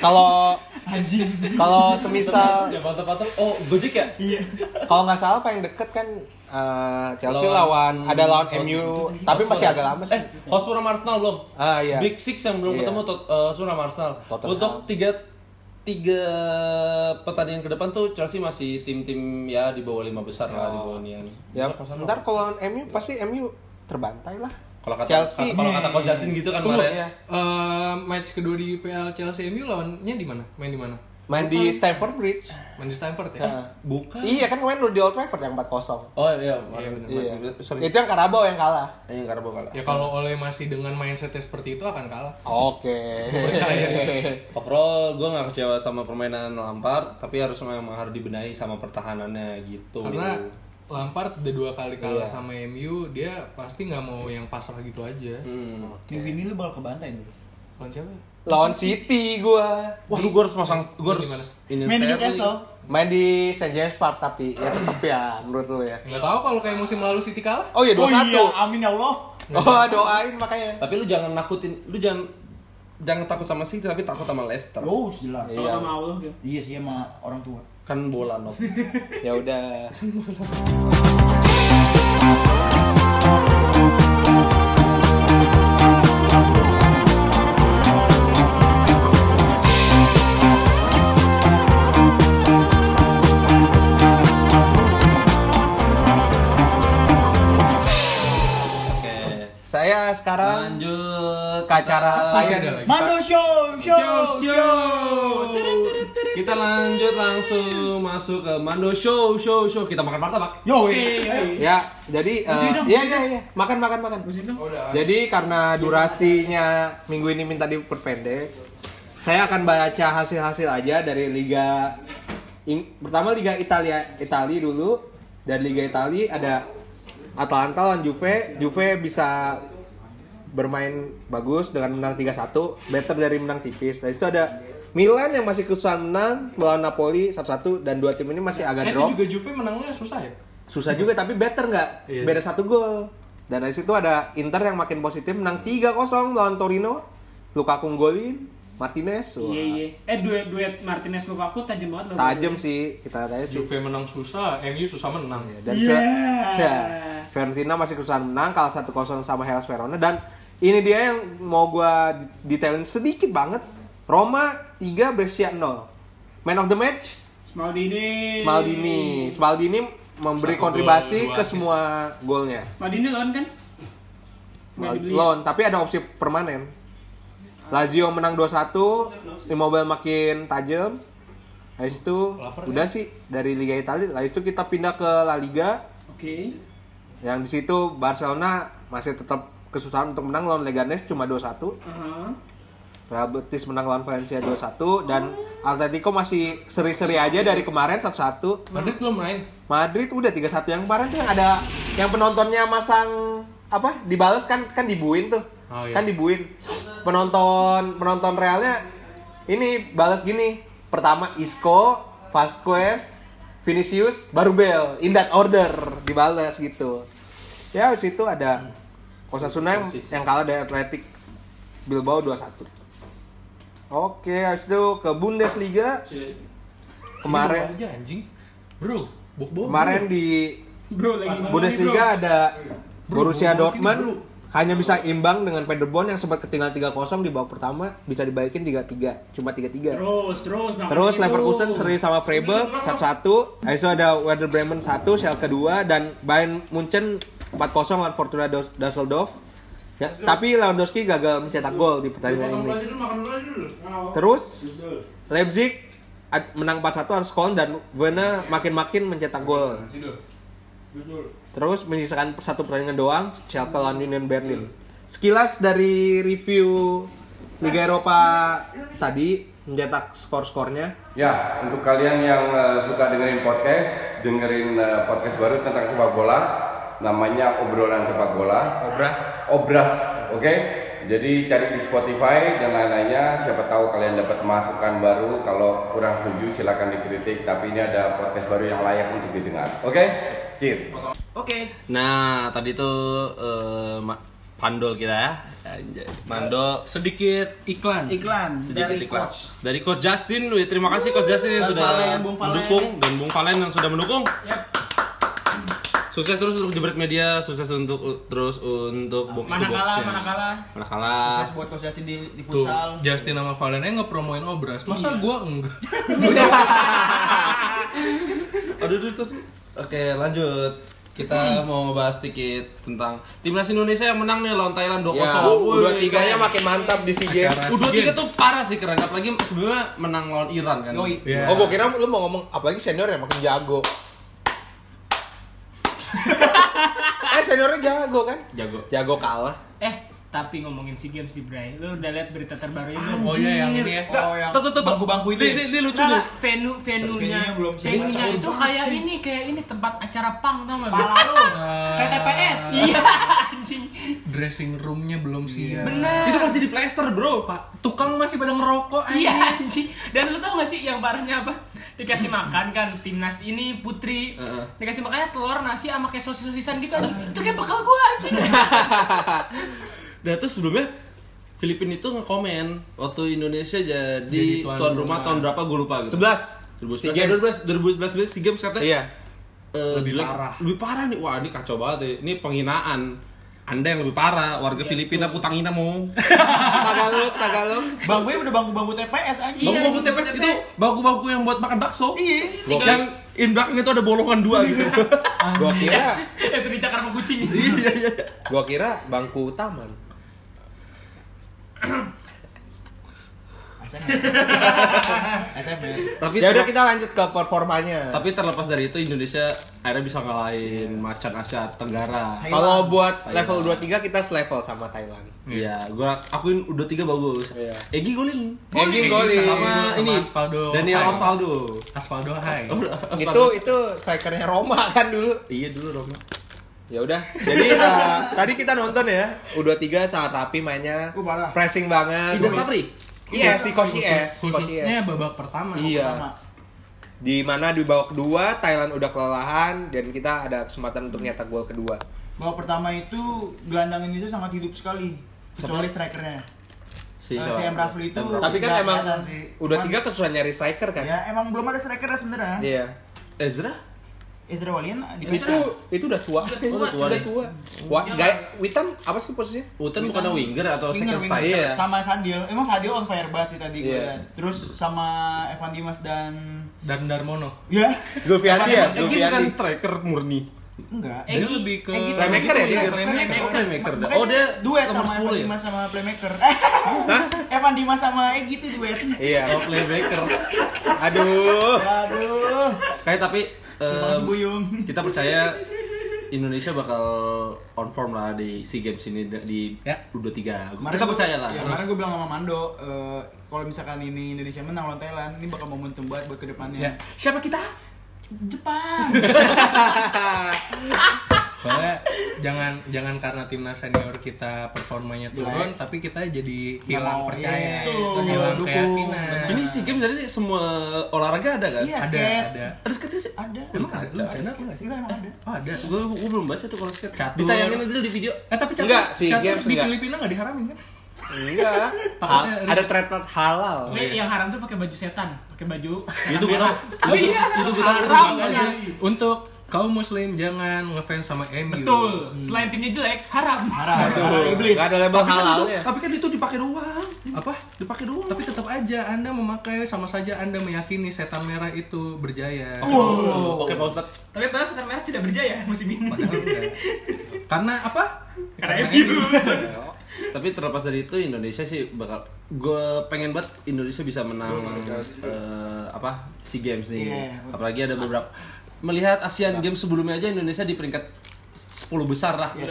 Speaker 4: kalau
Speaker 6: Anjing.
Speaker 4: kalau semisal
Speaker 3: Ya mantap-mantap. Oh, Gojek ya?
Speaker 4: kalau nggak salah paling deket kan eh, Chelsea
Speaker 3: Lawan-
Speaker 4: lawan, ada lawan MU, tapi masih agak lama sih.
Speaker 3: Eh, Hotspur sama Arsenal belum?
Speaker 4: Ah iya.
Speaker 3: Big Six yang belum
Speaker 4: Iya.
Speaker 3: ketemu tot, eh, Hotspur sama Arsenal.
Speaker 4: Tottenham.
Speaker 3: Untuk tiga tiga pertandingan ke depan tuh Chelsea masih tim-tim ya di bawah lima besar lah di bawah nian.
Speaker 4: Ya,
Speaker 3: Besok Arsenal.
Speaker 4: ntar kalau lawan MU pasti MU terbantai lah.
Speaker 3: kalau kata
Speaker 4: Chelsea. Hmm,
Speaker 3: kata- kalau kata Coach Justin gitu kan
Speaker 7: Tunggu,
Speaker 3: kemarin.
Speaker 4: iya.
Speaker 7: eh, match kedua di PL Chelsea MU lawannya di mana? Main di mana?
Speaker 4: Main di Stamford Bridge.
Speaker 7: Main di Stamford ya?
Speaker 4: Nah.
Speaker 3: Bukan.
Speaker 4: Iya kan kemarin udah di Old Trafford yang 4-0.
Speaker 3: Oh iya, iya
Speaker 7: benar.
Speaker 4: Iya.
Speaker 3: Sorry.
Speaker 4: Itu yang Karabau yang kalah.
Speaker 3: Yang Karbo kalah.
Speaker 7: Ya kalau oleh masih dengan mindsetnya seperti itu akan kalah.
Speaker 4: Oke.
Speaker 3: Overall, gue gak kecewa sama permainan Lampard, tapi harus memang harus dibenahi sama pertahanannya gitu.
Speaker 7: Karena Lampard udah dua kali kalah sama MU, dia pasti nggak mau yang pasrah gitu aja.
Speaker 3: Hmm.
Speaker 6: Kayak gini lu bakal kebantai dulu.
Speaker 7: Lawan siapa? ya?
Speaker 4: Lawan City gua.
Speaker 3: Waduh, gue harus pasang, gue harus
Speaker 7: Gimana?
Speaker 3: ini
Speaker 6: Main di
Speaker 3: Sterling.
Speaker 6: Newcastle.
Speaker 4: Main di St James Park tapi ya tetap ya menurut lu ya.
Speaker 7: Nggak tahu kalau kayak musim lalu City kalah.
Speaker 4: [laughs] Oh iya 2-1.
Speaker 6: Oh
Speaker 4: Oh,
Speaker 6: iya, amin ya Allah.
Speaker 4: doain makanya.
Speaker 3: Tapi lu jangan nakutin, lu jangan jangan takut sama City tapi takut sama Leicester.
Speaker 6: Oh, jelas.
Speaker 5: Sama sama Allah gitu.
Speaker 6: Iya sih emang orang tua.
Speaker 3: Kan bola no.
Speaker 4: Ya udah.
Speaker 3: [laughs] Oke.
Speaker 4: Saya sekarang
Speaker 3: Lanjut
Speaker 4: ke acara
Speaker 7: Masih
Speaker 4: saya.
Speaker 7: ada lagi.
Speaker 6: Mando show, show, show.
Speaker 3: Kita lanjut langsung masuk ke Mando Show Show Show. Kita makan martabak.
Speaker 6: Yo, eh.
Speaker 4: Ya, jadi eh, iya iya iya, makan makan makan. Jadi karena durasinya minggu ini minta diperpendek, saya akan baca hasil-hasil aja dari liga Ing- pertama liga Italia Itali dulu. Dari liga Itali ada Atalanta lawan Juve. Juve bisa bermain bagus dengan menang 3-1, better dari menang tipis. Dari situ ada Milan yang masih kesusahan menang melawan Napoli 1-1 dan dua tim ini masih agak
Speaker 7: Eh, itu
Speaker 4: drop
Speaker 7: juga Juve menangnya susah ya.
Speaker 4: susah juga tapi better nggak
Speaker 7: Iya.
Speaker 4: beda satu gol dan dari situ ada Inter yang makin positif menang 3-0 lawan Torino Lukaku nggolin Martinez wah,
Speaker 5: Iya iya. Eh duet duet Martinez Lukaku tajam banget loh.
Speaker 4: tajam sih kita tanya sih
Speaker 7: Juve menang susah, MU susah menang ya.
Speaker 4: dan
Speaker 5: Iya.
Speaker 6: Yeah.
Speaker 4: Fe-
Speaker 5: [laughs]
Speaker 4: ya, Fiorentina masih kesusahan menang kalah 1-0 sama Hellas Verona dan ini dia yang mau gua detailin sedikit banget Roma 3 Brescia 0 Man of the match
Speaker 5: Maldini.
Speaker 4: Maldini Maldini memberi
Speaker 7: Iya. Satu gol,
Speaker 4: kontribusi
Speaker 7: dua
Speaker 4: ke
Speaker 7: assist.
Speaker 4: semua golnya
Speaker 5: Maldini lawan kan? ya? Nggak dibeli.
Speaker 4: loan tapi ada opsi permanen Lazio menang 2-1 Immobile makin tajam habis itu
Speaker 7: Lapar
Speaker 4: udah sih dari Liga Italia habis itu kita pindah ke La Liga
Speaker 5: Oke.
Speaker 4: yang di situ Barcelona masih tetap kesusahan untuk menang lawan Leganes cuma 2-1
Speaker 5: Aha.
Speaker 4: Real Betis menang lawan Valencia 2-1 dan Atletico masih seri-seri aja dari kemarin 1-1
Speaker 7: Madrid belum main.
Speaker 4: Madrid udah 3-1 yang kemarin tuh yang ada yang penontonnya masang apa dibales kan kan dibuin tuh
Speaker 7: Oh, iya.
Speaker 4: kan dibuin penonton penonton realnya ini balas gini pertama Isco Vasquez Vinicius baru Bell in that order dibales gitu ya di situ ada Osasuna yang, yang kalah dari Atletic Bilbao 2-1 Oke, habis itu ke Bundesliga
Speaker 3: Ya,
Speaker 7: Sini
Speaker 4: kemarin
Speaker 7: bawa aja anjing. Bro, bok bok.
Speaker 4: Oh, Kemarin di
Speaker 5: Bro lagi ngomong nih,
Speaker 4: Bundesliga ada Borussia
Speaker 7: bro, sini,
Speaker 4: Dortmund
Speaker 7: bro.
Speaker 4: hanya bisa imbang dengan Paderborn yang sempat ketinggalan 3-0 di babak pertama bisa dibalikin 3-3, cuma
Speaker 5: bro.
Speaker 4: 3-3.
Speaker 5: Terus terus. makan
Speaker 4: Ya. Terus
Speaker 5: situ.
Speaker 4: Leverkusen seri sama Freiburg 1-1. Habis itu ada Werder Bremen 1, Schalke 2 dan Bayern Munchen 4-0 lawan Fortuna Dus- Düsseldorf. Ya, tapi Lewandowski gagal mencetak gol di pertandingan ini. Terus Leipzig ad- menang 4-1 harus kon dan Werner
Speaker 5: Iya.
Speaker 4: makin-makin mencetak gol. Terus menyisakan satu pertandingan doang Schalke lawan Union Berlin. Sekilas dari review Liga Eropa tadi mencetak skor-skornya.
Speaker 8: Ya, untuk kalian yang eh, suka dengerin podcast, dengerin eh, podcast baru tentang sepak bola, namanya obrolan sepak bola,
Speaker 4: Oh, Obras.
Speaker 8: obras, oke? Jadi cari di Spotify dan lain-lainnya, siapa tahu kalian dapat masukan baru. Kalau kurang setuju silakan dikritik, tapi ini ada podcast baru yang layak untuk didengar. Oke? Cheers.
Speaker 3: Nah, tadi tuh eh, ma- pandol kita ya. Anjay. Mandol sedikit iklan.
Speaker 6: Iklan dari
Speaker 3: iklan.
Speaker 6: coach.
Speaker 3: Dari Coach Justin, Wih, terima kasih Coach Justin yang
Speaker 6: Bang
Speaker 3: sudah
Speaker 6: Valen, Bung Valen.
Speaker 3: mendukung dan Bung Valen yang sudah mendukung. Sukses terus untuk Jebret Media, sukses untuk terus untuk box to box
Speaker 5: Manakala manakala.
Speaker 4: Ah.
Speaker 3: Manakala.
Speaker 6: Sukses buat Coach Jatin di, di
Speaker 7: Tuh,
Speaker 6: futsal.
Speaker 7: Justin sama Valen aja ngepromoin obras. Masa gua enggak? [laughs]
Speaker 3: Aduh, aduh, aduh. Oke, lanjut. Kita mau ngebahas sedikit tentang timnas Indonesia yang menang nih lawan Thailand 2-0.
Speaker 4: Ya,
Speaker 3: Wih,
Speaker 4: dua tiganya makin mantap di SEA Games.
Speaker 3: U23 tuh parah sih keren apalagi sebelumnya menang lawan Iran kan.
Speaker 6: Yoi.
Speaker 7: Ya.
Speaker 4: Oh, gua kira lu mau ngomong apalagi senior ya makin [laughs] jago. eh seniornya jago kan?
Speaker 3: Jago.
Speaker 4: Jago kalah.
Speaker 5: Eh tapi ngomongin si games di Bray, lu udah lihat berita terbarunya belum?
Speaker 7: Oh iya yang ini ya.
Speaker 6: Oh, yang
Speaker 3: Tuh, tuh, tuh, tuh.
Speaker 6: bangku-bangku itu
Speaker 3: Ini,
Speaker 6: ya?
Speaker 3: ini, ini lucu
Speaker 5: Nah,
Speaker 3: nih.
Speaker 5: venue venue-nya
Speaker 6: Venue-nya belum
Speaker 5: venue-nya
Speaker 6: sih.
Speaker 5: itu kayak ini
Speaker 4: Ah.
Speaker 5: kayak ini tempat acara pang tau gak?
Speaker 6: Pala lu. Kayak TPS.
Speaker 5: Iya [laughs] anjing. Nah,
Speaker 7: dressing roomnya belum siap.
Speaker 4: Nah.
Speaker 5: Bener.
Speaker 7: Itu masih di plester bro. Pak tukang masih pada ngerokok
Speaker 5: Iya
Speaker 7: anjing.
Speaker 5: anjing. Dan lu tau gak sih yang parahnya apa? Dikasih makan kan timnas ini putri.
Speaker 3: Heeh.
Speaker 5: Dikasih makannya telur, nasi sama kayak sosis-sosisan gitu anjing. Itu kayak bekal gua anjing.
Speaker 3: Dan terus sebelumnya Filipina itu ngekomen waktu Indonesia jadi,
Speaker 7: Jadi
Speaker 3: tuan,
Speaker 7: tuan
Speaker 3: rumah,
Speaker 7: rumah.
Speaker 3: tahun berapa gue lupa gitu.
Speaker 4: 11
Speaker 3: 2011 eh, 2011 2011 SEA Games katanya.
Speaker 4: Iya.
Speaker 3: eh,
Speaker 7: Lebih
Speaker 3: jelek-
Speaker 7: parah.
Speaker 3: Lebih parah nih. Wah, ini kacau banget ya. Ini penghinaan. Anda yang lebih parah, warga Filipina putangin mau.
Speaker 4: Tagalog, Tagalog.
Speaker 6: Bangkunya udah bangku-bangku TPS anjing.
Speaker 5: Iya,
Speaker 3: Bangku-bangku
Speaker 5: anjing,
Speaker 3: TPS
Speaker 5: TPS.
Speaker 3: itu bangku-bangku yang buat makan bakso.
Speaker 6: Iya.
Speaker 3: Gua- Yang in belakangnya itu ada bolongan dua gitu.
Speaker 4: Gua kira,
Speaker 5: [laughs] Yang sering cakar sama kucing.
Speaker 4: gua kira bangku taman. [laughs]
Speaker 6: Asem. Asem ya.
Speaker 3: tapi
Speaker 4: Ya udah
Speaker 3: terlep-
Speaker 4: kita lanjut ke performanya.
Speaker 3: tapi terlepas dari itu Indonesia akhirnya bisa ngalahin macan Asia Tenggara.
Speaker 6: Hai.
Speaker 4: Kalau buat level 23 kita selevel sama Thailand.
Speaker 3: Iya, gua akuin udah tiga bagus. Egi golin.
Speaker 4: Egy golin.
Speaker 3: sama,
Speaker 7: Sama
Speaker 3: ini
Speaker 7: Osvaldo.
Speaker 3: Daniel
Speaker 7: Hai.
Speaker 3: Osvaldo.
Speaker 7: Aspaldo Hai.
Speaker 4: Itu itu strikernya Roma [laughs] kan dulu.
Speaker 3: iya dulu Roma.
Speaker 4: Ya udah. Jadi eh, tadi kita nonton ya U23 sangat rapi mainnya.
Speaker 6: Oh, parah.
Speaker 4: Pressing banget.
Speaker 3: Ida Sapri.
Speaker 4: Iya, si Coach IS.
Speaker 7: Khususnya babak pertama.
Speaker 6: Pertama.
Speaker 4: Iya. Di mana di babak kedua Thailand udah kelelahan dan kita ada kesempatan untuk nyetak gol kedua.
Speaker 6: Bahwa pertama itu gelandang Indonesia sangat hidup sekali. Kecuali strikernya.
Speaker 3: Si,
Speaker 6: Eh, si M. Rafli itu
Speaker 4: Tapi kan
Speaker 6: nggak
Speaker 4: emang
Speaker 6: kelihatan sih.
Speaker 4: udah
Speaker 6: Cuman-
Speaker 4: tiga kesusahan nyari striker kan?
Speaker 6: Ya emang belum ada strikernya sebenarnya.
Speaker 4: Iya.
Speaker 3: Ezra.
Speaker 6: Ezra Walian di
Speaker 4: Itu itu udah tua.
Speaker 5: Udah tua,
Speaker 3: tua
Speaker 4: Udah
Speaker 3: deh.
Speaker 4: tua. Wah, Gaya- Witan apa sih posisinya?
Speaker 3: Utan bukan winger atau second
Speaker 6: Winger, winger.
Speaker 3: style.
Speaker 4: Iya.
Speaker 6: sama Sadil. Emang Sadil on fire banget sih tadi gue
Speaker 4: Iya.
Speaker 6: liat. Terus sama Evan Dimas dan
Speaker 7: Dan Darmono.
Speaker 6: ya [laughs]
Speaker 4: Zulfiandi ya,
Speaker 3: Egi bukan
Speaker 4: Zulfiandi.
Speaker 3: striker murni.
Speaker 6: enggak.
Speaker 5: Egy.
Speaker 7: Dia lebih ke
Speaker 6: Egy.
Speaker 4: Playmaker ya dia?
Speaker 7: Playmaker.
Speaker 3: Oh, playmaker dah.
Speaker 6: Makanya
Speaker 3: Oh, dia
Speaker 6: duet
Speaker 3: nomor 10
Speaker 6: sama Evan
Speaker 3: ya?
Speaker 6: Dimas sama playmaker. [laughs] Evan Dimas sama Egy itu duet.
Speaker 4: Iya.
Speaker 3: Oh, playmaker.
Speaker 4: Aduh.
Speaker 6: Aduh.
Speaker 3: Kayak tapi Oh. em,
Speaker 6: Terima kasih Buyung.
Speaker 3: kita percaya Indonesia bakal on form lah di SEA Games ini di
Speaker 7: Ya.
Speaker 3: U23.
Speaker 6: Kemarin
Speaker 3: kita
Speaker 6: gua-
Speaker 3: percaya lah.
Speaker 6: Ya, kemarin gue bilang sama Mando, eh, kalau misalkan ini Indonesia menang lawan Thailand, ini bakal momentum banget buat kedepannya.
Speaker 7: Ya. Siapa kita?
Speaker 6: Jepang.
Speaker 7: Soalnya jangan jangan karena timnas senior kita performanya turun, tapi kita jadi
Speaker 6: mau,
Speaker 7: hilang
Speaker 6: iya,
Speaker 7: percaya,
Speaker 6: betul.
Speaker 7: hilang
Speaker 6: Dukung,
Speaker 7: keyakinan.
Speaker 6: benar.
Speaker 3: Ini SEA Games jadi semua olahraga ada kan?
Speaker 6: Iya,
Speaker 7: Ada
Speaker 6: skate.
Speaker 7: ada.
Speaker 3: Ada skate sih?
Speaker 6: Ada.
Speaker 7: Emang ada? Lu baca apa nggak sih?
Speaker 6: Enggak emang ada.
Speaker 7: Oh, ada.
Speaker 3: Gue gue belum baca tuh kalau skate.
Speaker 7: Catur.
Speaker 3: Ditayangin aja dulu di video.
Speaker 7: Eh tapi catur,
Speaker 4: Enggak, si
Speaker 7: catur
Speaker 4: games
Speaker 7: di
Speaker 4: enggak.
Speaker 7: Filipina nggak diharamin kan?
Speaker 4: Enggak.
Speaker 7: Takutnya
Speaker 4: Ha- Ada trademark halal.
Speaker 5: Ini yang haram tuh pakai baju setan, pakai baju.
Speaker 3: Itu gue tau.
Speaker 5: Oh iya,
Speaker 3: Itu gue tau.
Speaker 5: haram
Speaker 3: Itu gue tau.
Speaker 5: sekali.
Speaker 7: Untuk kaum muslim jangan ngefans sama MU.
Speaker 5: Betul. Selain timnya jelek, haram.
Speaker 6: Parah, parah iblis.
Speaker 4: Enggak ada label
Speaker 7: ya.
Speaker 4: halalnya.
Speaker 7: Iya.
Speaker 3: Tapi kan itu dipakai doang.
Speaker 7: Apa?
Speaker 3: Dipakai doang.
Speaker 7: Tapi tetap aja Anda memakai sama saja Anda meyakini setan merah itu berjaya.
Speaker 3: Wow. Oke, Pak Ustadz.
Speaker 5: Tapi padahal setan merah tidak berjaya musim ini.
Speaker 7: Padahal enggak. Karena apa?
Speaker 5: Karena MU.
Speaker 3: Tapi terlepas dari itu Indonesia sih bakal gue pengen banget Indonesia bisa menang eh, apa SEA Games nih.
Speaker 6: Iya.
Speaker 3: Apalagi ada beberapa melihat Asian Games sebelumnya aja Indonesia di peringkat 10 besar lah. Di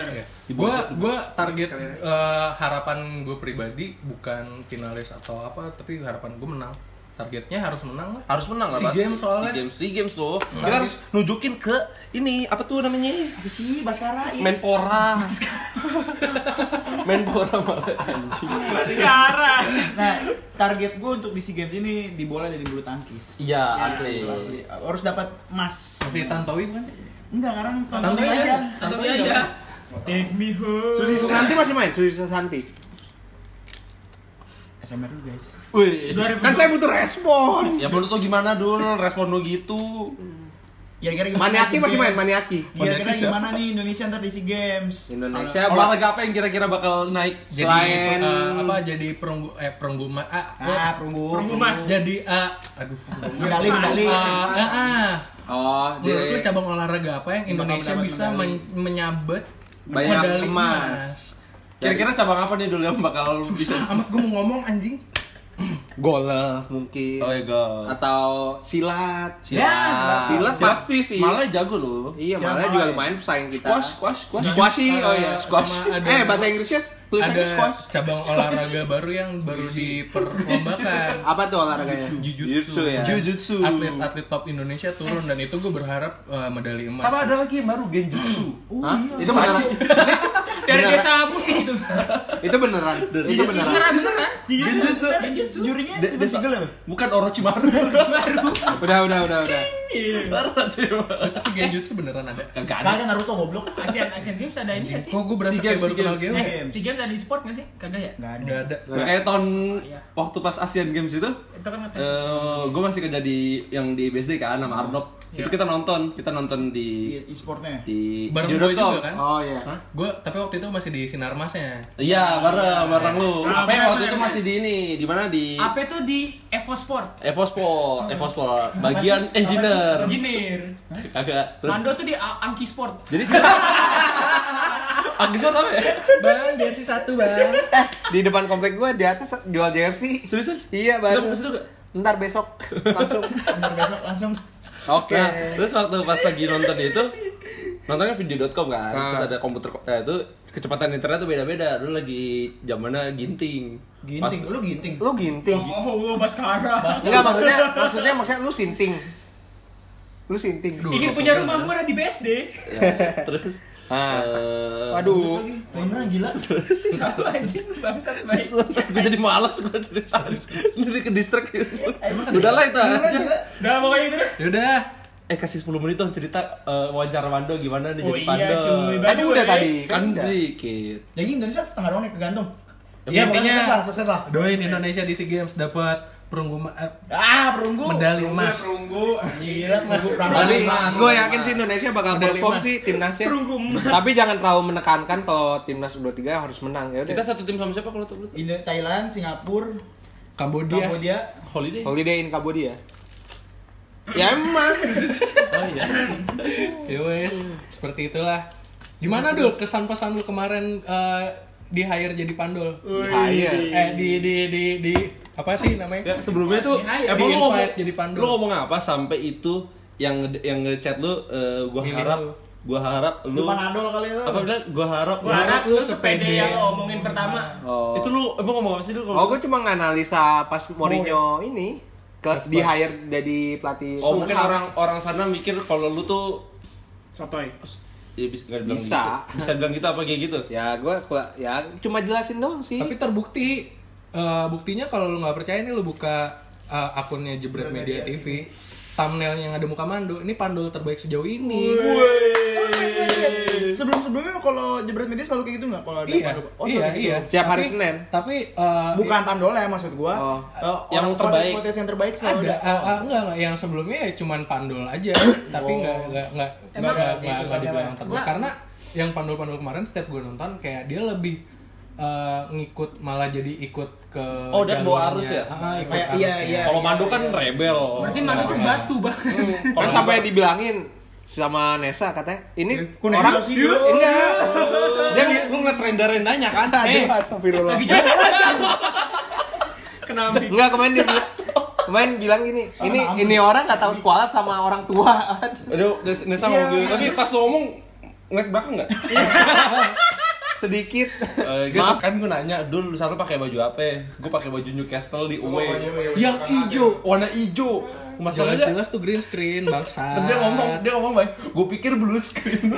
Speaker 7: Gue
Speaker 3: bawah itu.
Speaker 7: gua target eh, harapan gue pribadi bukan finalis atau apa, tapi harapan gue menang. Targetnya harus menang lah.
Speaker 3: harus menang lah
Speaker 7: SEA
Speaker 3: pasti.
Speaker 7: Games soalnya.
Speaker 3: SEA Games, SEA Games tuh. Kita harus nunjukin ke ini apa tuh namanya?
Speaker 6: Apa sih Baskara? Iya.
Speaker 3: Menpora. [laughs] Menpora malah.
Speaker 5: Sekarang.
Speaker 6: Nah, target gue untuk di SEA Games ini di bola dari bulu tangkis.
Speaker 3: Iya, asli.
Speaker 6: Itu asli. Harus dapat emas.
Speaker 7: Masih Tantowi bukan?
Speaker 6: Enggak, sekarang tontonin
Speaker 7: Tontonin
Speaker 6: aja.
Speaker 7: aja.
Speaker 5: Tapi aja. Take me home.
Speaker 4: Susi Susanti masih main, Susi Susanti.
Speaker 6: SMR dulu guys.
Speaker 3: Wih.
Speaker 4: Kan saya butuh respon.
Speaker 3: Ya menurut lo gimana dul respon lo gitu?
Speaker 6: Kira-kira gimana?
Speaker 4: Maniaki
Speaker 6: SEA
Speaker 4: masih main,
Speaker 6: Games?
Speaker 4: Maniaki.
Speaker 6: Kira-kira gimana nih Indonesia ntar di SEA Games?
Speaker 4: Indonesia bak-
Speaker 3: Olahraga apa yang kira-kira bakal naik?
Speaker 7: Jadi
Speaker 4: Selain-
Speaker 7: eh, apa jadi perunggu eh perunggu ma- ah,
Speaker 6: Ah,
Speaker 7: eh,
Speaker 6: perunggu. Iya,
Speaker 5: Perunggu mas.
Speaker 7: jadi eh, aduh
Speaker 6: Medali, medali.
Speaker 7: Ah, ah, ah.
Speaker 4: Oh,
Speaker 7: Menurut lu
Speaker 4: dia
Speaker 7: cabang olahraga apa yang Indonesia
Speaker 6: mendapat
Speaker 7: bisa
Speaker 6: medali.
Speaker 7: men- menyabet
Speaker 4: banyak
Speaker 7: medali
Speaker 4: emas.
Speaker 3: Kira-kira cabang apa nih dul yang bakal bisa?
Speaker 7: Ah, Amat gue mau ngomong anjing.
Speaker 4: Golf eh, mungkin.
Speaker 3: Oh my god.
Speaker 4: Atau ya, silat.
Speaker 3: Silat.
Speaker 4: Silat pasti sih.
Speaker 3: Malah jago loh.
Speaker 4: Iya, malah juga lumayan pesaing kita.
Speaker 3: Squash, squash, squash.
Speaker 4: Squash sih, oh iya.
Speaker 7: Squash.
Speaker 4: Eh, bahasa Inggrisnya s- tulisannya
Speaker 7: ada
Speaker 4: squash.
Speaker 7: cabang olahraga baru yang baru diperlombakan.
Speaker 4: Apa tuh olahraganya? Jujutsu ya.
Speaker 3: Jujutsu.
Speaker 7: Atlet atlet top Indonesia turun dan itu gue berharap eh, medali emas.
Speaker 3: Sama ada lagi yang baru Genjutsu.
Speaker 4: Hah? Itu beneran.
Speaker 5: Dari
Speaker 4: Beneran.
Speaker 5: desa apa sih gitu?
Speaker 4: Itu beneran. Itu beneran.
Speaker 5: Beneran beneran.
Speaker 6: Iya, Genjutsu. Jurinya Steven Seagal ya? Bang?
Speaker 3: Bukan Orochimaru.
Speaker 4: Udah, udah, udah, udah.
Speaker 3: Orochimaru.
Speaker 7: Itu genjutsu beneran ada.
Speaker 3: Kagak ada.
Speaker 6: Kagak Naruto goblok.
Speaker 5: Asian Asian Games ada ini nggak sih?
Speaker 7: Kok gue berasa
Speaker 3: Si
Speaker 7: kayak
Speaker 3: Games, gitu.
Speaker 7: baru
Speaker 3: si
Speaker 7: kenal
Speaker 3: Games.
Speaker 7: game?
Speaker 5: Eh, Si Games ada di sport nggak sih? Kagak ya?
Speaker 6: Enggak ada.
Speaker 7: Udah ada.
Speaker 3: Nah,
Speaker 4: Eh,
Speaker 3: kayak tahun
Speaker 5: Iya.
Speaker 3: waktu pas Asian Games itu,
Speaker 5: Itu kan
Speaker 3: Eh,
Speaker 5: atas.
Speaker 3: gue masih kerja di yang di BSD kan
Speaker 5: Ah.
Speaker 3: sama Arnob. Itu
Speaker 5: Iya.
Speaker 3: kita nonton, kita nonton di
Speaker 6: Iya, E-sportnya.
Speaker 3: di
Speaker 7: Bareng
Speaker 3: Jodoh
Speaker 7: gue
Speaker 3: Talk.
Speaker 7: juga kan?
Speaker 4: Oh iya.
Speaker 7: Gue tapi waktu itu masih di sinarmasnya.
Speaker 3: Iya, bareng bareng lu. Apa yang
Speaker 5: Ah, bener,
Speaker 3: waktu
Speaker 5: bener,
Speaker 3: itu
Speaker 5: bener.
Speaker 3: masih di ini, di mana di
Speaker 5: Apa itu di Evo Sport?
Speaker 3: Evo Sport,
Speaker 5: Hmm.
Speaker 3: Evo Sport, bagian engineer.
Speaker 5: Engineer.
Speaker 3: Kagak. Terus
Speaker 5: Mando tuh di A- Angki Sport.
Speaker 3: jadi
Speaker 5: [laughs]
Speaker 3: sekarang Anggi Sport apa ya?
Speaker 5: Bang, jersey satu bang.
Speaker 4: Eh, di depan komplek gua di atas jual jersey.
Speaker 3: Seriusan?
Speaker 4: Iya, baru.
Speaker 3: Terus itu
Speaker 4: Ntar besok langsung.
Speaker 6: Bentar besok langsung.
Speaker 4: Oke.
Speaker 3: Nah, terus waktu pas lagi nonton itu nontonnya video.com kan,
Speaker 4: Ah.
Speaker 3: terus ada komputer nah, itu kecepatan internet tuh beda-beda. Lu lagi zamannya ginting.
Speaker 6: Ginting, lu ginting.
Speaker 4: Lu ginting.
Speaker 5: Oh, gua Baskara.
Speaker 4: Enggak maksudnya maksudnya maksudnya lu sinting. Lu sinting.
Speaker 5: Ingin punya rumah murah di BSD.
Speaker 3: ya, terus
Speaker 4: Ah.
Speaker 3: eh,
Speaker 4: Waduh.
Speaker 6: Timeran gila.
Speaker 5: [laughs] Lagi bangsat baik.
Speaker 3: [laughs] gue jadi malas gue jadi malas. sendiri ke distrik udahlah itu aja
Speaker 5: Udah pokoknya gitu deh.
Speaker 7: Ya
Speaker 3: yaudah eh kasih 10 menit dong cerita eh, wawancara Wando gimana nih
Speaker 5: Oh
Speaker 3: jadi
Speaker 5: iya
Speaker 3: Pando
Speaker 5: cuy.
Speaker 4: Tadi
Speaker 5: Bagus,
Speaker 4: udah
Speaker 5: eh.
Speaker 4: tadi.
Speaker 3: kan
Speaker 4: udah.
Speaker 3: dikit
Speaker 6: [laughs] Jadi Indonesia setengah doang nih kegantung.
Speaker 7: Ya,
Speaker 6: bukan,
Speaker 7: intinya-
Speaker 6: sukses lah, sukses lah.
Speaker 7: Doain Indonesia di SEA Games dapat perunggu eh,
Speaker 6: Ah, perunggu.
Speaker 7: medali emas.
Speaker 6: Gila, perunggu perang.
Speaker 4: Tapi
Speaker 7: Mas,
Speaker 4: gue
Speaker 7: mas,
Speaker 4: yakin
Speaker 7: mas.
Speaker 4: sih Indonesia bakal
Speaker 7: Medali
Speaker 4: perform
Speaker 7: emas.
Speaker 4: sih timnasnya. Tapi jangan terlalu menekankan kalau timnas U23 harus menang. Ya
Speaker 3: kita
Speaker 4: udah.
Speaker 3: satu tim sama siapa kalau tuh tuh?
Speaker 6: Indo Thailand, Singapura,
Speaker 7: Kambodia.
Speaker 6: Kambodia.
Speaker 3: holiday
Speaker 4: Holiday in Cambodia. Ya emang.
Speaker 7: Ya wes, seperti itulah. Gimana dul kesan pesan lu kemarin eh, di hire jadi pandol?
Speaker 4: Bahaya.
Speaker 7: Eh di di di di apa sih namanya?
Speaker 3: Nggak, sebelumnya tuh
Speaker 5: Di-hire.
Speaker 3: emang Ya. Eh, lu
Speaker 7: Di-invite
Speaker 3: ngomong
Speaker 7: jadi Pandu.
Speaker 3: lu ngomong apa sampai itu yang nge- yang ngechat lu eh, gua
Speaker 7: Milih
Speaker 3: harap
Speaker 7: lu.
Speaker 3: gua harap lu
Speaker 6: Lu Panadol kali lu.
Speaker 3: apa bilang gua harap
Speaker 5: Gua harap lu sepede
Speaker 7: sepede.
Speaker 5: yang lo omongin pertama.
Speaker 4: Oh.
Speaker 3: itu lu emang ngomong apa sih lu
Speaker 4: Oh, gue cuma nganalisa pas Mourinho ini ke di hire jadi pelatih.
Speaker 3: Oh mungkin
Speaker 4: futsal.
Speaker 3: orang orang sana mikir kalau lu tuh
Speaker 5: Sotoy.
Speaker 3: ya bisa nggak bilang
Speaker 4: Bisa.
Speaker 3: gitu. bisa bilang gitu apa kayak gitu
Speaker 4: Ya gue ya cuma jelasin doang sih.
Speaker 6: Iya.
Speaker 7: Tapi terbukti eh, buktinya kalau lu nggak percaya nih lu buka eh, akunnya Jebret Media TV. Thumbnail yang ada muka Mando, ini pandol terbaik sejauh ini.
Speaker 6: Oh, iya, Sebelum-sebelumnya kalau jebret media selalu kayak gitu nggak? Kalau ada
Speaker 7: Iya,
Speaker 6: Panadol? oh,
Speaker 7: iya,
Speaker 6: selalu kayak gitu.
Speaker 7: iya.
Speaker 4: Setiap hari
Speaker 7: Tapi-
Speaker 4: Senin.
Speaker 7: Tapi eh,
Speaker 6: Bukan Panadol ya maksud gua.
Speaker 4: Oh.
Speaker 6: Eh,
Speaker 3: Yang
Speaker 6: orang
Speaker 3: terbaik.
Speaker 6: potensi yang terbaik selalu
Speaker 7: ada
Speaker 6: ada.
Speaker 7: ah, ah, enggak enggak yang sebelumnya ya cuman pandul aja
Speaker 6: [coughs]
Speaker 7: tapi enggak enggak enggak
Speaker 5: Emang
Speaker 7: enggak
Speaker 6: Oh.
Speaker 7: enggak-
Speaker 6: gitu
Speaker 7: enggak- enggak
Speaker 6: kan,
Speaker 7: dibilang
Speaker 6: Bang?
Speaker 7: tegur karena yang pandul-pandul kemarin setiap gue nonton kayak dia lebih eh, ngikut malah jadi ikut ke
Speaker 3: Oh, dia bawa arus ya?
Speaker 7: Ah, ikut
Speaker 6: Kayak
Speaker 7: arus
Speaker 6: iya
Speaker 7: ya.
Speaker 6: iya.
Speaker 3: kalau Mando kan rebel
Speaker 5: Berarti Mando tuh batu banget.
Speaker 4: Kan sampai dibilangin sama Nesa katanya ini
Speaker 6: Kok Nesa
Speaker 4: orang Iya."
Speaker 6: sih?
Speaker 4: enggak.
Speaker 3: dia lu ngeliat renda rendanya kan
Speaker 7: Eh,
Speaker 4: Aduh, astagfirullah.
Speaker 5: Kenapa?
Speaker 4: Enggak kemarin dia bilang kemarin bilang gini, ini ini orang nggak tahu kualat sama orang tua. [laughs]
Speaker 3: aduh Nes- Nesa
Speaker 5: Iya.
Speaker 3: ngomong gitu tapi pas lu ngomong ngeliat belakang nggak
Speaker 4: Sedikit.
Speaker 3: Eh, gitu.
Speaker 4: Maaf.
Speaker 3: kan gue nanya dulu lu sana pakai baju apa gue pakai baju Newcastle di away
Speaker 5: E.
Speaker 7: yang hijau
Speaker 3: warna hijau masalahnya
Speaker 7: jelas-jelas tuh green screen bangsa
Speaker 3: dia ngomong dia ngomong baik gue pikir blue [laughs] screen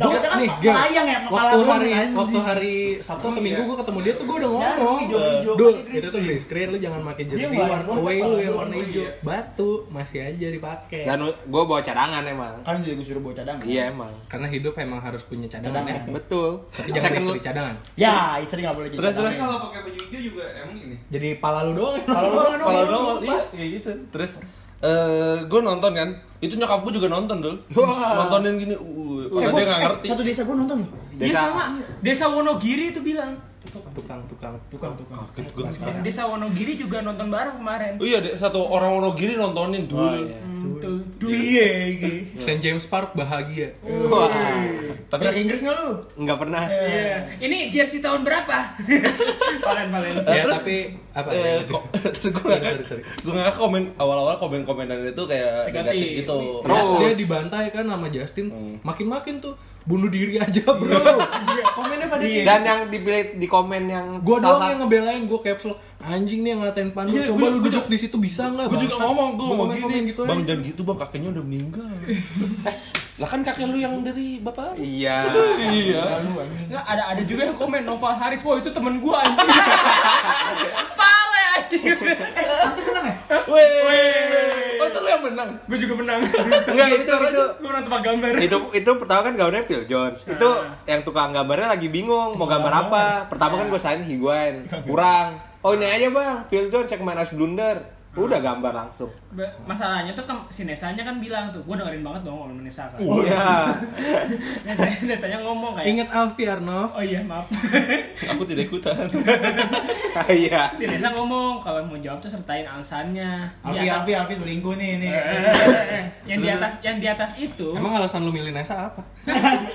Speaker 6: Tapi kan
Speaker 7: Gem,
Speaker 6: melayang ya, kepala
Speaker 7: waktu
Speaker 6: doang,
Speaker 7: hari
Speaker 6: anjing.
Speaker 7: waktu hari Sabtu atau Minggu gue ketemu dia tuh gue udah ngomong
Speaker 6: Ya, hijau-hijau,
Speaker 7: Dul,
Speaker 6: pakai green
Speaker 7: itu tuh green screen lu jangan pakai jersey
Speaker 6: nggak
Speaker 7: warna
Speaker 6: ngomong,
Speaker 7: away
Speaker 6: kepala
Speaker 7: lu yang
Speaker 6: doang,
Speaker 7: warna
Speaker 6: iya.
Speaker 7: hijau batu masih aja dipakai
Speaker 4: Dan gue bawa cadangan emang.
Speaker 6: Kan juga gue suruh bawa cadangan.
Speaker 4: Iya emang.
Speaker 7: karena hidup emang harus punya cadangan ya
Speaker 6: Cadangan.
Speaker 4: Betul.
Speaker 7: tapi jangan
Speaker 4: Second-
Speaker 7: istri cadangan
Speaker 6: Ya, istri nggak boleh jadi.
Speaker 3: terus terus
Speaker 6: cadangan.
Speaker 7: jadi pala lu doang
Speaker 6: Kalau lu doang,
Speaker 3: kalau
Speaker 6: doang.
Speaker 3: doang iya kayak gitu terus eh gue nonton kan itu nyokap gue juga nonton dul nontonin gini uh,
Speaker 6: Eh,
Speaker 3: padahal
Speaker 6: gua-
Speaker 3: dia nggak
Speaker 6: eh,
Speaker 3: ngerti
Speaker 6: Satu desa gue nonton loh.
Speaker 5: Dia sama. Desa Wonogiri itu bilang.
Speaker 7: tukang tukang
Speaker 6: Tukang, tukang.
Speaker 3: Kaget gua.
Speaker 5: Desa Wonogiri juga nonton bareng kemarin.
Speaker 3: Oh iya, dek, satu orang Wonogiri nontonin dulu.
Speaker 4: iya.
Speaker 3: Iya.
Speaker 9: Duye iki.
Speaker 7: St. James Park bahagia.
Speaker 4: Wah,
Speaker 9: Tapi
Speaker 3: Iya,
Speaker 9: ke Inggris nggak lu?
Speaker 4: nggak pernah.
Speaker 5: Ini jersey tahun berapa? Valen Valen.
Speaker 3: Ya,
Speaker 7: terus-
Speaker 3: tapi apa?
Speaker 7: Eh,
Speaker 3: namanya? [laughs]
Speaker 7: kok-
Speaker 3: sorry, sorry. Gue nggak komen awal-awal komen-komenan itu kayak
Speaker 5: Negatif.
Speaker 3: negatif gitu.
Speaker 7: Terus
Speaker 4: Iya, Terus. Hmm.
Speaker 7: dia dibantai kan sama Justin, makin-makin tuh bunuh diri [laughs] aja bro.
Speaker 3: Iya,
Speaker 7: Komennya pada kayak
Speaker 4: Iya.
Speaker 3: gitu.
Speaker 4: Dan yang dipilih di komen yang
Speaker 7: Gue doang
Speaker 4: salah-
Speaker 7: yang ngebelain, gue capsule anjing nih yang ngatain Pandu,
Speaker 3: Iya,
Speaker 7: coba lu duduk di situ bisa nggak?
Speaker 3: Gue juga
Speaker 7: bangsat?"
Speaker 3: ngomong, gue
Speaker 7: Gua
Speaker 3: ngomong
Speaker 7: komen-komen
Speaker 3: gini,
Speaker 7: gitu
Speaker 3: bang
Speaker 7: aja.
Speaker 3: jangan gitu bang, kakeknya udah meninggal. lah kan kakek lu yang dari bapak.
Speaker 4: Iya.
Speaker 5: Nggak ada ada juga yang komen Noval Haris, wow itu temen gua
Speaker 3: [laughs]
Speaker 5: anjing. Pale anjing.
Speaker 3: Eh, ya? Oh itu lu yang menang.
Speaker 5: Gua juga menang.
Speaker 4: Enggak itu itu
Speaker 5: Gua menang tebak gambar.
Speaker 4: itu itu pertama kan gambarnya Phil Jones itu yang tukang gambarnya lagi bingung mau gambar apa pertama kan gue sign Higuain kurang oh ini aja bang Phil Jones cek main as blunder udah gambar langsung
Speaker 5: Ba- Masalahnya tuh kan si Nesanya kan bilang tuh, gua dengerin banget dong ngomong Nesa kan.
Speaker 4: iya
Speaker 5: [laughs] Nesanya, Nesanya ngomong kayak
Speaker 7: Ingat Alfiarnov?
Speaker 5: Oh iya maaf. [laughs]
Speaker 3: Aku tidak ikutan.
Speaker 4: [laughs] iya
Speaker 5: si Nesa ngomong kalau mau jawab tuh sertain alasannya. Di
Speaker 9: Alfi
Speaker 5: atas-
Speaker 9: Alfi Alfi selingkuh nih nih.
Speaker 5: Iya, [laughs] Eh, yang di atas yang di atas itu.
Speaker 7: Emang alasan lu milih Nesa apa?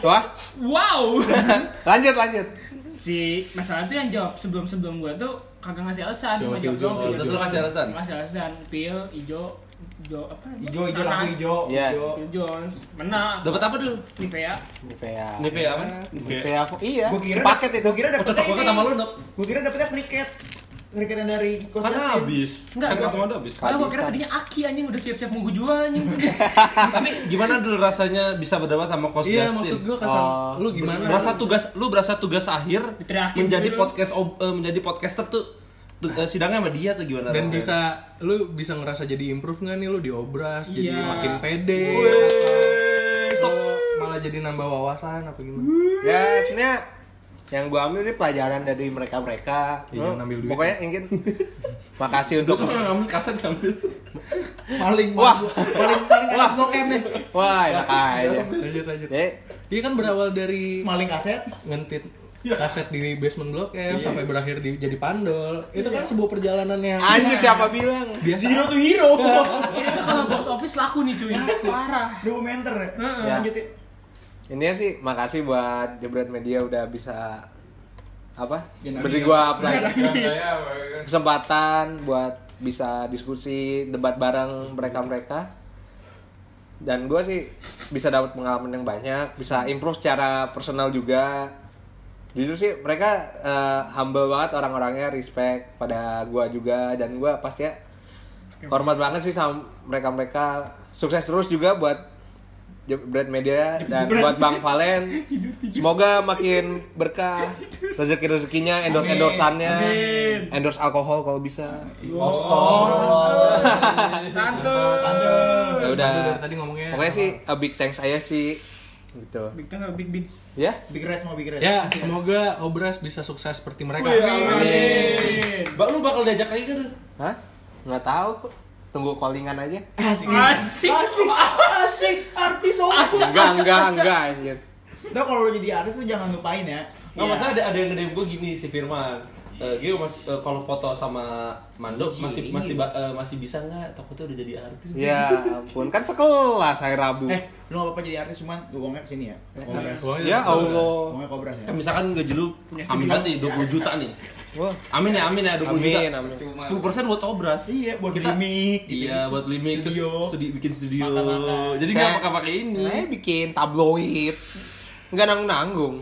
Speaker 4: wah
Speaker 5: Wow. [laughs]
Speaker 4: lanjut lanjut
Speaker 5: si masalah tuh yang jawab sebelum sebelum gua tuh kagak ngasih alasan
Speaker 7: Coba
Speaker 5: cuma jawab doang
Speaker 7: Phil Jones.
Speaker 5: sebelum-
Speaker 3: Terus lu kasih alasan?
Speaker 5: ngasih alasan pil hijau hijau apa
Speaker 9: Ijo ijo
Speaker 5: Nanas.
Speaker 9: lampu ijo.
Speaker 4: Iya.
Speaker 9: Ijo.
Speaker 5: Phil Jones menang
Speaker 3: Dapat apa dulu?
Speaker 5: Nivea
Speaker 4: Nivea
Speaker 3: Nivea apa?
Speaker 4: Nivea iya
Speaker 9: Gua kira
Speaker 4: sepaket itu
Speaker 9: Gua kira
Speaker 3: Oh,
Speaker 9: dapetnya
Speaker 3: cocok banget
Speaker 9: ini.
Speaker 3: sama lu, Dok.
Speaker 9: Gua kira dapetnya kriket. Kriket yang dari Coach
Speaker 3: Kan
Speaker 9: Justin.
Speaker 3: habis.
Speaker 5: Enggak,
Speaker 3: Kan
Speaker 5: gua-
Speaker 3: ketemu udah habis.
Speaker 5: Karena gua kira tadinya Aki anjing udah siap-siap mau gua jual anjing
Speaker 3: Tapi gimana dulu rasanya bisa berdebat sama Coach
Speaker 7: Iya
Speaker 3: Justin?
Speaker 7: maksud gue kasar.
Speaker 4: Oh.
Speaker 7: Lu gimana?
Speaker 3: berasa tugas lu berasa tugas akhir
Speaker 5: Diteriakin
Speaker 3: menjadi
Speaker 5: dulu.
Speaker 3: podcast ob- eh, menjadi podcaster tuh tu- eh, sidangnya sama dia tuh gimana
Speaker 7: dan
Speaker 3: rasanya?
Speaker 7: bisa lu bisa ngerasa jadi improve nggak nih lu diobras jadi
Speaker 5: Iya.
Speaker 7: makin pede atau lu malah jadi nambah wawasan apa gimana
Speaker 4: ya sebenarnya yang gue ambil sih pelajaran dari mereka mereka
Speaker 7: Iya, jangan ambil duit.
Speaker 4: pokoknya ingin makasih
Speaker 9: [laughs]
Speaker 4: untuk
Speaker 3: Lu ngambil kaset ngambil
Speaker 9: Paling
Speaker 4: Wah.
Speaker 9: paling paling wah bokep nih.
Speaker 4: wah enak aja
Speaker 7: lanjut lanjut
Speaker 4: jadi
Speaker 7: iya kan berawal dari
Speaker 9: Maling kaset. Iya.
Speaker 7: ngentit kaset di basement blok M sampai berakhir di, jadi pandol itu
Speaker 9: Iya.
Speaker 7: kan sebuah perjalanan yang
Speaker 4: anjir siapa bilang
Speaker 7: biasa
Speaker 9: Zero to hero.
Speaker 5: Iya. Ini tuh kalau box office laku nih cuy Parah
Speaker 9: Dokumenter ya.
Speaker 5: Heeh.
Speaker 9: Lanjut ya.
Speaker 4: Ini sih makasih buat Jebret Media udah bisa apa?
Speaker 9: Jangan nangis.
Speaker 4: Beri gua apply kesempatan buat bisa diskusi debat bareng mereka-mereka. Dan gua sih bisa dapat pengalaman yang banyak, bisa improve secara personal juga. Jujur sih mereka eh, humble banget orang-orangnya, respect pada gua juga dan gua pasti ya hormat banget sih sama mereka-mereka. Sukses terus juga buat Bread Media dan buat Bang Valen. Semoga makin berkah rezeki-rezekinya, endorse-endorsannya, endorse alkohol kalau bisa.
Speaker 3: Oh,
Speaker 5: Tante
Speaker 4: Ya
Speaker 9: Iya.
Speaker 7: Aduh, dari
Speaker 4: udah.
Speaker 7: tadi ngomongnya
Speaker 4: Pokoknya sih a big thanks saya sih gitu.
Speaker 5: [laughs] Big Tens sama Big Beats
Speaker 4: Ya.
Speaker 9: Big Reds mau Big Reds.
Speaker 7: ya semoga obras bisa sukses seperti mereka
Speaker 3: Mbak lu bakal diajak lagi kan?
Speaker 4: Hah? Nggak tahu. Tunggu callingan
Speaker 5: [laughs]
Speaker 4: aja.
Speaker 5: Asik
Speaker 9: Asik, asik, artis
Speaker 5: Asik.
Speaker 9: aku.
Speaker 4: Enggak,
Speaker 5: Asa-
Speaker 4: enggak,
Speaker 5: asa.
Speaker 4: enggak anjir.
Speaker 9: Nah kalau lo jadi artis lu jangan lupain ya.
Speaker 3: Nggak masalah ada ada yang ngedem gue gini si Firman. Eh, Gio mas- eh, kalau foto sama Mando
Speaker 4: Iya.
Speaker 3: masih masih ba- eh, masih bisa nggak? Takutnya udah jadi artis.
Speaker 4: Ya ampun, kan sekelas hari Rabu.
Speaker 9: Eh, lu nggak apa-apa jadi artis cuman lu uangnya kesini ya. Kobras.
Speaker 4: Ya Allah.
Speaker 9: Uangnya kobras ya.
Speaker 3: Kan misalkan gaji lu amin banget nih 20 juta nih.
Speaker 4: Wah.
Speaker 3: Amin ya amin ya 20 juta.
Speaker 4: Amin, amin.
Speaker 3: 10% buat obras.
Speaker 9: Iya, buat
Speaker 3: Kita-
Speaker 9: gimmick, gitu.
Speaker 3: Iya, buat limit terus
Speaker 9: Studio.
Speaker 3: studi, bikin studio.
Speaker 9: Makan-makan.
Speaker 3: Jadi
Speaker 4: Kayak-
Speaker 3: nggak pakai-pakai ini.
Speaker 4: Saya bikin tabloid. Enggak nanggung-nanggung.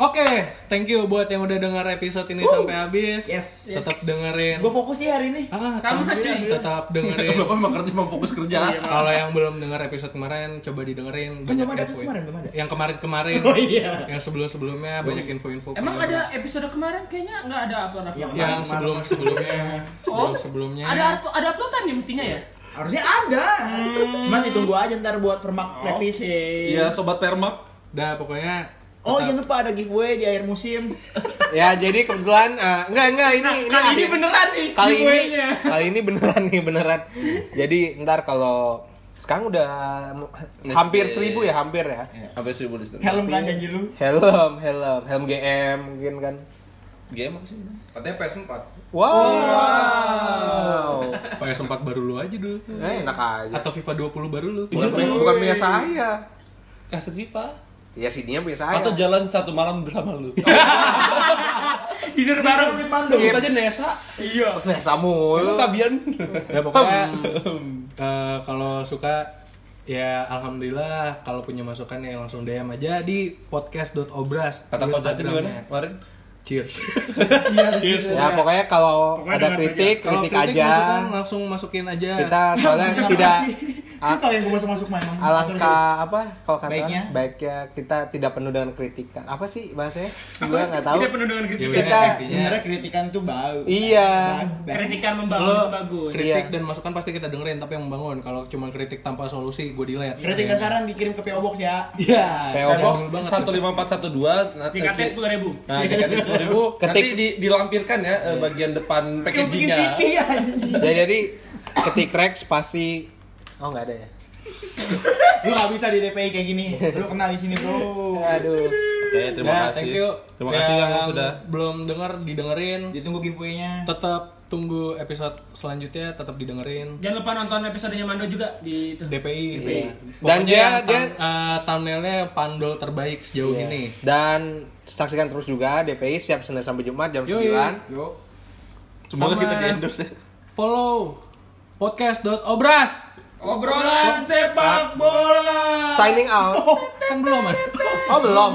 Speaker 7: Oke, thank you buat yang udah dengar episode ini sampai habis.
Speaker 9: Yes, yes.
Speaker 7: Tetap dengerin.
Speaker 9: Gue fokus sih hari ini.
Speaker 7: Ah,
Speaker 5: Sama,
Speaker 7: tetap-
Speaker 5: cuy.
Speaker 7: Tetap
Speaker 9: [laughs]
Speaker 7: dengerin.
Speaker 3: Bapak emang kerja emang fokus kerja.
Speaker 5: Iya,
Speaker 7: Kalau yang belum dengar episode kemarin, coba didengerin.
Speaker 9: Kan belum ada
Speaker 7: info.
Speaker 9: episode kemarin, belum ada.
Speaker 7: Yang kemarin-kemarin,
Speaker 9: Oh iya.
Speaker 7: yang sebelum-sebelumnya banyak info-info.
Speaker 5: Emang
Speaker 7: kemarin.
Speaker 5: ada episode kemarin kayaknya nggak ada upload
Speaker 4: Iya.
Speaker 5: upload.
Speaker 9: Yang-
Speaker 7: yang
Speaker 9: [laughs] Oh,
Speaker 7: sebelum-sebelumnya, sebelum-sebelumnya.
Speaker 5: Ada upload- ada uploadan ya mestinya ya.
Speaker 9: Harusnya ada.
Speaker 4: Hmm.
Speaker 9: Cuman ditunggu aja ntar buat permak practice.
Speaker 3: Iya, sobat Permak.
Speaker 7: Dah, pokoknya
Speaker 9: Oh jangan lupa ada giveaway di akhir
Speaker 4: [laughs]
Speaker 9: musim.
Speaker 4: Ya, jadi kebetulan eh, enggak enggak ini ini
Speaker 5: Nah, Kali ini
Speaker 4: akhir-
Speaker 5: beneran nih.
Speaker 4: kali ini
Speaker 5: giveaway-nya.
Speaker 4: kali ini beneran nih beneran jadi ntar kalau sekarang udah hampir seribu ya hampir ya
Speaker 3: Apa sih boleh
Speaker 9: Helm kan janji lu.
Speaker 4: helm helm helm GM mungkin kan
Speaker 3: game apa sih?
Speaker 10: Katanya PS4.
Speaker 4: Wow.
Speaker 7: PS4 baru lu aja dulu.
Speaker 4: Eh, enak aja.
Speaker 7: Atau FIFA 20 baru lu.
Speaker 4: bukan, punya- bukan punya saya.
Speaker 3: Kaset FIFA.
Speaker 4: Ya CD-nya punya saya.
Speaker 3: Atau jalan satu malam bersama lu.
Speaker 9: Dinner bareng
Speaker 3: Bisa aja Nesa,
Speaker 4: Nah, Samu.
Speaker 3: Sabian.
Speaker 7: ya pokoknya eh, kalau suka ya alhamdulillah kalau punya masukan ya langsung DM aja di podcast.obras
Speaker 3: Kata
Speaker 7: Terus
Speaker 3: Pak Jati
Speaker 7: Instagramnya.
Speaker 3: gimana kemarin?
Speaker 7: Cheers. Cheers.
Speaker 4: Ya pokoknya kalau
Speaker 9: Pokoknya
Speaker 4: ada
Speaker 9: dengar
Speaker 4: kritik,
Speaker 7: Kalau
Speaker 4: kritik aja.
Speaker 7: masukan langsung masukin aja.
Speaker 4: Kita soalnya tidak
Speaker 6: Saya tahu yang gue masuk masuk main.
Speaker 4: alangkah ya. apa kalau kata
Speaker 6: Baiknya?
Speaker 4: baiknya. kita tidak penuh dengan kritikan. Apa sih bahasanya? Gua nggak tahu. Iya,
Speaker 9: Tidak penuh dengan
Speaker 7: Ya,
Speaker 9: kritik.
Speaker 4: Kita-
Speaker 7: intinya
Speaker 6: Sebenarnya kritikan tuh bau.
Speaker 4: Iya.
Speaker 6: Bau, bau.
Speaker 5: Kritikan membangun
Speaker 7: Lo
Speaker 5: itu bagus.
Speaker 7: kritik
Speaker 4: Iya.
Speaker 7: dan masukan pasti kita dengerin tapi yang membangun. Kalau cuma kritik tanpa solusi gue delete.
Speaker 3: Iya.
Speaker 6: Kritikan saran dikirim ke PO Box ya.
Speaker 7: Iya.
Speaker 4: PO
Speaker 7: Jangan
Speaker 4: Box
Speaker 7: dulu banget.
Speaker 3: satu lima empat satu dua
Speaker 5: Tingkatnya sepuluh ribu.
Speaker 3: Nah, tingkatnya sepuluh ribu. Nanti
Speaker 4: Ketik.
Speaker 3: di, dilampirkan ya eh, bagian depan
Speaker 6: Kayak bikin
Speaker 3: packagingnya.
Speaker 6: CD ya.
Speaker 4: Ya jadi ketik Rex pasti Oh nggak ada ya.
Speaker 6: Lu gak bisa di DPI kayak gini. Lu kenal di sini
Speaker 4: [laughs]
Speaker 6: bro.
Speaker 4: Aduh.
Speaker 3: Oke, terima
Speaker 7: Ya,
Speaker 3: kasih.
Speaker 7: thank you.
Speaker 3: Terima kasih yang sudah. Iya.
Speaker 7: belum denger didengerin.
Speaker 6: Ditunggu giveaway-nya.
Speaker 7: Tetap tunggu episode selanjutnya, tetap didengerin.
Speaker 5: Jangan lupa nonton episodenya Mando juga di itu.
Speaker 7: DPI.
Speaker 4: Iya.
Speaker 7: Pokoknya
Speaker 4: Dan dia-
Speaker 7: yang
Speaker 4: dia-
Speaker 7: tam- eh, thumbnailnya pandol terbaik sejauh
Speaker 3: Iya.
Speaker 7: ini.
Speaker 4: Dan saksikan terus juga DPI siap Senin sampai Jumat jam
Speaker 7: Yoi.
Speaker 4: 9.
Speaker 3: Semoga
Speaker 7: Sama-
Speaker 3: kita di endorse ya.
Speaker 7: Follow podcast.obras.
Speaker 10: Obrolan sepak bola.
Speaker 4: Signing [laughs] out.
Speaker 7: Kan belum ada.
Speaker 3: [laughs]
Speaker 4: Oh belum.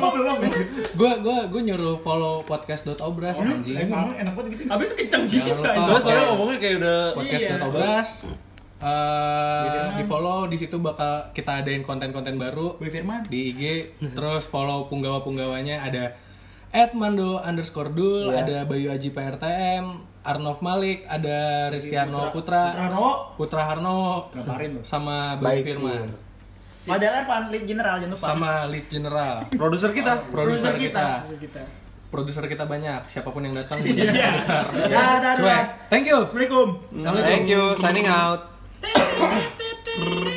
Speaker 7: Gua gua gua nyuruh follow podcast.obras
Speaker 6: Eh,
Speaker 7: anjing.
Speaker 6: ngomong enak banget gitu.
Speaker 5: Habis itu kenceng gitu
Speaker 7: lupa.
Speaker 5: aja.
Speaker 3: Terus soalnya ngomongnya kayak udah
Speaker 7: Podcast.obras. Eh, di follow di situ bakal kita adain konten-konten baru
Speaker 6: Boy Firman.
Speaker 7: di IG terus follow punggawa punggawanya ada Edmando underscore Dul,
Speaker 4: Iya.
Speaker 7: ada Bayu Aji PRTM, Arnov Malik, ada Rizky Arno Putra,
Speaker 6: Putra Arno.
Speaker 7: Putra Harno,
Speaker 6: Ngaparin lu.
Speaker 7: sama Bayu
Speaker 4: Baik,
Speaker 7: Firman,
Speaker 6: Padahal Ervan, lead general jangan lupa.
Speaker 7: sama Lead General,
Speaker 3: produser kita.
Speaker 7: produser kita,
Speaker 5: Kita.
Speaker 7: produser kita banyak, siapapun yang datang jadi produser.
Speaker 6: Dah, dah, dah.
Speaker 7: Cuek. Thank you.
Speaker 6: Assalamualaikum.
Speaker 7: Assalamualaikum.
Speaker 4: Thank you. Signing out.
Speaker 5: Tip, tip, tip, tip.